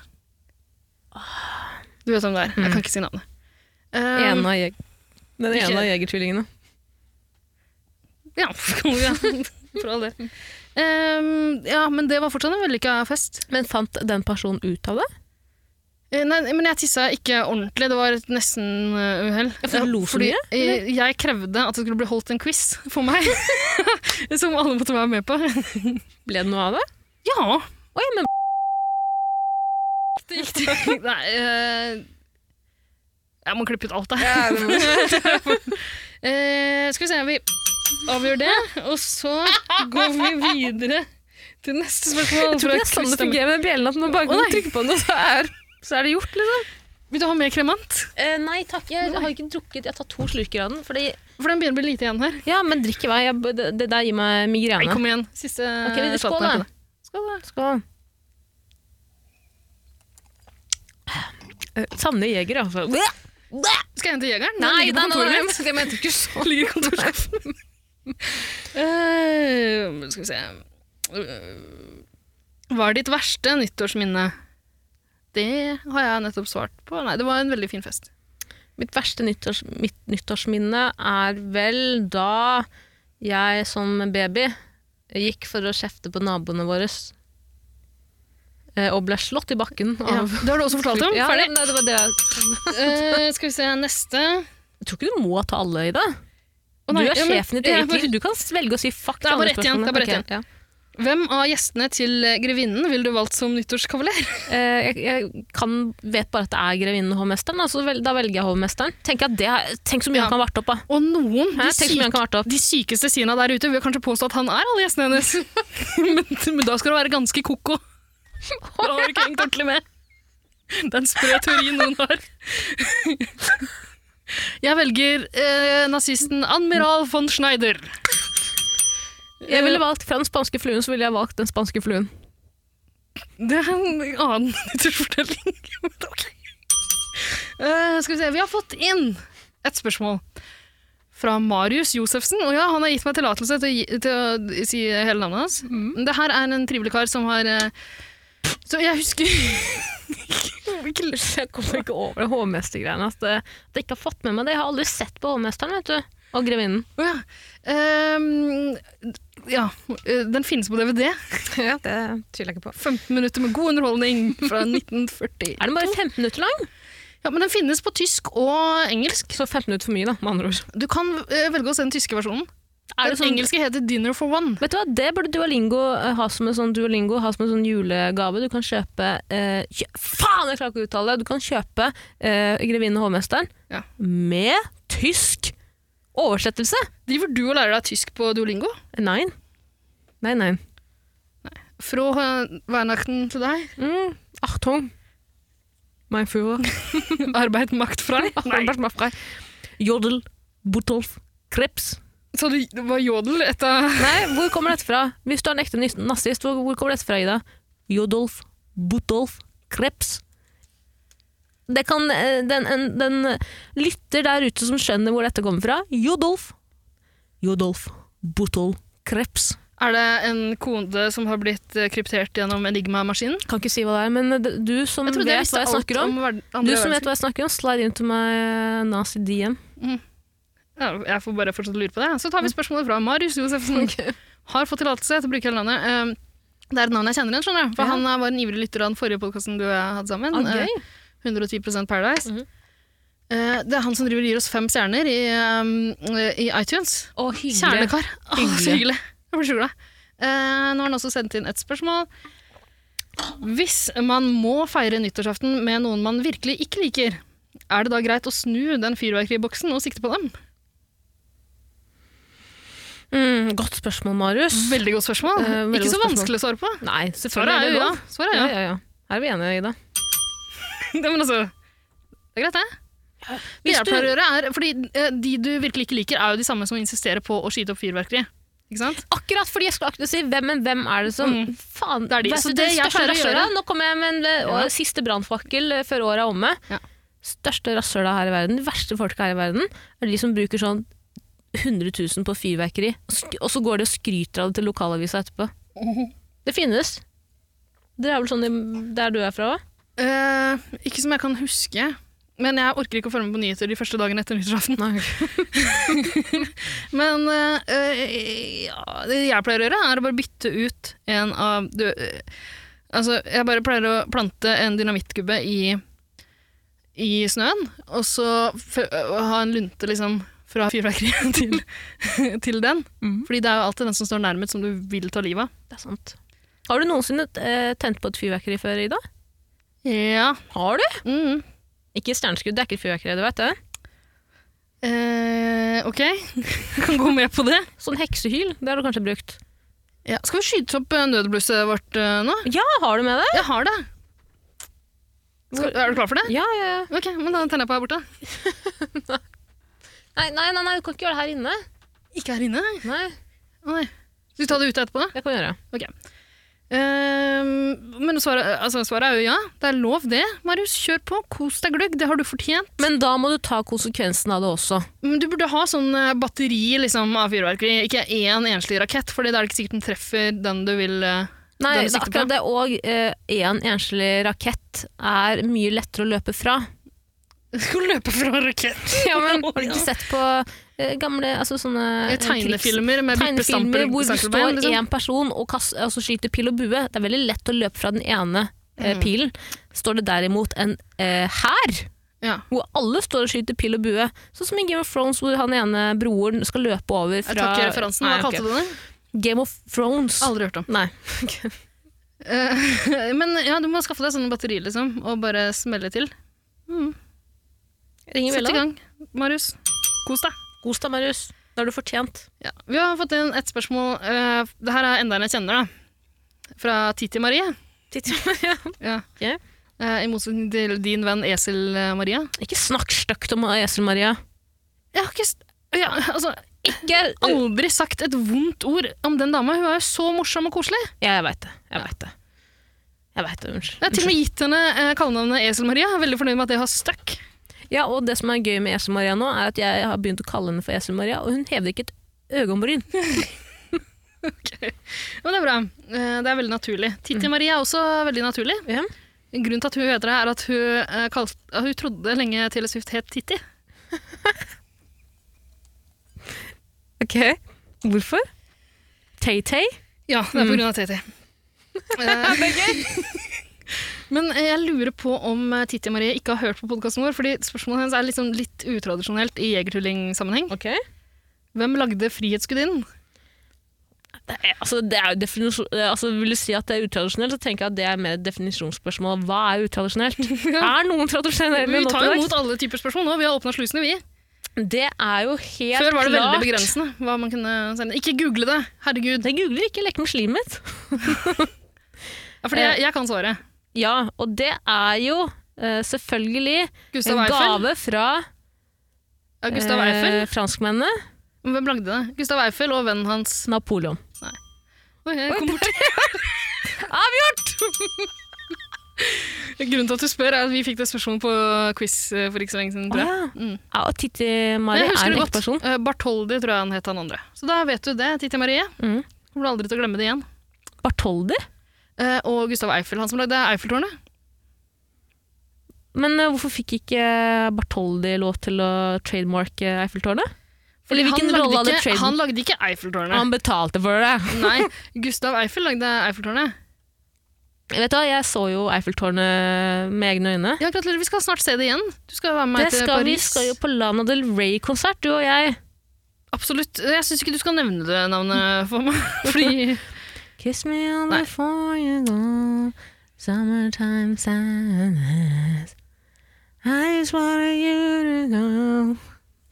S4: Du vet hvem det er. Jeg kan ikke si navnet. Um,
S3: Ah. Mm. En av jeg... Den
S4: Ikke-
S3: ene av jegertvillingene.
S4: ja, ja, for all del. Um, ja, men det var fortsatt en vellykka fest.
S3: Men fant den personen ut av det?
S4: Eh, Nei, men jeg tissa ikke ordentlig. Det var et nesten eh, uhell.
S3: Ja, for du lo så
S4: Fordi,
S3: mye,
S4: eh, Jeg krevde at det skulle bli holdt en quiz for meg, som alle måtte være med på.
S3: Ble det noe av det?
S4: Ja,
S3: Oi, men
S4: Det gikk til Nei eh, Jeg må klippe ut alt der. Eh, skal vi se, vi avgjør det, og så går vi videre til neste spørsmål.
S7: Jeg tror det er
S4: fra
S7: sånn det
S4: Christian.
S7: fungerer med bjellen, at man bare
S4: Å,
S7: kan
S4: nei.
S7: trykke på den, og så er, så er det gjort, liksom.
S4: Vil du ha mer kremant?
S3: Eh, nei takk, jeg har ikke drukket. Jeg har tatt to slurker av den. Fordi,
S4: For den begynner å bli lite igjen her.
S3: ja, men drikk i vei. Jeg, det, det der gir meg
S4: Nei,
S3: migrene.
S4: kom igjen. Siste
S3: Ok, vi
S4: eh,
S3: skål,
S4: salten her.
S3: da. Skål, da. Skål. Eh, Sanne jeger, altså.
S4: Skal jeg hente jegeren? Den
S3: Nei,
S4: ligger på
S3: nei,
S4: kontoret
S3: nei,
S4: mitt.
S3: nei, jeg mente ikke så.
S4: ligger i kontorskuffen. Eh, skal vi se Eh, Hva er ditt verste nyttårsminne? Det har jeg nettopp svart på. Nei, det var en veldig fin fest.
S3: Mitt verste nyttårs, mitt nyttårsminne er vel da jeg som baby gikk for å kjefte på naboene våre. eh, Og ble slått i bakken
S4: Ja.
S3: av
S4: Det har du også fortalt om.
S3: Ja,
S4: Ferdig.
S3: nei, det var det. jeg-
S4: Eh, skal vi se, neste.
S3: Jeg tror ikke du må ta alle i det.
S4: Å, nei,
S3: du er
S4: ja, men-
S3: sjefen i ditt
S4: ja,
S3: eget
S4: bare-
S3: liv. Du kan velge å si fuck
S4: Det er
S3: til
S4: bare
S3: alle
S4: ett igjen, det er bare ett
S3: spørsmålene. Ok, ja.
S4: Hvem av gjestene til eh, grevinnen ville du valgt som nyttårskavaler?
S3: Eh, jeg, jeg kan, vet bare at det er grevinnen og hovmesteren, altså vel, da velger jeg hovmesteren. Tenk, at det, er- tenk så mye
S4: Ja.
S3: han kan varte opp av.
S4: Og noen,
S3: Hæ?
S4: de,
S3: Tenk så mye han
S4: syk,
S3: kan varte opp.
S4: de sykeste sidene der ute, vil kanskje påstå at han er alle gjestene hennes. men, men da skal du være ganske koko. Da har du ikke hengt ordentlig med. Det er en sprø teori noen har. Jeg velger eh, nazisten Admiral von Schneider.
S3: Jeg ville valgt Fra den spanske fluen så ville jeg valgt den spanske fluen.
S4: Det er en annen nyttårsfortelling. Men ok. Eh, skal vi se, vi har fått inn et spørsmål fra Marius Josefsen. Og ja, han har gitt meg tillatelse til, å gi- til å si hele navnet hans.
S3: Mhm.
S4: Det her er en trivelig kar som har eh, Så jeg husker
S3: Jeg kommer ikke over det hovmestergreiene. At jeg ikke har fått med meg det. Jeg har aldri sett på hovmesteren vet du. og grevinnen.
S4: Å ja. Ehm, ja. eh, Den finnes på DVD.
S7: Ja, det tviler jeg ikke på.
S4: 15 minutter med god underholdning fra 1940.
S3: Er den bare 15 minutter lang?
S4: Ja, Men den finnes på tysk og engelsk.
S3: Så 15 minutter for mye, da, med andre ord.
S4: Du kan eh, velge å se den tyske versjonen.
S3: Er det
S4: den
S3: sånn,
S4: engelske heter 'Dinner for One'.
S3: Vet du hva, Det burde Duolingo eh, ha som en sånn, Duolingo, ha som en sånn julegave. Du kan kjøpe eh, kjø Faen, jeg klarer ikke å uttale det! Du kan kjøpe eh, 'Grevinnen og hovmesteren'
S4: Ja.
S3: med tysk oversettelse.
S4: Driver du og lærer deg tysk på Duolingo?
S3: Nei. Nei, nei.
S4: Fra eh, Weihnachten til deg.
S3: Mm. Achtung. Mein Führer.
S4: Arbeid, makt, frei.
S3: Achtung, pass mal frei. Jodel, Butolf, Krebs.
S4: Så du, det var jodel etter
S3: Nei, hvor kommer dette fra? Hvis du er en ekte nys- nazist, hvor, hvor kommer dette fra, Ida? Jodolf, Butolf, Krebs. Det kan, eh, den, en, den lytter der ute som skjønner hvor dette kommer fra. Jodolf. Jodolf, Butolf, Krebs.
S4: Er det en kode som har blitt eh, kryptert gjennom Enigma-maskinen?
S3: Kan ikke si hva det er, men d- du som
S4: Jeg
S3: Mm, vet
S4: trodde
S3: hva
S4: jeg
S3: jeg
S4: visste alt
S3: snakker om,
S4: om verd- andre
S3: du som vet
S4: verdenskrig.
S3: hva jeg snakker om, slide into my eh, nazi DM.
S4: Ja, jeg får bare fortsatt lure på det. Så tar
S3: Mm.
S4: vi spørsmålet fra Marius Josefsen. Har fått tillatelse til å bruke hele navnet. Eh, Det er et navn jeg kjenner igjen, skjønner du. For
S3: Ja.
S4: han eh, var en ivrig lytter av den forrige podkasten du og jeg hadde sammen.
S3: Ah, Mm.
S4: eh, 110 Paradise. Eh, Det er han som driver og gir oss fem stjerner i, eh, i iTunes.
S3: Å, hyggelig.
S4: Kjernekar. Åh, så
S3: Hyggelig.
S4: hyggelig. Jeg blir så glad. Eh, nå har han også sendt inn et spørsmål. Hvis man må feire nyttårsaften med noen man virkelig ikke liker, er det da greit å snu den fyrverkeriboksen og sikte på dem?
S3: Mm, godt spørsmål, Marius.
S4: Veldig godt spørsmål.
S3: Eh, veldig
S4: ikke så
S3: godt spørsmål.
S4: vanskelig å svare på.
S3: Nei,
S4: Svaret
S3: selvfølgelig
S4: er jo ja.
S3: lov.
S4: Svaret er
S3: Ja,
S4: ja.
S3: ja, ja. Her er vi enige, Ida.
S4: Nei, Men altså, det er greit, det. Det
S3: Hvis
S4: jeg
S3: du-
S4: pleier å gjøre er, fordi eh, De du virkelig ikke liker, er jo de samme som insisterer på å skyte opp fyrverkeri. Ikke sant?
S3: Akkurat fordi jeg skulle akkurat si hvem, men hvem er det som
S4: Mm.
S3: Faen,
S4: Det er de.
S3: vet
S4: Så
S3: du,
S4: det
S3: den
S4: jeg
S3: største
S4: pleier å gjøre-
S3: rasshøla. Nå kommer jeg med en eh,
S4: Ja.
S3: siste brannfakkel eh, før året er omme.
S4: Ja.
S3: Største rasshøla her i verden, de verste folka her i verden, er de som bruker sånn 100 000 på fyrverkeri, og sk- og så går de og skryter av det til lokalavisa etterpå. Det finnes. Det er vel sånn i- der du er fra òg?
S4: Eh, ikke som jeg kan huske. Men jeg orker ikke å følge med på nyheter de første dagene etter nyttårsaften. Men eh, eh, ja, det jeg pleier å gjøre, er å bare bytte ut en av du, eh, Altså, jeg bare pleier å plante en dynamittgubbe i, i snøen, og så f og ha en lunte, liksom, fra fyrverkeriet til, til den. Fordi det er jo alltid den som står nærmest, som du vil ta livet av.
S3: Det er sant. Har du noensinne eh, tent på et fyrverkeri før, Ida?
S4: Ja.
S3: Har du?
S4: Mm.
S3: Ikke stjerneskudd, det er ikke fyrverkeri, du vet det.
S4: Eh, ok, jeg kan gå med på det.
S3: Sånn heksehyl, det har du kanskje brukt.
S4: Ja. Skal vi skyte opp eh, nødblusset vårt eh, nå?
S3: Ja, har du med det?
S4: Jeg har det. Skal, er du klar for det?
S3: Ja, ja, ja.
S4: Ok, men da tenner jeg på her borte.
S3: Nei, nei, nei, nei, du kan ikke gjøre det her inne.
S4: Ikke her inne?
S3: Nei,
S4: Å, Nei. Skal vi ta det ute etterpå?
S3: det kan vi gjøre.
S4: Ehm, men svaret, altså, svaret er jo ja. Det er lov, det. Marius, kjør på. Kos deg gløgg. Det har du fortjent.
S3: Men da må du ta konsekvensen av det også.
S4: Men du burde ha sånn eh, batteri liksom, av fyrverkeri. Ikke én enslig rakett, for da er det ikke sikkert den treffer den du vil eh,
S3: Nei,
S4: den du
S3: det er
S4: sikter på.
S3: akkurat det, og én enslig rakett er mye lettere å løpe fra.
S4: Skal løpe fra en rakett.
S3: Ja, men Har du ikke sett på eh, gamle altså sånne eh, krigs-
S4: Tegnefilmer med
S3: tegnefilmer
S4: vippestamper.
S3: hvor det
S4: stakkelbein,
S3: står én
S4: liksom.
S3: person og kast, altså skyter pil og bue. Det er veldig lett å løpe fra den ene eh, pilen. Står det derimot en eh, hær
S4: Ja.
S3: hvor alle står og skyter pil og bue, sånn som i Game of Thrones hvor han ene broren skal løpe over
S4: Jeg
S3: fra
S4: tar ikke referansen. Hva
S3: Nei, ok.
S4: kalte du det?
S3: Game of Thrones.
S4: Aldri hørt om.
S3: Nei.
S4: Eh, men ja, du må skaffe deg sånne batterier, liksom, og bare smelle til.
S3: Ringer
S4: Sett i
S3: bjella.
S4: gang, Marius. Kos deg.
S3: Kos deg, Marius. Det har du fortjent.
S4: Ja, vi har fått inn et spørsmål. eh, det her er enda en jeg kjenner, da. Fra Titti Marie. Ja.
S3: Ok.
S4: Eh, I motsetning til din venn Esel eh, Maria.
S3: Ikke snakk stygt om Esel-Maria.
S4: Jeg har ikke s- ja, altså,
S3: Ikke
S4: aldri sagt et vondt ord om den dama. Hun er jo så morsom og koselig.
S3: Ja, jeg veit det. Jeg veit det. Jeg vet det, unnskyld.
S4: Jeg har til og med gitt henne eh, kallenavnet Esel Maria. Jeg er veldig fornøyd med at det har stuck.
S3: Ja, og det som er gøy med Esel-Maria nå, er at jeg har begynt å kalle henne for Esel-Maria, og hun hever ikke et øyeombryn.
S4: Men det er bra. Eh, det er veldig naturlig. Titti Marie er også veldig naturlig.
S3: Ja.
S4: Grunnen til at hun heter det, er at hun, eh, kalt, at hun trodde lenge Taylor Swift het Titti.
S3: Ok, hvorfor? Tay-Tay?
S4: Ja, det er på grunn av Titi. Mm. det er gøy! Men eh, jeg lurer på om eh, Titti Marie ikke har hørt på podkasten vår, fordi spørsmålet hennes er liksom litt utradisjonelt i jegertullingsammenheng.
S3: Ok.
S4: Hvem lagde 'Frihetsgudinnen'?
S3: Altså, det er jo definisjon... Altså, vil du si at det er utradisjonelt, så tenker jeg at det er mer et definisjonsspørsmål. Hva er utradisjonelt? Er noen tradisjonelle
S4: Vi
S3: nå
S4: tar
S3: til
S4: jo
S3: dags?
S4: imot alle typer spørsmål nå, vi har åpna slusene, vi.
S3: Det er jo helt
S4: Før var det
S3: klart.
S4: veldig begrensende hva man kunne sende. Ikke google det, herregud.
S3: Jeg googler ikke leke med slimet.
S4: Ja, fordi jeg, jeg kan svaret.
S3: Ja, og det er jo eh, selvfølgelig
S4: Gustav
S3: en
S4: Eiffel.
S3: gave fra
S4: Ja, Gustav Eiffel.
S3: eh, franskmennene.
S4: Men Hvem lagde det? Gustav Eiffel og vennen hans.
S3: Napoleon.
S4: Oi, jeg kom bort. Grunnen til at du spør, er at vi fikk det spørsmålet på quiz eh, for ikke så lenge siden. tror
S3: Ah,
S4: jeg.
S3: ja.
S4: Mm.
S3: ja, og Titti Mari
S4: Jeg
S3: er
S4: husker
S3: en
S4: det
S3: ekte person.
S4: godt. Eh, Bartholdi tror jeg han het han andre. Så da vet du det, Titti Marie.
S3: Mm.
S4: Kommer aldri til å glemme det igjen.
S3: Bartholdi?
S4: Eh, Og Gustav Eiffel, han som lagde Eiffeltårnet.
S3: Men eh, hvorfor fikk ikke Bartholdi lov til å trademarke Eiffeltårnet?
S4: Fordi
S3: Eller hvilken
S4: han lagde
S3: rolle hadde
S4: ikke-
S3: traden-
S4: Han lagde ikke Eiffeltårnet.
S3: Han betalte for det.
S4: Nei, Gustav Eiffel lagde Eiffeltårnet.
S3: Vet du hva, Jeg så jo Eiffeltårnet med egne øyne.
S4: Ja, gratulerer, vi skal snart se det igjen. Du skal være med
S3: Det
S4: meg til
S3: skal, vi
S4: Paris.
S3: skal jo på Lana Del Rey-konsert, du og jeg.
S4: Absolutt. Jeg syns ikke du skal nevne det navnet for meg. Fordi
S3: Kiss me on
S4: Nei.
S3: before you go Summertime sadness I just wanted you to go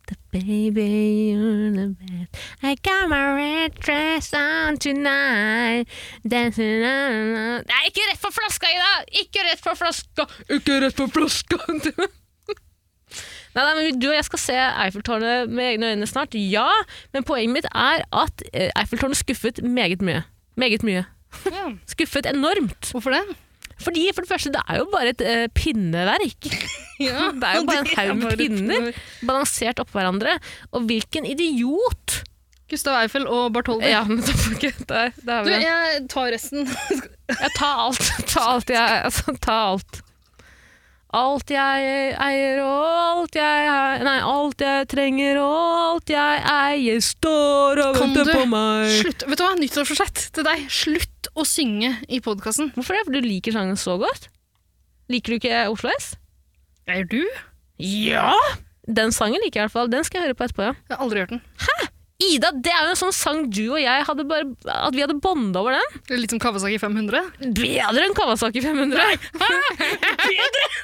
S3: The baby you're the best I got my red dress on tonight Dancing on Nei, ikke rett på flaska, Ida! Ikke rett på flaska! Ikke rett på flaska! Nei, nei, men Du og jeg skal se Eiffeltårnet med egne øyne snart, ja. Men poenget mitt er at eh, Eiffeltårnet skuffet meget mye. Meget mye.
S4: Ja.
S3: Skuffet enormt.
S4: Hvorfor det?
S3: Fordi for det første, det er jo bare et eh, pinneverk.
S4: Ja,
S3: Det er jo bare en haug med
S4: bare
S3: pinner balansert oppå hverandre. Og hvilken idiot!
S4: Gustav Eiffel og Bartholdi.
S3: Ja, men da får ikke der, der har
S4: Du,
S3: vi det.
S4: jeg tar resten.
S3: Jeg tar alt. Ta alt jeg altså, Ta alt. Alt jeg eier og alt jeg er Nei, alt jeg trenger og alt jeg eier, står og
S4: Kan
S3: venter
S4: du
S3: på meg.
S4: Slutt. Vet du hva? Nyttårsforsett til deg. Slutt å synge i podkasten.
S3: Hvorfor det? For du liker sangen så godt? Liker du ikke Oslo S?
S4: Er du?
S3: Ja! Den sangen liker jeg i hvert fall. Den skal jeg høre på etterpå, ja.
S4: Jeg har aldri hørt den.
S3: Ida, det er jo en sånn sang du og jeg hadde bare At vi hadde bonda over den.
S4: Litt som Kawasaki 500.
S3: Bedre enn Kawasaki 500!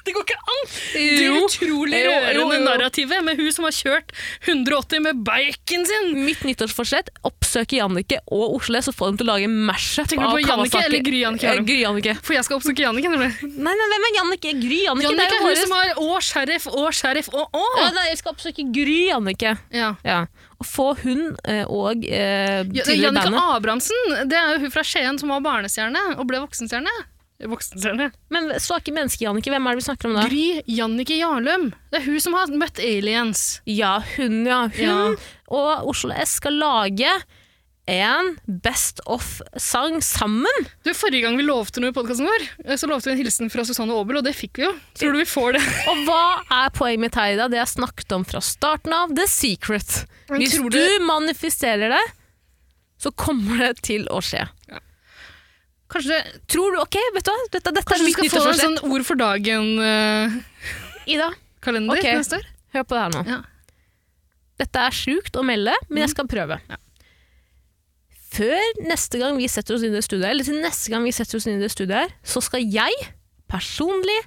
S4: Det går ikke an! Det
S3: Jo.
S4: utrolig
S3: Jo, jo,
S4: rørende
S3: jo.
S4: Eh, narrativet med hun som har kjørt 180 med bacon sin.
S3: Mitt nyttårsforsett oppsøke Jannicke og Osle, så få dem til å lage en mashup
S4: Tenker du
S3: av
S4: på Jannicke
S3: Kawasaki.
S4: eller Gry Jannicke
S3: Eh,
S4: Harum?
S3: Gry Jannicke.
S4: For jeg skal oppsøke Jannicke. nemlig.
S3: Nei, nei, hvem er Jannicke? Gry Jannicke,
S4: Jannicke
S3: det
S4: er
S3: er jo
S4: hun
S3: våres-
S4: som har 'Å, sheriff, å, sheriff, å,
S3: ja,
S4: å'.
S3: nei, Jeg skal oppsøke Gry Jannicke.
S4: Ja.
S3: Ja. Og få hun eh, og eh,
S4: Ja,
S3: til
S4: Jannicke
S3: bandet.
S4: Abrahamsen det er jo hun fra Skien som var barnestjerne og ble voksenstjerne. Voksenstjerne.
S3: Men svake mennesker, Jannicke, hvem er det vi snakker om da?
S4: Gry Jannicke Jarlum. Det er hun som har møtt aliens.
S3: Ja, hun, ja. Hun
S4: Ja.
S3: og Oslo S skal lage en Best of-sang sammen.
S4: Du, Forrige gang vi lovte noe i podkasten vår, eh, så lovte vi en hilsen fra Susanne Aabel, og det fikk vi jo. Tror du vi får det?
S3: Og hva er poenget mitt her i dag? Det jeg snakket om fra starten av, The Secret.
S4: Men
S3: Hvis
S4: tror
S3: du manifesterer det, så kommer det til å skje.
S4: Kanskje,
S3: Tror du Ok, vet du hva? Dette, dette er
S4: kanskje vi
S3: mitt
S4: skal få en
S3: nyttårsforsett.
S4: sånn Ord for dagen-kalender
S3: Ida, Ok.
S4: neste år?
S3: hør på det her nå.
S4: Ja. Mm.
S3: Dette er sjukt å melde, men jeg skal prøve. Før neste gang vi setter oss inn i det studiet, her, eller til neste gang vi setter oss inn i det studiet her, så skal jeg personlig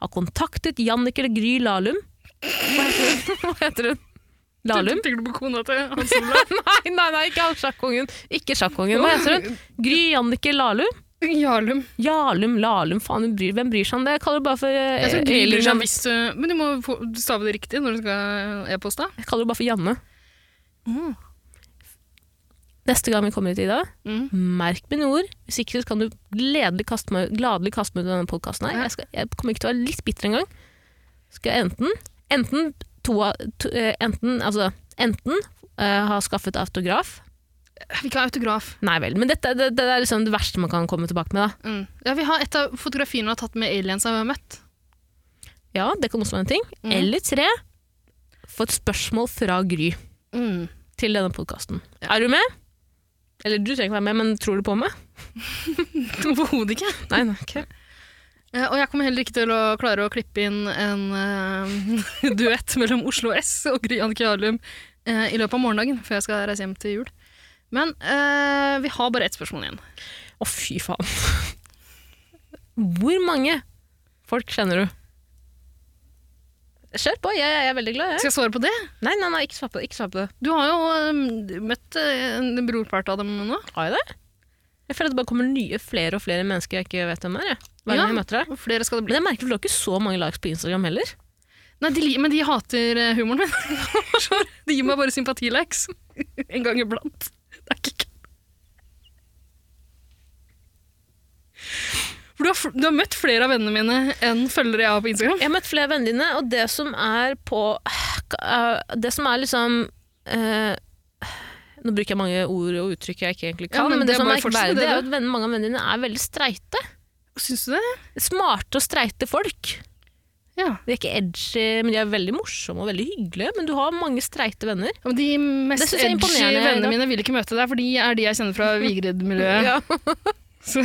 S3: ha kontaktet Jannicke Gry Lahlum. Hva heter hun? Hva heter hun? Lahlum?
S4: Tenker du på kona til Hans Olav?
S3: Nei, nei, nei, ikke han sjakkongen. Ikke sjakkongen. Hva heter hun? Gry Jannicke Lahlum?
S4: Jarlum.
S3: Jarlum, Lahlum, faen, hun bryr, hvem bryr seg om det? Jeg kaller det bare for eh,
S4: Jeg tror Gry
S3: Elin
S4: bryr seg
S3: Jannicke.
S4: hvis du eh, Men du må få- du stave det riktig når du skal eh, e-poste.
S3: Jeg kaller det bare for Janne. Neste gang vi kommer hit, Ida,
S4: Mm.
S3: merk mine ord. Hvis ikke så kan du gledelig kaste meg, gladelig kaste meg ut av denne podkasten.
S4: Ja.
S3: Jeg, skal- jeg kommer ikke til å være litt bitter engang. Skal jeg enten Enten, to, av- to, eh, enten, altså, enten eh, ha skaffet autograf
S4: Vi kan ha autograf.
S3: Nei vel, men dette, det, det er liksom det verste man kan komme tilbake med. da.
S4: Mm. Ja, vi har et av fotografiene hun har tatt med aliens hun har møtt.
S3: Ja, det kan også være en ting.
S4: Mm.
S3: Eller tre, få et spørsmål fra Gry
S4: Mm.
S3: til denne podkasten. Er du med? Eller du trenger ikke være med, men tror du på meg?
S4: Overhodet ikke.
S3: Nei, nei, ikke.
S4: Eh, Og jeg kommer heller ikke til å klare å klippe inn en eh, duett mellom Oslo S og Gry Anke Jarlum eh, i løpet av morgendagen, før jeg skal reise hjem til jul. Men eh, vi har bare ett spørsmål igjen.
S3: Å, fy faen. Hvor mange folk kjenner du? Kjør på, jeg, jeg er veldig glad. Jeg.
S4: Skal jeg svare på det?
S3: Nei, nei, nei, ikke svar på det. Ikke svar på det.
S4: Du har jo eh, møtt eh, en brorpart av dem nå.
S3: Har jeg det? Jeg føler at det bare kommer nye, flere og flere mennesker jeg ikke vet hvem er. Jeg. Hver gang
S4: Ja.
S3: jeg møter deg.
S4: Og flere skal det bli.
S3: Men jeg merker for du har ikke så mange likes på Instagram heller.
S4: Nei, de, li- men de hater eh, humoren min. de gir meg bare sympatilikes. en gang iblant. Det er ikke kødd. For du har, fl- du har møtt flere av vennene mine enn følgere jeg har på Instagram.
S3: Jeg har møtt flere av vennene dine, og det som er på eh, Det som er liksom eh, Nå bruker jeg mange ord og uttrykk jeg ikke egentlig kan,
S4: Ja, men
S3: men,
S4: det
S3: det, som
S4: bare
S3: er
S4: fortsetter,
S3: merkverdig,
S4: det
S3: er jo
S4: da.
S3: at venn- mange av vennene dine er veldig streite.
S4: Syns du det?
S3: smarte og streite folk.
S4: Ja.
S3: De er ikke edgy, men de er veldig morsomme og veldig hyggelige. Men du har mange streite venner.
S4: Ja, men De
S3: Det
S4: mest
S3: synes jeg er
S4: edgy
S3: imponerende,
S4: vennene
S3: Ida.
S4: mine vil ikke møte deg, for de er de jeg kjenner fra Vigrid-miljøet. ja. Så,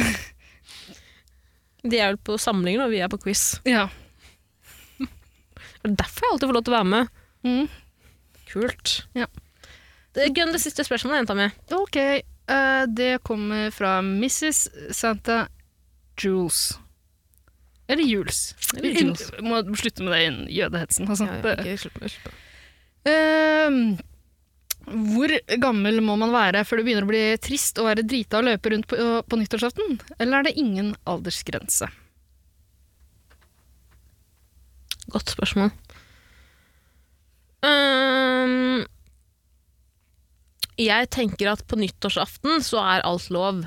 S3: De er vel på samlinger, og vi er på quiz.
S4: ja.
S3: Det er derfor jeg alltid får lov til å være med.
S4: Mm.
S3: Kult.
S4: Ja.
S3: Det- Gønn det siste spørsmålet, jenta mi.
S4: Ok, eh, det kommer fra Mrs. Santa Jules. Eller Jules.
S3: Eller Jules.
S4: Jeg Må slutte med den jødehetsen. Altså. Det-
S3: ikke
S4: Ehm, hvor gammel må man være før det begynner å bli trist å være drita og løpe rundt på, på nyttårsaften? Eller er det ingen aldersgrense?
S3: Godt spørsmål. Ehm, jeg tenker at på nyttårsaften så er alt lov.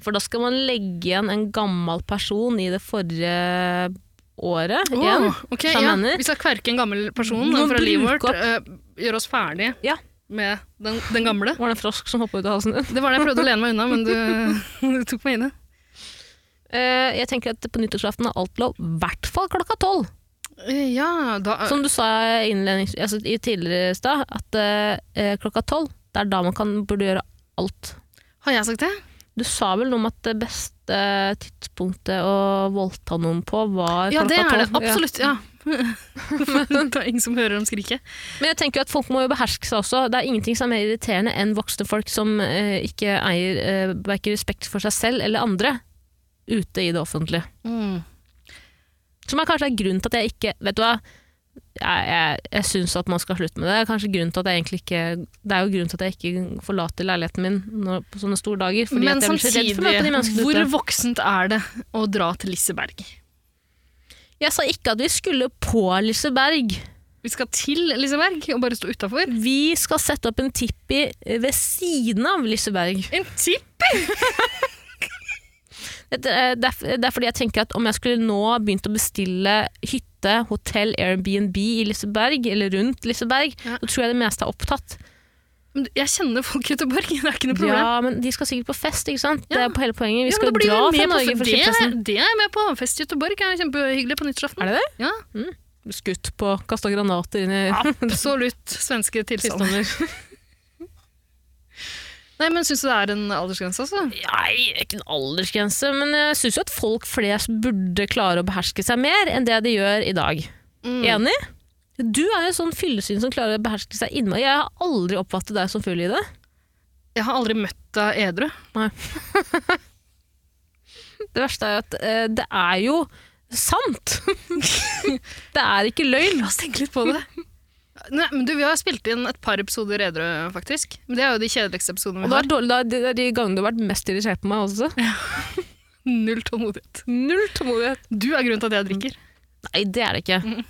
S3: For da skal man legge igjen en gammel person i det forrige året. igjen.
S4: Åh, ok,
S3: Skjønner
S4: ja.
S3: mener.
S4: Vi skal kverke en gammel person
S3: Nå
S4: fra livet
S3: bruke
S4: vårt. eh, gjøre oss ferdig
S3: Ja.
S4: med den, den gamle.
S3: Var det en frosk som hoppa ut av halsen din?
S4: Det var det jeg prøvde å lene meg unna, men du, du tok meg inn i det.
S3: Eh, jeg tenker at på nyttårsaften er alt lov, i hvert fall klokka tolv.
S4: Eh, Ja, da
S3: Som du sa innlednings- altså, i tidligere i stad, at eh, klokka tolv det er da man kan, burde gjøre alt.
S4: Har jeg sagt det?
S3: Du sa vel noe om at det beste tidspunktet å voldta noen på var
S4: Ja, det
S3: klokka
S4: er det.
S3: tolv?
S4: Absolutt. ja. det er ingen som hører dem skrike.
S3: Men jeg tenker jo at folk må jo beherske seg også. Det er ingenting som er mer irriterende enn voksne folk som eh, ikke eier eh, verken respekt for seg selv eller andre ute i det offentlige.
S4: Mm.
S3: Som er kanskje er grunnen til at jeg ikke Vet du hva? Jeg, jeg, jeg syns at man skal slutte med det. Det er kanskje grunnen til at jeg egentlig ikke Det er jo grunnen til at jeg ikke forlater leiligheten min når, på sånne store dager. Fordi
S4: Men
S3: at jeg blir så redd
S4: samtidig,
S3: for å møte de menneskene
S4: hvor
S3: ute.
S4: voksent er det å dra til Liseberg?
S3: Jeg sa ikke at vi skulle på Liseberg.
S4: Vi skal til Liseberg og bare stå utafor.
S3: Vi skal sette opp en tippi ved siden av Liseberg.
S4: En tipp!
S3: Det er, det er- det er fordi jeg tenker at om jeg skulle nå begynt å bestille hytte, hotell, Airbnb i Liseberg, eller rundt Liseberg,
S4: Ja.
S3: så tror jeg det meste er opptatt.
S4: Men du, Jeg kjenner folk i Göteborg, det er ikke noe problem.
S3: Ja, men de skal sikkert på fest, ikke sant?
S4: Ja.
S3: Det er på hele poenget. Vi
S4: Ja, men
S3: skal
S4: da blir vi
S3: dra
S4: med
S3: fra
S4: på-
S3: Norge for
S4: det,
S3: skipspressen.
S4: det er jeg med på. Fest i Göteborg er kjempehyggelig på nyttårsaften.
S3: Er det det?
S4: Ja,
S3: Skutt på, kasta granater inn i
S4: absolutt svenske tilstander.
S3: Sånn.
S4: Nei, men syns du det er en aldersgrense, altså?
S3: Nei, ikke en aldersgrense, men jeg syns jo at folk flest burde klare å beherske seg mer enn det de gjør i dag.
S4: Mm.
S3: Enig? Du er jo sånn fyllesyn som klarer å beherske seg innmari. Jeg har aldri oppfattet deg som full i det.
S4: Jeg har aldri møtt deg edru.
S3: Det verste er jo at eh, det er jo sant. det er ikke løgn.
S4: La oss tenke litt på det. Nei, men du, Vi har spilt inn et par episoder edru, faktisk. Men Det er jo de kjedeligste episodene
S3: Og
S4: vi
S3: det
S4: har.
S3: er, dårlig, det er de- det er de gangene du har vært mest irritert på meg også.
S4: Null tålmodighet.
S3: Null tålmodighet.
S4: Du er grunnen til at jeg drikker.
S3: Nei, det er det ikke.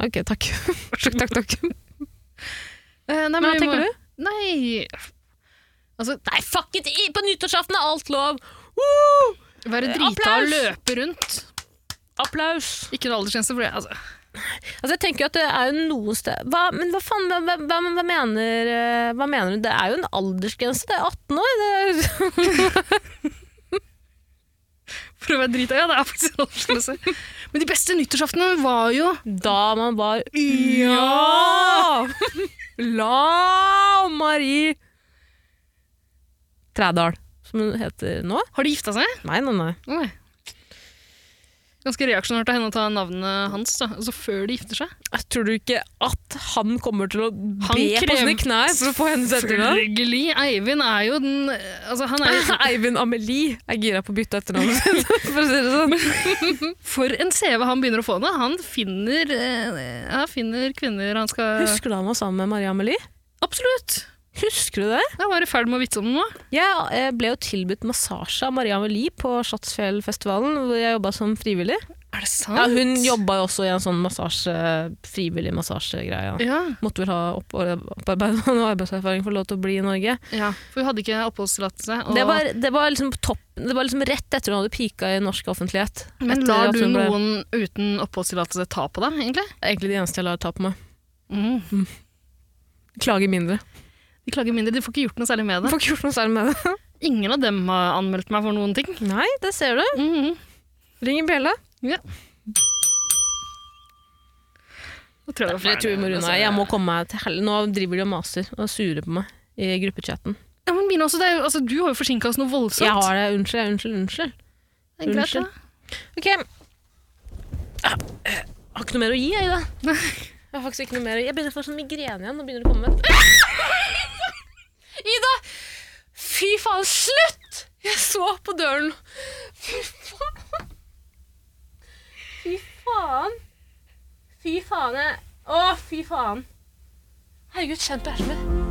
S3: Ok, takk. takk, takk, takk.
S4: Eh,
S3: Mm.
S4: nei,
S3: Men hva
S4: vi må-
S3: tenker du?
S4: Nei Altså,
S3: Nei, fuck it! I- På nyttårsaften er alt lov!
S4: være
S3: Eh,
S4: drita og
S3: applaus!
S4: løpe rundt.
S3: Applaus!
S4: Ikke noe aldersgrense for det. Altså.
S3: Altså, jeg tenker jo at det er jo noe sted hva, Men hva faen, hva, hva, hva, mener, eh, hva mener du? Det er jo en aldersgrense, det er 18 år. Det er,
S4: For å være drita, ja, det er faktisk en aldersgrense. Men de beste nyttårsaftene var jo
S3: da man var Ja! La Marie Trædal, som hun heter nå.
S4: Har de gifta seg?
S3: Nei, nei, nei.
S4: Oi. Ganske reaksjonært av henne å ta navnet hans, da. Altså før de gifter seg.
S3: Tror du ikke at han kommer til å be på
S4: krever-
S3: sine knær for å få hennes etternavn?
S4: Selvfølgelig! Eivind er jo den Altså, han er jo
S3: Eivind Amelie er gira på å bytte etternavn, for å si det sånn.
S4: For en CV han begynner å få nå! Han finner, eh, han finner kvinner han skal
S3: Husker du han var sammen med Marie Amelie?
S4: Absolutt!
S3: Husker du det?
S4: Jeg var i ferd med å vitse om det nå.
S3: Jeg eh, ble jo tilbudt massasje av Marie Amelie på Slottsfjellfestivalen, hvor jeg jobba som frivillig.
S4: Er det sant?
S3: Ja, hun jobba jo også i en sånn massasje, frivillig massasjegreie. Ja.
S4: Ja,
S3: Måtte vel ha opp- opparbeid og arbeidserfaring for lov til å bli i Norge.
S4: ja, for hun hadde ikke oppholdstillatelse. og-
S3: Det var, det var, liksom, på topp, det var liksom rett etter hun hadde pika i norsk offentlighet.
S4: Men
S3: Etter
S4: lar
S3: at
S4: du
S3: hun ble-
S4: noen uten oppholdstillatelse ta på deg, egentlig?
S3: Det er egentlig det eneste jeg lar ta på meg. Mm. Klager mindre.
S4: De klager mindre, de får ikke gjort noe særlig med det.
S3: Får ikke gjort noe særlig med det.
S4: Ingen av dem har anmeldt meg for noen ting.
S3: Nei, det ser du.
S4: Mhm.
S3: Ring en bjelle.
S4: Da tror jeg det var
S3: Jeg tror vi må runde av. altså, Jeg må komme meg til hel... Nå driver de og maser og er sure på meg i gruppechatten.
S4: Ja, men Mina, også, det er, jo- altså, du har jo forsinka oss noe voldsomt.
S3: Jeg har det. Unnskyld, unnskyld, unnskyld.
S4: Det er greit,
S3: Unnskyld.
S4: da.
S3: Ok. Ah, eh, har ikke noe mer å gi, jeg, da. Jeg har faktisk ikke noe mer å gi. Jeg begynner å få sånn migrene igjen. Nå begynner det å komme. Ida! Fy faen, slutt! Jeg så på døren. Fy faen. Fy faen. Fy faen. jeg- Å, fy faen. Herregud, kjenn på hjertet mitt.